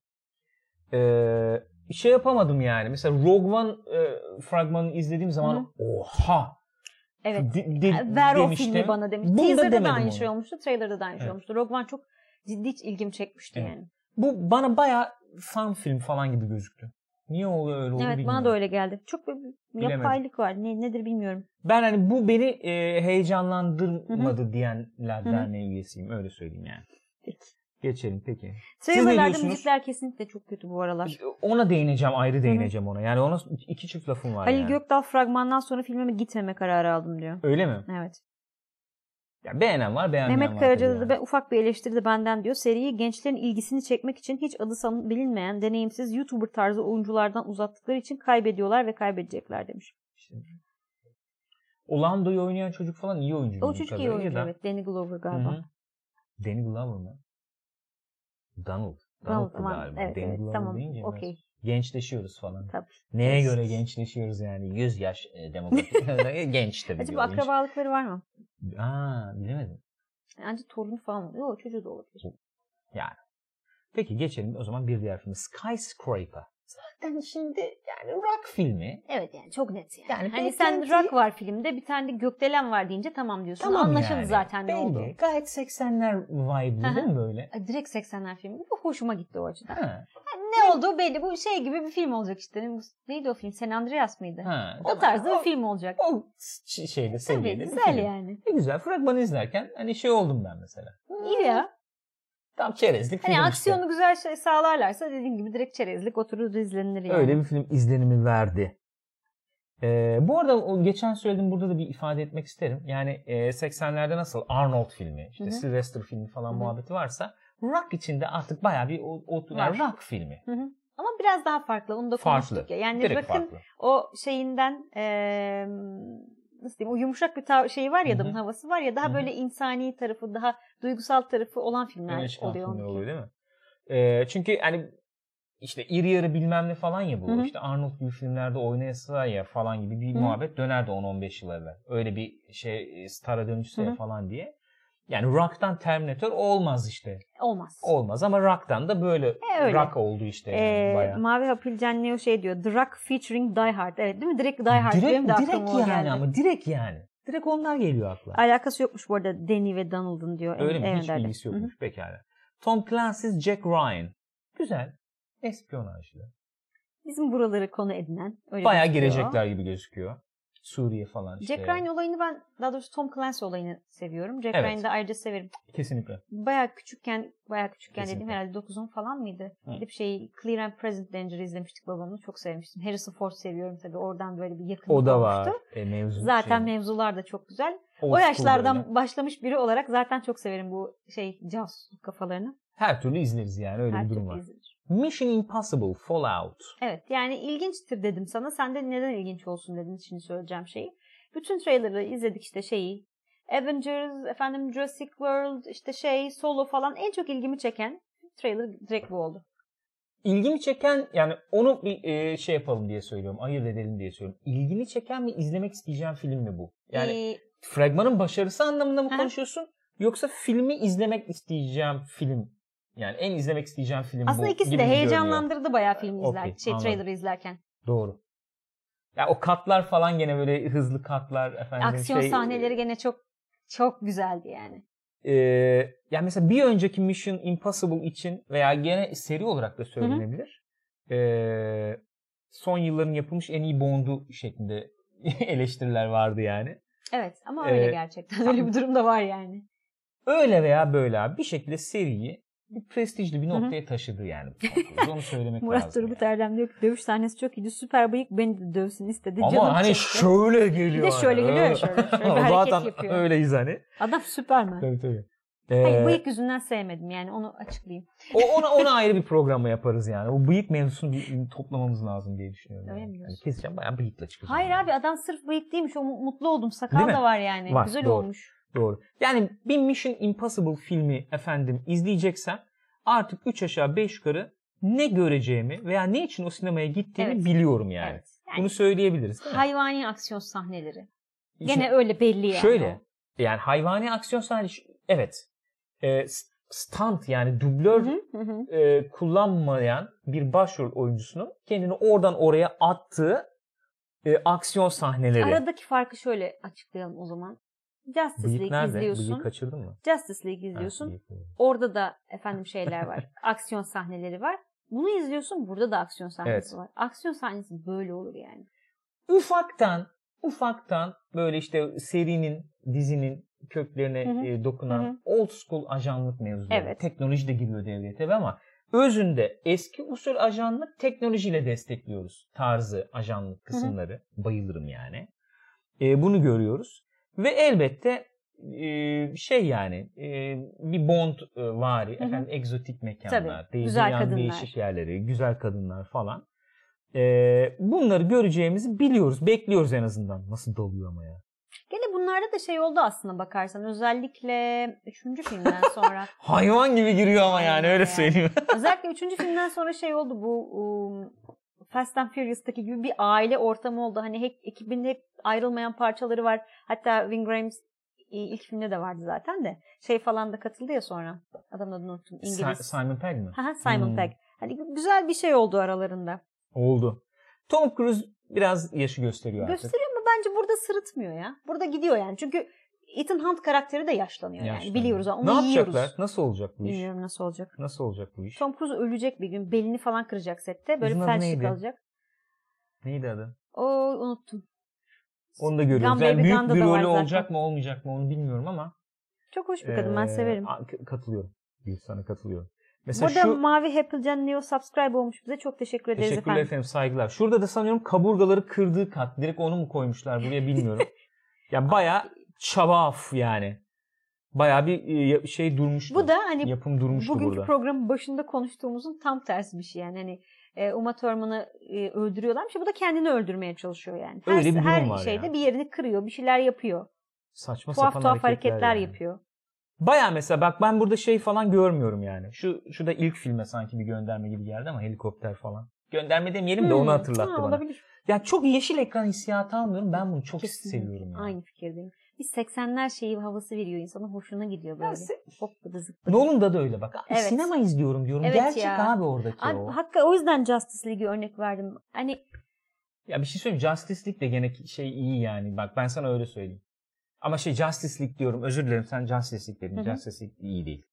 A: Ee, şey yapamadım yani. Mesela Rogue One e, fragmanını izlediğim zaman
B: Hı hı.
A: oha
B: Evet.
A: de- de-
B: E, Ver
A: demiştim.
B: o filmi bana demiş.
A: Bunu da
B: Teaser'da da
A: demedim
B: aynı
A: ona.
B: şey olmuştu. Trailer'da da aynı
A: Evet.
B: şey olmuştu. Rogue One çok ciddi hiç ilgimi çekmişti
A: Evet.
B: yani.
A: Bu bana baya fan film falan gibi gözüktü. Niye oldu öyle oldu
B: evet
A: bilmiyorum.
B: bana da öyle geldi. Çok bir bir
A: Bilemedim.
B: yapaylık var. Ne, nedir bilmiyorum.
A: Ben hani bu beni e, heyecanlandırmadı diyenler
B: Hı hı.
A: derneği üyesiyim. Öyle söyleyeyim yani.
B: Peki.
A: Geçelim peki. ne
B: Trailer'larda
A: diyorsunuz?
B: müzikler kesinlikle çok kötü bu aralar.
A: Ona değineceğim ayrı değineceğim ona. Yani ona iki çift lafım var
B: Halil
A: yani.
B: Gökdal fragmandan sonra filmime gitmeme kararı aldım diyor.
A: Öyle mi?
B: Evet.
A: Ya beğenen var beğenmeyen
B: Mehmet
A: var.
B: Karaca'da
A: tabii
B: da
A: yani.
B: ben- ufak bir eleştiri de benden diyor. Seriyi gençlerin ilgisini çekmek için hiç adı san- bilinmeyen, deneyimsiz YouTuber tarzı oyunculardan uzattıkları için kaybediyorlar ve kaybedecekler demiş.
A: İşte. Orlando'yu oynayan çocuk falan Hmm, iyi oyuncu.
B: O
A: bildiğim
B: çocuk iyi oyuncu
A: kadarıyla da.
B: evet. Danny Glover
A: Hı
B: galiba.
A: hı. Danny Glover mı? Donald.
B: Tamam
A: Donald'dı
B: tamam.
A: galiba.
B: Evet,
A: Danny
B: evet
A: Glover
B: tamam.
A: deyince biraz
B: Okey.
A: gençleşiyoruz falan.
B: Tabii.
A: Neye göre gençleşiyoruz yani? 100 yaş e, demografik. Genç tabii.
B: Acaba akrabalıkları var mı?
A: oyuncu. Aa, bilemedim.
B: Bence torun falan oluyor. O çocuğu da olabilir.
A: Peki geçelim o zaman bir diğer filme. Skyscraper. Zaten şimdi yani rock filmi.
B: Evet yani çok net yani.
A: Yani
B: hani
A: beklenti-
B: sen rock var filmde bir tane de gökdelen var deyince tamam diyorsun. Anlaşıldı
A: yani.
B: zaten
A: Belli.
B: ne oldu.
A: Gayet 80'ler vibe'lı
B: Hı hı.
A: değil mi böyle?
B: Ay, Direkt 80'ler filmi gibi hoşuma gitti o açıdan.
A: Ha.
B: Ne olduğu belli. Bu şey gibi bir film olacak işte. Ne- bu- Neydi o film? San Andreas mıydı?
A: Ha,
B: O
A: tamam.
B: tarzda
A: O-
B: bir film olacak.
A: o ç- şeyde
B: Tabii
A: seviyede. bir
B: güzel
A: film.
B: yani.
A: E güzel fragmanı izlerken hani şey oldum ben mesela.
B: İyi ya.
A: Tam çerezlik
B: Hani
A: film
B: aksiyonu güzel şey sağlarlarsa dediğin gibi direkt çerezlik oturur izlenir
A: işte.
B: yani.
A: Öyle bir film izlenimi verdi. Ee, bu arada o geçen söyledim burada da bir ifade etmek isterim. Yani e, 80'lerde nasıl Arnold filmi, işte
B: Hı hı.
A: Sylvester filmi falan
B: Hı hı.
A: muhabbeti varsa rock içinde artık bayağı bir o, o, yani
B: Var.
A: rock filmi.
B: Hı hı. Ama biraz daha farklı. Onu da
A: Farklı.
B: konuştuk ya. Yani
A: Direkt
B: bakın
A: farklı.
B: o şeyinden eee, nasıl diyeyim o yumuşak bir tav- şeyi var ya adamın
A: Hı hı.
B: havası var ya daha
A: Hı hı.
B: böyle insani tarafı daha duygusal tarafı olan filmler
A: Öne çıkan
B: oluyor.
A: filmler
B: onunki.
A: oluyor değil mi? Ee, çünkü hani işte iri yarı bilmem ne falan ya bu.
B: Hı hı.
A: İşte Arnold gibi filmlerde oynayasa ya falan gibi bir
B: Hı hı.
A: muhabbet dönerdi 10-15 yıl evvel. Öyle bir şey e, stara dönüşse
B: Hı
A: ya
B: hı.
A: falan diye. Yani Rock'tan Terminator olmaz işte.
B: Olmaz.
A: Olmaz ama Rock'tan da böyle
B: E, öyle.
A: Rock oldu işte. yani
B: Eee,
A: bayağı.
B: Mavi Hapil Can Neo şey diyor. Drak featuring Die Hard. Evet değil mi? Direkt Die Hard.
A: direkt
B: Benim de
A: direkt
B: aklıma o
A: yani
B: geldi.
A: ama direkt yani. Direkt onlar geliyor akla.
B: Alakası yokmuş bu arada Danny ve Donald'ın diyor.
A: Öyle mi?
B: en
A: Hiç
B: önderde.
A: bilgisi
B: Hı hı.
A: yokmuş. Pekala. Tom Clancy's Jack Ryan. Güzel. Espiyonajlı.
B: Bizim buraları konu edinen. Öyle
A: Bayağı
B: gözüküyor.
A: girecekler gibi gözüküyor. Suriye falan işte.
B: Jack Ryan olayını ben daha doğrusu Tom Clancy olayını seviyorum. Jack
A: Evet.
B: Ryan'ı da ayrıca severim.
A: Kesinlikle.
B: Bayağı küçükken, bayağı küçükken dediğim
A: Kesinlikle.
B: herhalde 9'un falan mıydı?
A: Hı.
B: Gidip şey Clear and Present Danger izlemiştik babamla. Çok sevmiştim. Harrison Ford seviyorum tabii. Oradan böyle bir yakın
A: O da var. E, mevzu
B: Zaten
A: şey,
B: mevzular da çok güzel.
A: old
B: O
A: school
B: yaşlardan
A: böyle.
B: başlamış biri olarak zaten çok severim bu şey casusluk kafalarını.
A: her türlü izleriz yani öyle
B: Her
A: bir durum
B: türlü
A: var.
B: izlenir.
A: Mission Impossible Fallout.
B: Evet yani ilginçtir dedim sana. Sen de neden ilginç olsun dedin şimdi söyleyeceğim şeyi. Bütün trailer'ı izledik işte şeyi. Avengers, efendim Jurassic World, işte şey, Solo falan en çok ilgimi çeken trailer direkt bu oldu.
A: İlgimi çeken yani onu bir e, şey yapalım diye söylüyorum. Ayırt edelim diye söylüyorum. İlgini çeken mi izlemek isteyeceğim film mi bu? Yani
B: Ee,
A: fragmanın başarısı anlamında mı
B: Aha.
A: konuşuyorsun? Yoksa filmi izlemek isteyeceğim film. Yani en izlemek isteyeceğim film bu.
B: aslında ikisi
A: gibi
B: de
A: görünüyor.
B: heyecanlandırdı bayağı filmi
A: Okey,
B: izlerken, şey
A: anladım.
B: trailer'ı izlerken.
A: Doğru. Ya o katlar falan gene böyle hızlı katlar efendim
B: Aksiyon
A: şey,
B: sahneleri gene çok çok güzeldi yani.
A: e, yani mesela bir önceki Mission Impossible için veya gene seri olarak da söylenebilir. E, son yılların yapılmış en iyi Bond'u şeklinde eleştiriler vardı yani.
B: Evet ama öyle
A: Ee,
B: gerçekten. Öyle bir durum da var yani.
A: Öyle veya böyle abi bir şekilde seriyi bir prestijli bir noktaya taşıdı yani. bu son yıllarda. Onu söylemek
B: Murat
A: lazım.
B: Turgut
A: yani.
B: Erdem diyor ki dövüş sahnesi çok iyiydi. Süper bıyık beni de dövsün istedi. Canım
A: Ama hani
B: çekti."
A: şöyle
B: Bir
A: geliyor.
B: de şöyle
A: hani.
B: geliyor ya şöyle. şöyle bir hareket
A: Zaten
B: yapıyor.
A: öyleyiz hani.
B: Adam Süperman.
A: Tabii tabii.
B: Hayır
A: Ee,
B: bıyık yüzünden sevmedim yani onu açıklayayım.
A: O ona ona ayrı bir programı yaparız yani. Bu bıyık mevzusunu bir bir toplamamız lazım diye düşünüyorum.
B: Öyle
A: yani.
B: mi diyorsun?
A: Yani keseceğim bayağı bıyıkla çıkacağım.
B: Hayır
A: yani.
B: abi adam sırf bıyık değilmiş. O mu- mutlu oldum.
A: Değil
B: Sakal
A: mi?
B: da var yani.
A: Var,
B: Güzel
A: doğru.
B: olmuş.
A: Doğru. Yani bir Mission Impossible filmi efendim izleyeceksem artık 3 aşağı 5 yukarı ne göreceğimi veya ne için o sinemaya gittiğimi
B: Evet.
A: biliyorum yani.
B: Evet. Yani
A: Bunu söyleyebiliriz. değil mi?
B: hayvani aksiyon sahneleri.
A: Şimdi
B: Gene öyle belli yani.
A: Şöyle yani hayvani aksiyon sahnesi evet. Ee, s- stunt yani dublör
B: Hı hı hı.
A: e, kullanmayan bir başrol oyuncusunun kendini oradan oraya attığı e, aksiyon sahneleri.
B: Aradaki farkı şöyle açıklayalım o zaman. Justice
A: Bıyık
B: League
A: nerede?
B: izliyorsun.
A: Bıyığı kaçırdın mı?
B: Justice League
A: Ha,
B: izliyorsun.
A: bıyık nerede?
B: Orada da efendim şeyler var. aksiyon sahneleri var. Bunu izliyorsun burada da aksiyon sahnesi var. Aksiyon sahnesi böyle olur yani.
A: Ufaktan, ufaktan böyle işte serinin, dizinin köklerine
B: Hı hı,
A: e, dokunan
B: hı hı.
A: old school ajanlık mevzuları.
B: Evet.
A: Teknoloji de giriyor devreye tabii ama özünde eski usul ajanlık teknolojiyle destekliyoruz tarzı ajanlık kısımları. Bayılırım yani. E, bunu görüyoruz. Ve elbette e, şey yani e, bir Bond e, vari
B: hı.
A: efendim egzotik mekanlar,
B: Tabii,
A: değil,
B: güzel
A: dünyanın
B: kadınlar.
A: değişik yerleri, güzel kadınlar falan. E, bunları göreceğimizi biliyoruz, bekliyoruz en azından. Nasıl doluyor ama ya.
B: Gene bunlarda da şey oldu aslında bakarsan. Özellikle 3. filmden sonra.
A: Hayvan gibi giriyor ama yani
B: Aynen
A: öyle
B: ya.
A: söyleyeyim.
B: özellikle 3. filmden sonra şey oldu bu um, Fast and Furious'taki gibi bir aile ortamı oldu. Hani hep, ekibin hep ayrılmayan parçaları var. Hatta Vin Grimes e, ilk filmde de vardı zaten de. Şey falan da katıldı ya sonra. Adamın adını unuttum.
A: Sa-
B: İngiliz.
A: Simon Pegg mi?
B: Haha, Simon
A: Hmm.
B: Pegg. Hani güzel bir şey oldu aralarında.
A: Oldu. Tom Cruise biraz yaşı gösteriyor artık.
B: Gösteriyor ama bence burada sırıtmıyor ya. Burada gidiyor yani. Çünkü Ethan Hunt karakteri de yaşlanıyor, yani.
A: Yaşlanıyor.
B: Biliyoruz ama
A: ne
B: onu yiyoruz.
A: yapacaklar? Nasıl olacak bu iş?
B: Bilmiyorum nasıl olacak.
A: Nasıl olacak bu iş?
B: Tom Cruise ölecek bir gün. Belini falan kıracak sette. Böyle
A: Kızın adı
B: felçlik
A: neydi?
B: alacak.
A: Neydi adı?
B: O unuttum.
A: Onu da görüyoruz.
B: Gun
A: Yani
B: Baby
A: büyük
B: Gun'da
A: bir
B: da var
A: rolü
B: zaten.
A: olacak mı olmayacak mı onu bilmiyorum ama.
B: Çok hoş bir kadın. ben
A: eee,
B: severim.
A: a- k- Katılıyorum. Büyük sana katılıyorum. Mesela
B: Burada
A: şu
B: Mavi Apple Can Neo subscribe olmuş bize. Çok teşekkür ederiz
A: teşekkürler
B: efendim.
A: efendim. saygılar. Şurada da sanıyorum kaburgaları kırdığı kat. Direkt onu mu koymuşlar buraya bilmiyorum. ya baya çabaf yani. Baya bir e, ya- şey durmuştu.
B: Bu da hani
A: yapım durmuştu
B: bugünkü
A: burada.
B: programın başında konuştuğumuzun tam tersi bir şey. Yani hani e, Uma Thurman'ı e, öldürüyorlarmış. ya Bu da kendini öldürmeye çalışıyor yani. Her,
A: Öyle bir durum
B: her
A: var
B: şeyde
A: ya.
B: bir yerini kırıyor. Bir şeyler yapıyor.
A: Saçma
B: tuhaf
A: sapan
B: tuhaf hareketler,
A: yani.
B: yapıyor.
A: Baya mesela bak ben burada şey falan görmüyorum yani. Şu şu da ilk filme sanki bir gönderme gibi geldi ama helikopter falan. Gönderme demeyelim de onu
B: Hmm.
A: hatırlattı
B: Ha,
A: bana.
B: Olabilir.
A: Ya çok yeşil ekran hissiyatı almıyorum. Ben bunu çok
B: Kesinlikle.
A: seviyorum. Yani.
B: Aynı fikirdeyim. Biz 80'ler şeyi havası veriyor insana. Hoşuna gidiyor böyle.
A: Ya se-
B: Hop bıdı zıp bıdı.
A: Nolan da da öyle bak. Abi
B: Evet.
A: Sinema izliyorum diyorum.
B: Evet
A: Gerçek
B: ya.
A: abi oradaki
B: Abi,
A: o.
B: hakka o yüzden Justice League'e örnek verdim. Hani
A: Ya bir şey söyleyeyim. Justice League de gene ki- şey iyi yani. Bak ben sana öyle söyleyeyim. Ama şey Justice League diyorum. Özür dilerim sen Justice League dedin.
B: Hı hı.
A: Justice League iyi değil.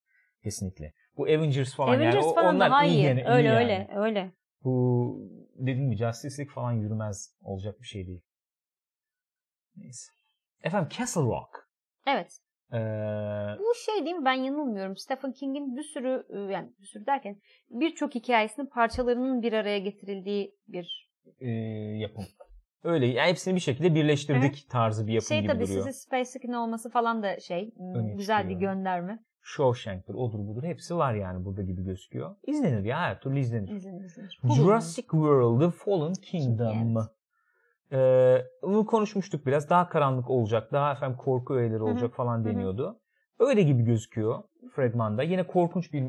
A: Kesinlikle. Bu Avengers falan
B: Avengers
A: yani. o-
B: falan
A: onlar
B: daha
A: iyi
B: iyi.
A: gene. iyi
B: öyle
A: yani.
B: öyle öyle.
A: Bu dediğim gibi Justice League falan yürümez olacak bir şey değil. Neyse. Efendim Castle Rock.
B: Evet.
A: Ee,
B: Bu şey değil mi? Ben yanılmıyorum. Stephen King'in bir sürü e, yani bir sürü derken birçok hikayesinin parçalarının bir araya getirildiği bir
A: e, yapım. Öyle yani hepsini bir şekilde birleştirdik tarzı bir yapım
B: şey
A: gibi
B: tabii
A: duruyor.
B: sizin SpaceX'in olması falan da şey hmm,
A: Öne
B: güzel bir
A: çıkıyor.
B: gönderme.
A: Shawshank'tır, odur budur hepsi var yani burada gibi gözüküyor. İzlenir ya her türlü izlenir.
B: İzlenir, izlenir.
A: Jurassic World The Fallen Kingdom. Ee, bunu konuşmuştuk biraz. Daha karanlık olacak. Daha efendim korku öğeleri
B: hı.
A: olacak falan
B: hı.
A: deniyordu. Öyle gibi gözüküyor fragmanda. Yine korkunç bir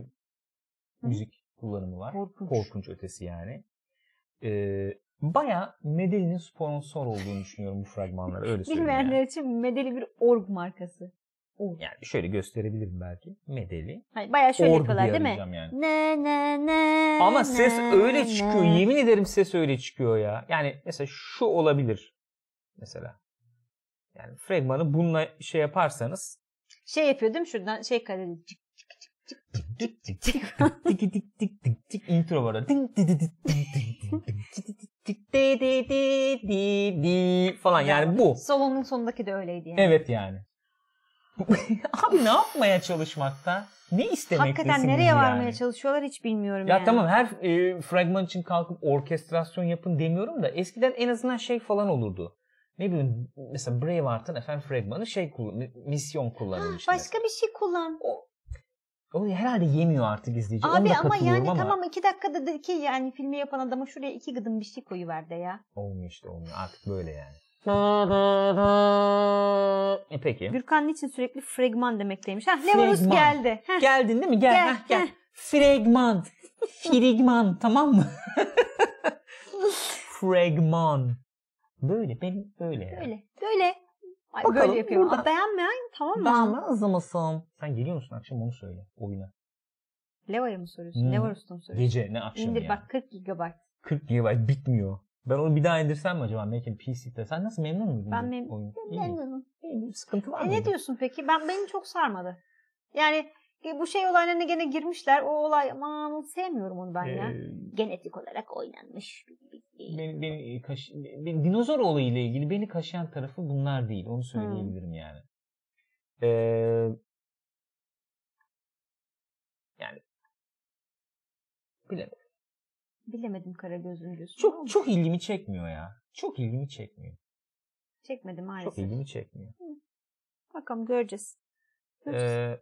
A: müzik kullanımı var.
B: Korkunç.
A: Korkunç ötesi yani. Ee, Baya Medeli'nin sponsor olduğunu düşünüyorum bu fragmanlara. Öyle söyleyeyim. yani.
B: Bilmeyenler için Medeli bir org markası. Org.
A: Yani şöyle gösterebilirim belki. Medeli.
B: Hani bayağı şöyle
A: Org
B: yapıyorlar
A: diye
B: değil mi?
A: arayacağım yani.
B: Ne ne ne.
A: Ama ses
B: ne,
A: öyle çıkıyor.
B: ne.
A: Yemin ederim ses öyle çıkıyor ya. Yani mesela şu olabilir. Mesela. Yani fragmanı bununla şey yaparsanız
B: Şey yapıyor değil mi şuradan şey kaydediyor. Cık,
A: tik tik tik
B: cık.
A: tik tik tik tik tik intro var. orada. Ding di di di ding di di ding di di di di di di di di falan yani bu.
B: Salonun sonundaki de öyleydi yani.
A: Evet yani. Abi ne yapmaya çalışmakta? Ne istemektesin?
B: Hakikaten nereye
A: yani?
B: varmaya çalışıyorlar hiç bilmiyorum
A: Ya
B: yani.
A: tamam her e, fragman için kalkıp orkestrasyon yapın demiyorum da eskiden en azından şey falan olurdu. Ne bileyim mesela Braveheart'ın efendim fragmanı şey kullan- mi- misyon
B: Ha,
A: kullanılmıştı.
B: başka bir şey kullan.
A: mesela. O herhalde yemiyor artık izleyici.
B: Abi
A: Onda
B: ama
A: katılıyorum
B: yani
A: ama
B: tamam iki dakikada dedi ki yani filmi yapan adama şuraya iki gıdım bir şey koyuver de ya.
A: olmuyor işte olmuyor artık böyle yani. E peki.
B: Gürkan için sürekli fragman demekteymiş. Hah Levarus
A: Fragman.
B: geldi. Heh.
A: Geldin değil mi? Gel.
B: Gel,
A: Gel. gel. Fragman. Fragman tamam mı? Fragman. Böyle benim öyle yani.
B: Böyle böyle. Ay,
A: Bakalım
B: böyle yapıyor.
A: buradan-
B: Aa, beğenmeyen tamam mı?
A: Bağımız mısın? Sen geliyor musun akşam onu söyle oyuna.
B: Leva'ya mı soruyorsun?
A: Hmm.
B: Levarus'ta mı soruyorsun?
A: Gece ne akşam
B: İndir
A: ya.
B: bak 40 GB.
A: 40 GB bitmiyor. Ben onu bir daha indirsem mi acaba Mac and PC'de? Sen nasıl memnun muydun?
B: Ben
A: bu
B: mem-
A: oyun? İyi mi?
B: Memnunum.
A: İyi, bir sıkıntı var
B: E
A: mı?
B: ne diyorsun peki? Ben beni çok sarmadı. Yani e, bu şey olaylarına gene girmişler. O olay aman sevmiyorum onu ben
A: Ee,
B: ya. Genetik olarak oynanmış.
A: beni, beni, e, kaş- beni- dinozor olayı ile ilgili beni kaşıyan tarafı bunlar değil. Onu
B: Hmm.
A: söyleyebilirim yani. Ee, yani bilemedim.
B: Bilemedim kara gözüm diyorsun. Ama
A: Çok çok ilgimi çekmiyor ya. Çok ilgimi çekmiyor.
B: çekmedi
A: Çok
B: maalesef.
A: ilgimi çekmiyor.
B: Bakalım göreceğiz. Göreceğiz.
A: Ee,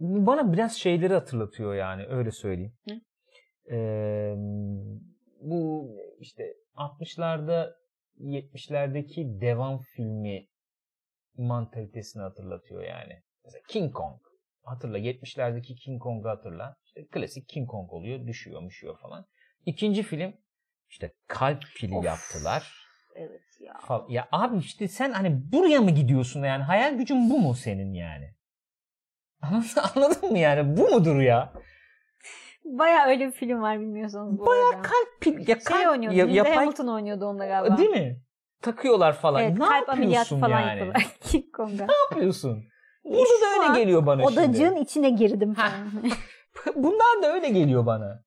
A: bana biraz şeyleri hatırlatıyor yani öyle söyleyeyim.
B: Hı.
A: Ee, bu işte 60'larda 70'lerdeki devam filmi mantalitesini hatırlatıyor yani. Mesela King Kong. Hatırla 70'lerdeki King Kong'u hatırla. İşte klasik King Kong oluyor, düşüyor, müşüyor falan. İkinci film işte kalp pili
B: Of.
A: yaptılar.
B: Evet ya.
A: Fal- Ya abi işte sen hani buraya mı gidiyorsun yani? Hayal gücün bu mu senin yani? Anladın mı yani? Bu mudur ya?
B: Baya öyle bir film var bilmiyorsanız bu Baya arada.
A: Kalp pil- ya
B: Şey
A: kalp-
B: oynuyordu.
A: ya-
B: Linda
A: yapay-
B: Hamilton oynuyordu onda galiba.
A: Değil mi? Takıyorlar falan.
B: Evet,
A: ne
B: kalp ameliyatı
A: yapıyorsun
B: falan
A: yani?
B: yapıyorlar. King Kong'a.
A: Ne yapıyorsun? Burada da
B: şu an
A: öyle geliyor bana
B: Odacığın
A: şimdi.
B: içine girdim
A: Ha.
B: falan.
A: Bunlar da öyle geliyor bana.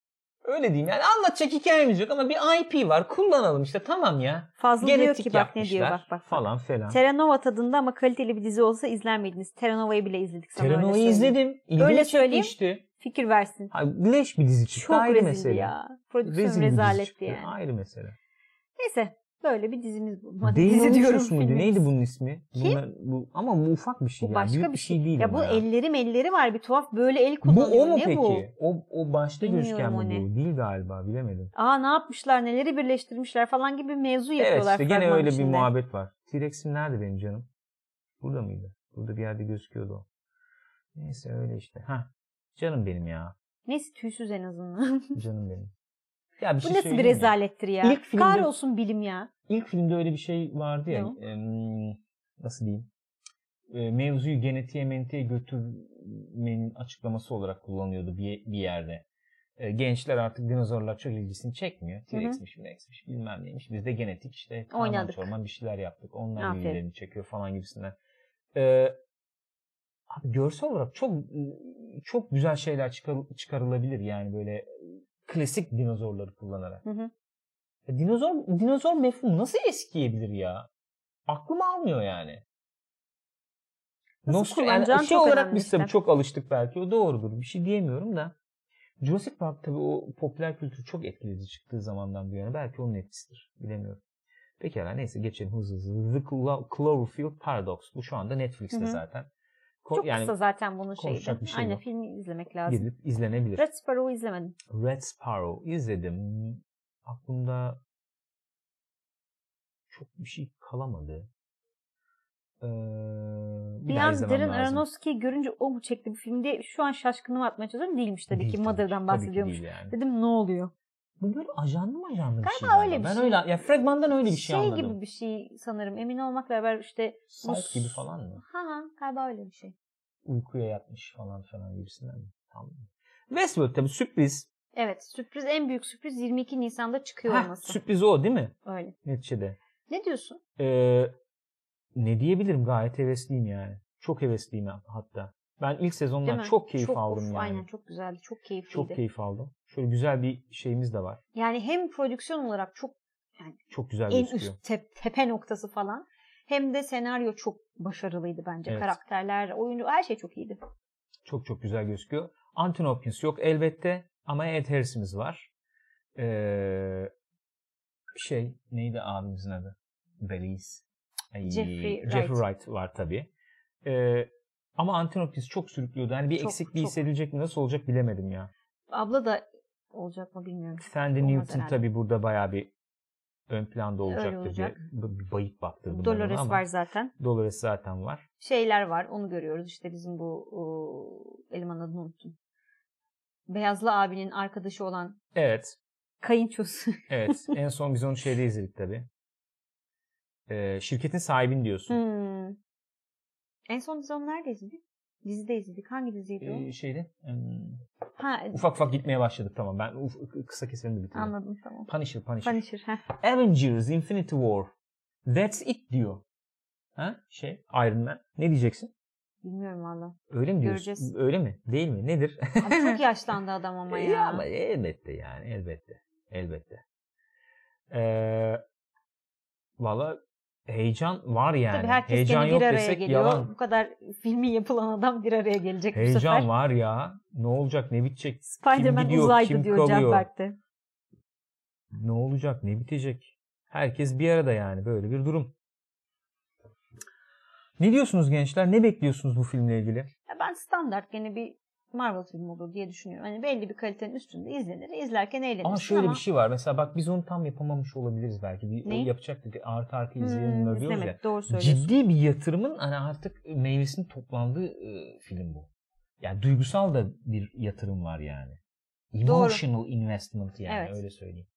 A: Öyle diyeyim yani anlatacak hikayemiz yok ama bir IP var kullanalım işte tamam ya.
B: Fazla diyor
A: Genetik
B: ki bak ne diyor
A: yapmışlar
B: bak bak. bak.
A: falan filan.
B: Terenova tadında ama kaliteli bir dizi olsa izler miydiniz? Terenova'yı bile izledik sana öyle
A: Terenova'yı
B: söyleyeyim.
A: izledim. İlgimi
B: Öyle söyleyeyim.
A: çekmişti.
B: Fikir versin.
A: Ha, leş bir dizi çıktı
B: Çok
A: ayrı
B: rezildi
A: mesele.
B: ya. Prodüksiyon
A: Rezil bir dizi
B: rezaletti
A: çıktı.
B: yani.
A: Ayrı mesele.
B: Neyse böyle bir dizimiz bu.
A: Değil
B: Dizi diyorum
A: Uçuş muydu?
B: filmimiz.
A: Neydi bunun ismi?
B: Kim?
A: Bunlar- bu, ama bu ufak bir şey
B: Bu
A: ya.
B: başka
A: Büyük
B: bir şey.
A: değil.
B: Ya bu
A: ama
B: elleri melleri var bir tuhaf böyle el
A: Bu
B: kullanıyor.
A: o mu
B: ne
A: peki?
B: bu?
A: O, o başta
B: Bilmiyorum
A: gözüken mi
B: o ne.
A: bu? Değil galiba bilemedim.
B: Aa ne yapmışlar neleri birleştirmişler falan gibi mevzu
A: Evet
B: Şey yapıyorlar.
A: işte gene
B: fragman
A: öyle bir
B: içinde.
A: muhabbet var. T-Rex'im nerede benim canım? Burada mıydı? Burada bir yerde gözüküyordu o. Neyse öyle işte. Ha Canım benim ya.
B: Neyse tüysüz en azından.
A: Canım benim. Ya bir
B: bu
A: şey
B: nasıl bir
A: söyleyeyim mi?
B: rezalettir ya.
A: İlk filmde-
B: Kahrolsun bilim ya.
A: İlk filmde öyle bir şey vardı ya.
B: Ne o?
A: em, nasıl diyeyim? E, mevzuyu genetiğe mentiğe götürmenin açıklaması olarak kullanıyordu bir, bir yerde. E, gençler artık dinozorlar çok ilgisini çekmiyor. T-Rex'miş, T-Rex'miş bilmem neymiş. Biz de genetik işte karman
B: Oynadık.
A: çorman bir şeyler yaptık. Onlar
B: Aferin.
A: ilgilerini çekiyor falan gibisinden. E, abi görsel olarak çok çok güzel şeyler çıkar- çıkarılabilir yani böyle e, klasik dinozorları kullanarak.
B: Hı hı.
A: Ya Dinozor dinozor mefhumu nasıl eskiyebilir ya? Aklım almıyor yani.
B: Nasıl
A: Nostal-
B: kullanacağın
A: şey
B: çok
A: olarak
B: önemli
A: biz
B: işte.
A: tabii çok alıştık belki. O doğrudur. Bir şey diyemiyorum da. Jurassic Park tabii o popüler kültür çok etkileyici çıktığı zamandan bu yana. Belki onun etkisidir. Bilemiyorum. Pekala neyse geçelim hızlı hızlı. The Clo- Cloverfield Paradox. Bu şu anda Netflix'te
B: Hı hı.
A: zaten. Ko-
B: Çok kısa zaten bunun
A: konuşacak
B: şeydi.
A: bir şey
B: Aynen
A: yok.
B: filmi izlemek lazım.
A: gidip izlenebilir.
B: Red Sparrow'u izlemedim.
A: Red Sparrow izledim. Aklımda çok bir şey kalamadı. Ee, bir,
B: Bir
A: daha
B: an
A: izlemem
B: Darren
A: lazım.
B: Aronofsky'yi görünce o mu çekti bu film diye şu an şaşkınlığımı atmaya çalışıyorum. Değilmiş tabii
A: Değil
B: ki
A: tabii ki
B: Mother'dan bahsediyormuş.
A: değil yani.
B: Dedim ne oluyor?
A: Bu böyle ajanlı mı ajanlı bir şey?
B: Galiba
A: galiba.
B: öyle bir
A: ben
B: şey.
A: öyle ya fragmandan öyle bir şey, anladım.
B: gibi bir şey sanırım. Emin olmakla beraber işte
A: Salt gibi falan mı?
B: ha ha galiba öyle bir şey.
A: Uykuya yatmış falan falan gibisinden mi? Tamam. Westworld tabii sürpriz.
B: Evet sürpriz en büyük sürpriz 22 Nisan'da çıkıyor
A: Heh,
B: olması.
A: sürpriz o değil mi?
B: Öyle.
A: Neticede.
B: Ne diyorsun?
A: Ee, ne diyebilirim gayet hevesliyim yani. Çok hevesliyim hatta. Ben ilk
B: Değil
A: sezondan
B: mi?
A: çok keyif
B: of,
A: aldım yani.
B: Aynen çok güzeldi. Çok keyifliydi.
A: Çok keyif aldım. Şöyle güzel bir şeyimiz de var.
B: Yani hem prodüksiyon olarak çok
A: Çok güzel
B: en
A: gözüküyor.
B: üst te- tepe noktası falan. Hem de senaryo çok başarılıydı bence.
A: Evet.
B: Karakterler, oyuncu her şey çok iyiydi.
A: Çok çok güzel gözüküyor. Anthony Hopkins yok elbette ama Ed Harris'imiz var. Ee, şey neydi abimizin adı? Belize. Ay,
B: Jeffrey Wright.
A: Jeffrey Wright var tabii. Ee, ama Anthony Hopkins çok sürüklüyordu. Hani bir
B: Çok,
A: eksikliği
B: çok.
A: hissedilecek mi nasıl olacak bilemedim ya.
B: Abla da olacak mı bilmiyorum.
A: Sandy
B: Olmaz
A: Newton
B: herhalde.
A: tabii burada bayağı bir ön planda
B: Öyle
A: olacaktır.
B: olacak.
A: diye Bir bayık baktırdım. ben ona
B: Dolores
A: ama
B: var zaten.
A: Dolores zaten var.
B: Şeyler var. Onu görüyoruz. İşte bizim bu o, elemanın adını unuttum. Beyazlı abinin arkadaşı olan
A: Evet.
B: kayınçosu.
A: Evet. en son biz onu şeyde izledik tabii. Ee, şirketin sahibini diyorsun.
B: Hmm. En son biz onu nerede izledik? Dizide izledik. Hangi diziydi o?
A: Ee, şeyde. em,
B: ha, e,
A: ufak ufak gitmeye başladık tamam. Ben uf- kısa keselim de bitireyim.
B: anladım tamam.
A: Punisher, Punisher.
B: Punisher. heh.
A: Avengers Infinity War. That's it diyor. Ha? Şey Iron Man. Ne diyeceksin?
B: Bilmiyorum valla.
A: Öyle mi diyorsun?
B: Göreceğiz.
A: Öyle mi? Değil mi? Nedir?
B: Ama çok yaşlandı adam ama
A: E,
B: ya.
A: Ya ama elbette yani elbette. Elbette. Ee, Valla heyecan var yani.
B: Tabii herkes
A: heyecan
B: gene
A: yok
B: bir araya
A: desek
B: geliyor.
A: yalan.
B: Bu kadar filmi yapılan adam bir araya gelecek bu sefer.
A: Heyecan var ya. Ne olacak ne bitecek?
B: Spider-Man
A: Kim gidiyor,
B: uzaydı
A: kim
B: diyor
A: kalıyor?
B: Canberk'te.
A: Ne olacak ne bitecek? Herkes bir arada yani böyle bir durum. Ne diyorsunuz gençler? Ne bekliyorsunuz bu filmle ilgili?
B: Ya Ben standart gene bir Marvel filmi olur diye düşünüyorum. Hani belli bir kalitenin üstünde izlenir. İzlerken eğlenirsin
A: Ama şöyle bir şey var. Mesela bak biz onu tam yapamamış olabiliriz belki. Bir,
B: Neyi?
A: yapacaktık. Artı artı
B: Hmm,
A: izleyelim diyoruz ya.
B: izlemek, doğru söylüyorsun.
A: ciddi bir yatırımın hani artık meyvesinin toplandığı e, film bu. Yani duygusal da bir yatırım var yani. Emotional investment yani
B: Evet.
A: öyle söyleyeyim.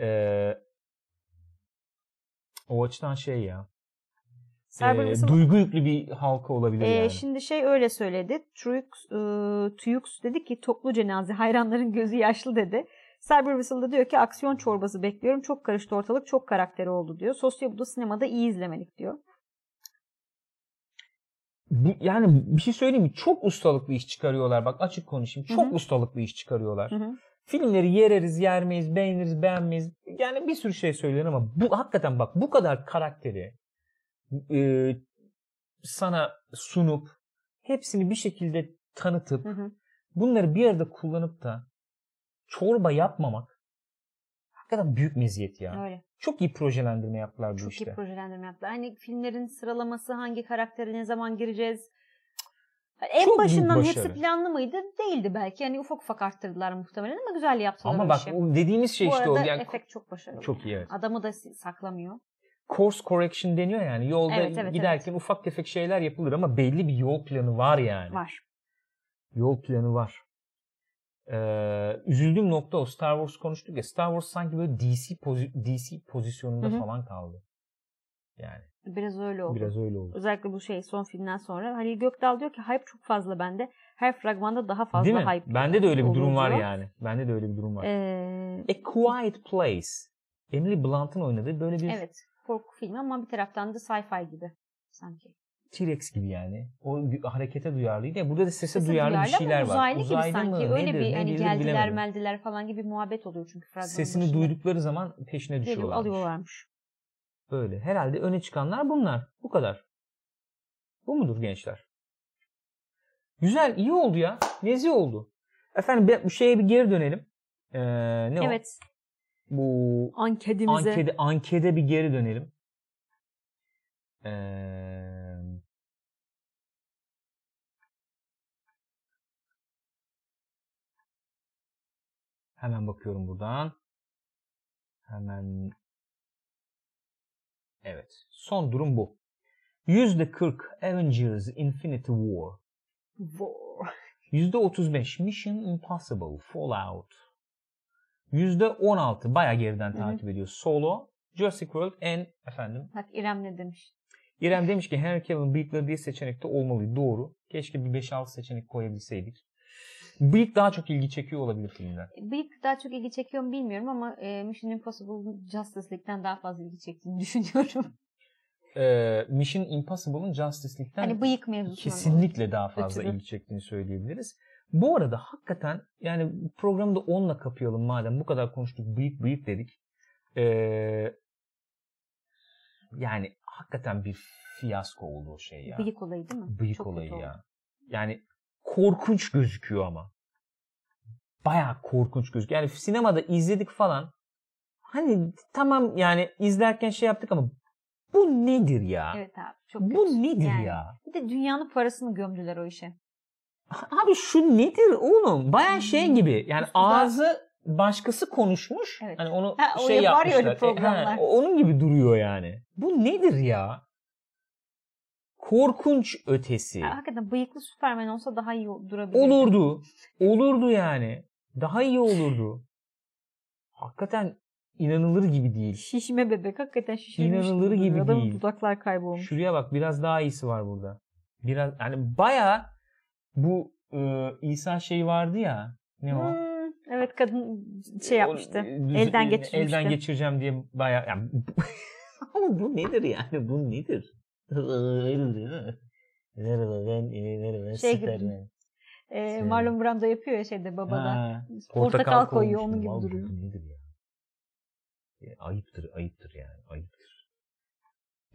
A: Ee, o açıdan şey ya.
B: Cyber
A: e,
B: Wilson-
A: duygu yüklü bir halka olabilir
B: Ee,
A: yani.
B: Şimdi şey öyle söyledi. Trux, e, Tuyux dedi ki toplu cenaze hayranların gözü yaşlı dedi. Cyber Whistle da diyor ki aksiyon çorbası bekliyorum. Çok karıştı ortalık çok karakteri oldu diyor. Sosyobudu sinemada iyi izlemelik diyor.
A: Bu- yani bir şey söyleyeyim mi? Çok ustalıklı iş çıkarıyorlar. Bak açık konuşayım. Çok
B: Hı hı.
A: ustalıklı iş çıkarıyorlar.
B: Hı hı.
A: Filmleri yereriz, yermeyiz, beğeniriz, beğenmeyiz. Yani bir sürü şey söylenir ama bu hakikaten bak bu kadar karakteri e, sana sunup hepsini bir şekilde tanıtıp
B: Hı hı.
A: bunları bir arada kullanıp da çorba yapmamak hakikaten büyük meziyet ya.
B: Öyle.
A: Çok iyi projelendirme yaptılar bu
B: Çok
A: işte.
B: iyi projelendirme yaptı. Hani filmlerin sıralaması hangi karaktere ne zaman gireceğiz. Yani En
A: Çok büyük
B: başından
A: başarı.
B: hepsi planlı mıydı? Değildi belki. Yani ufak ufak arttırdılar muhtemelen ama güzel yaptılar
A: ama
B: o
A: bak
B: işi.
A: o dediğimiz şey
B: Bu
A: işte o.
B: arada
A: Yani
B: efekt çok başarılı.
A: çok iyi evet.
B: Adamı da si- saklamıyor.
A: Course correction deniyor yani. Yolda
B: Evet, evet,
A: giderken ufak tefek şeyler yapılır ama belli bir yol planı var yani.
B: Var.
A: yol planı var. Ee, üzüldüğüm nokta o Star Wars konuştuk ya Star Wars sanki böyle DC pozi- DC pozisyonunda
B: Hı hı.
A: falan kaldı. Yani
B: Biraz öyle oldu.
A: biraz öyle oldu.
B: Özellikle bu şey son filmden sonra. Halil Gökdal diyor ki hype çok fazla bende. Her fragmanda daha fazla
A: Değil mi?
B: hype.
A: Bende de öyle bir durum var
B: olunca-
A: yani. Bende de öyle bir durum var.
B: Ee,
A: A Quiet Place. Emily Blunt'ın oynadığı böyle bir
B: evet. Korku filmi ama bir taraftan da sci-fi gibi sanki.
A: T-Rex gibi yani. O gü- harekete duyarlıydı. Ya burada da strese duyarlı,
B: duyarlı
A: bir şeyler
B: ama
A: var.
B: Uzaylı, gibi sanki. Öyle
A: nedir,
B: bir
A: ne
B: hani
A: değildir
B: geldiler
A: bilemedim.
B: meldiler falan gibi muhabbet oluyor çünkü fragmanın
A: Sesini
B: başında.
A: duydukları zaman peşine
B: Geliyor
A: düşüyorlar.
B: alıyorlarmış.
A: Böyle. Herhalde öne çıkanlar bunlar. Bu kadar. Bu mudur gençler? Güzel, iyi oldu ya. Nezi oldu. Efendim bir- bir şeye bir geri dönelim. Ee, ne o?
B: Evet.
A: Bu
B: Ankedimize.
A: ankede, ankede bir geri dönelim. Ee, hemen bakıyorum buradan. Hemen Evet. Son durum bu. %40 Avengers Infinity War.
B: Voo.
A: %35 Mission Impossible Fallout. %16 baya geriden
B: Hı hı.
A: takip ediyor. Solo, Jurassic World and efendim.
B: Bak İrem ne demiş.
A: İrem demiş ki Henry Cavill'ın bıyıkları diye seçenekte olmalıydı. Doğru. Keşke bir 5-6 seçenek koyabilseydik. Bıyık daha çok ilgi çekiyor olabilir filmden.
B: Bıyık daha çok ilgi çekiyor mu bilmiyorum ama e, Mission Impossible Justice League'den daha fazla ilgi çektiğini düşünüyorum.
A: Ee, Mission Impossible'ın Justice League'den
B: hani bıyık mevzusu.
A: kesinlikle daha fazla
B: Ötürü.
A: ilgi çektiğini söyleyebiliriz. Bu arada hakikaten yani programı da onunla kapayalım madem bu kadar konuştuk bıyık bıyık dedik. Ee, yani hakikaten bir fiyasko oldu o şey ya.
B: Bıyık olayı değil mi?
A: Bıyık
B: Çok
A: olayı
B: kötü oldu.
A: ya. Yani korkunç gözüküyor ama. Baya korkunç gözüküyor. Yani sinemada izledik falan. Hani tamam yani izlerken şey yaptık ama bu nedir ya?
B: Evet abi çok kötü.
A: bu nedir
B: Yani.
A: ya?
B: Bir de dünyanın parasını gömdüler o işe.
A: Abi şu nedir oğlum? Baya şey gibi. Yani
B: Hmm. Üstü daha-
A: ağzı başkası konuşmuş.
B: Evet.
A: Hani onu
B: Ha, o
A: şey
B: yapar
A: yapmışlar.
B: ya öyle
A: E, ha,
B: programlar.
A: onun gibi duruyor yani. Bu nedir ya? Korkunç ötesi.
B: Ha, hakikaten bıyıklı Superman olsa daha iyi durabilir.
A: Olurdu. Olurdu yani. Daha iyi olurdu. Hakikaten inanılır gibi değil.
B: Şişme bebek hakikaten şişirmiş.
A: İnanılır
B: duruyor.
A: gibi
B: Adamın
A: değil.
B: dudaklar kaybolmuş.
A: Şuraya bak biraz daha iyisi var burada. Biraz yani baya bu e, İsa şey vardı ya. Ne o?
B: Hmm, evet kadın şey
A: O,
B: yapmıştı.
A: e, düz-
B: elden
A: e,
B: geçirmişti.
A: Elden geçireceğim diye bayağı yani ama bu nedir yani? Bu nedir? Merhaba ben, e, merhaba ben
B: Şey gibi,
A: Superman.
B: Ee,
A: Şey.
B: Marlon Brando yapıyor ya şeyde babada.
A: Ha,
B: portakal, koyuyor onun gibi
A: Vallahi
B: duruyor.
A: Bu nedir ya? Ya Ayıptır, ayıptır yani. Ayıptır.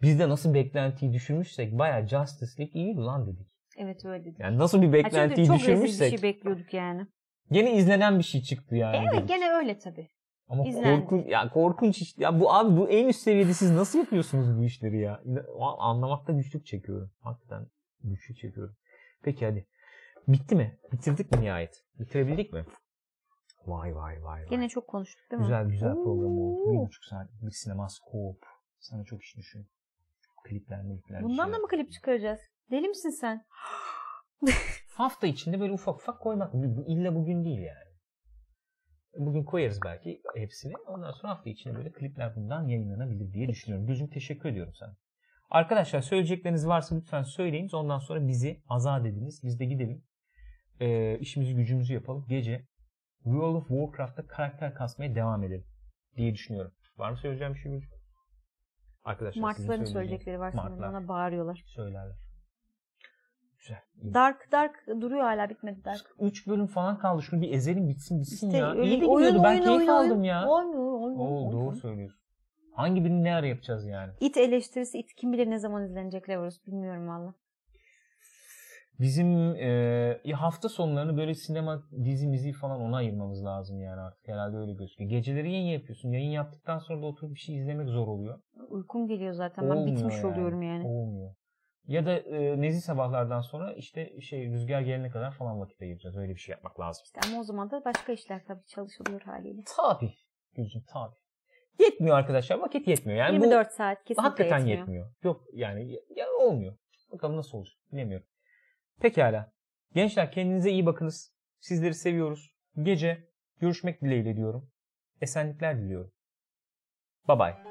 A: Biz de nasıl beklentiyi düşürmüşsek bayağı Justice League iyiydi lan dedik.
B: Evet öyle dedi.
A: Yani nasıl bir
B: Ha, çünkü
A: beklentiyi
B: çok rezil bir
A: düşürmüşsek
B: şey bekliyorduk yani.
A: gene izlenen bir şey çıktı yani.
B: Evet
A: dedik.
B: gene öyle tabii.
A: Ama
B: İzlendi.
A: korkunç ya korkunç iş. Ya bu abi bu en üst seviyede siz nasıl yapıyorsunuz bu işleri ya? İna- a- Anlamakta güçlük çekiyorum. Hakikaten güçlük çekiyorum. Peki hadi. Bitti mi? Bitirdik mi nihayet? Bitirebildik mi? Vay vay vay vay.
B: Gene çok konuştuk değil mi?
A: güzel güzel program oldu. Bir
B: Oo.
A: buçuk saatlik bir sinemaskop. Sana çok iş düşün. Klipler, şey klipler.
B: Bundan da mı klip çıkaracağız? Deli misin
A: Şey,
B: sen?
A: Hafta içinde böyle ufak ufak koymak. Bu- bu- İlla bugün değil yani. Bugün koyarız belki hepsini. Ondan sonra hafta içinde böyle klipler bundan yayınlanabilir diye düşünüyorum. Gözüm teşekkür ediyorum sana. Arkadaşlar söyleyecekleriniz varsa lütfen söyleyin. Ondan sonra bizi azat ediniz. Biz de gidelim. Ee, işimizi gücümüzü yapalım. Gece World of Warcraft'ta karakter kasmaya devam edelim diye düşünüyorum. Var mı söyleyeceğim bir şey Gülcüm? Arkadaşlar sizin
B: Martların
A: söyleyeceğiniz-
B: söyleyecekleri var sanırım.
A: Martlar
B: Bana bağırıyorlar.
A: söylerler. Güzel. iyi.
B: Dark Dark duruyor hala bitmedi Dark.
A: 3 bölüm falan kaldı. Şunu bir ezelim bitsin bitsin
B: İşte
A: ya.
B: öyle
A: İyi de
B: oyun,
A: gidiyordu. Ben
B: oyun,
A: keyif
B: oyun,
A: aldım
B: oyun.
A: ya.
B: Oyun, oyun, oyun,
A: Oo,
B: oyun.
A: doğru söylüyorsun. Hangi birini ne ara yapacağız yani?
B: İt eleştirisi it kim bilir ne zaman izlenecek Leverus bilmiyorum valla.
A: Bizim e, ya hafta sonlarını böyle sinema dizi müziği falan ona ayırmamız lazım yani artık. Herhalde öyle gözüküyor. Geceleri yayın yapıyorsun. Yayın yaptıktan sonra da oturup bir şey izlemek zor oluyor.
B: Uykum geliyor zaten ben
A: Olmuyor
B: bitmiş
A: yani.
B: oluyorum yani.
A: Olmuyor. Ya da e, nezih sabahlardan sonra işte şey rüzgar gelene kadar falan vakit ayıracağız. Öyle bir şey yapmak lazım.
B: İşte ama o zaman da başka işler tabii çalışılıyor haliyle.
A: Tabii. Gülcüm tabii. Yetmiyor arkadaşlar. Vakit yetmiyor. Yani bu-
B: 24 saat kesinlikle
A: Hakikaten
B: yetmiyor.
A: yetmiyor. Yok yani ya- ya olmuyor. Bakalım nasıl olacak bilemiyorum. Pekala. Gençler kendinize iyi bakınız. Sizleri seviyoruz. Gece görüşmek dileğiyle diyorum. Esenlikler diliyorum. Bye bye.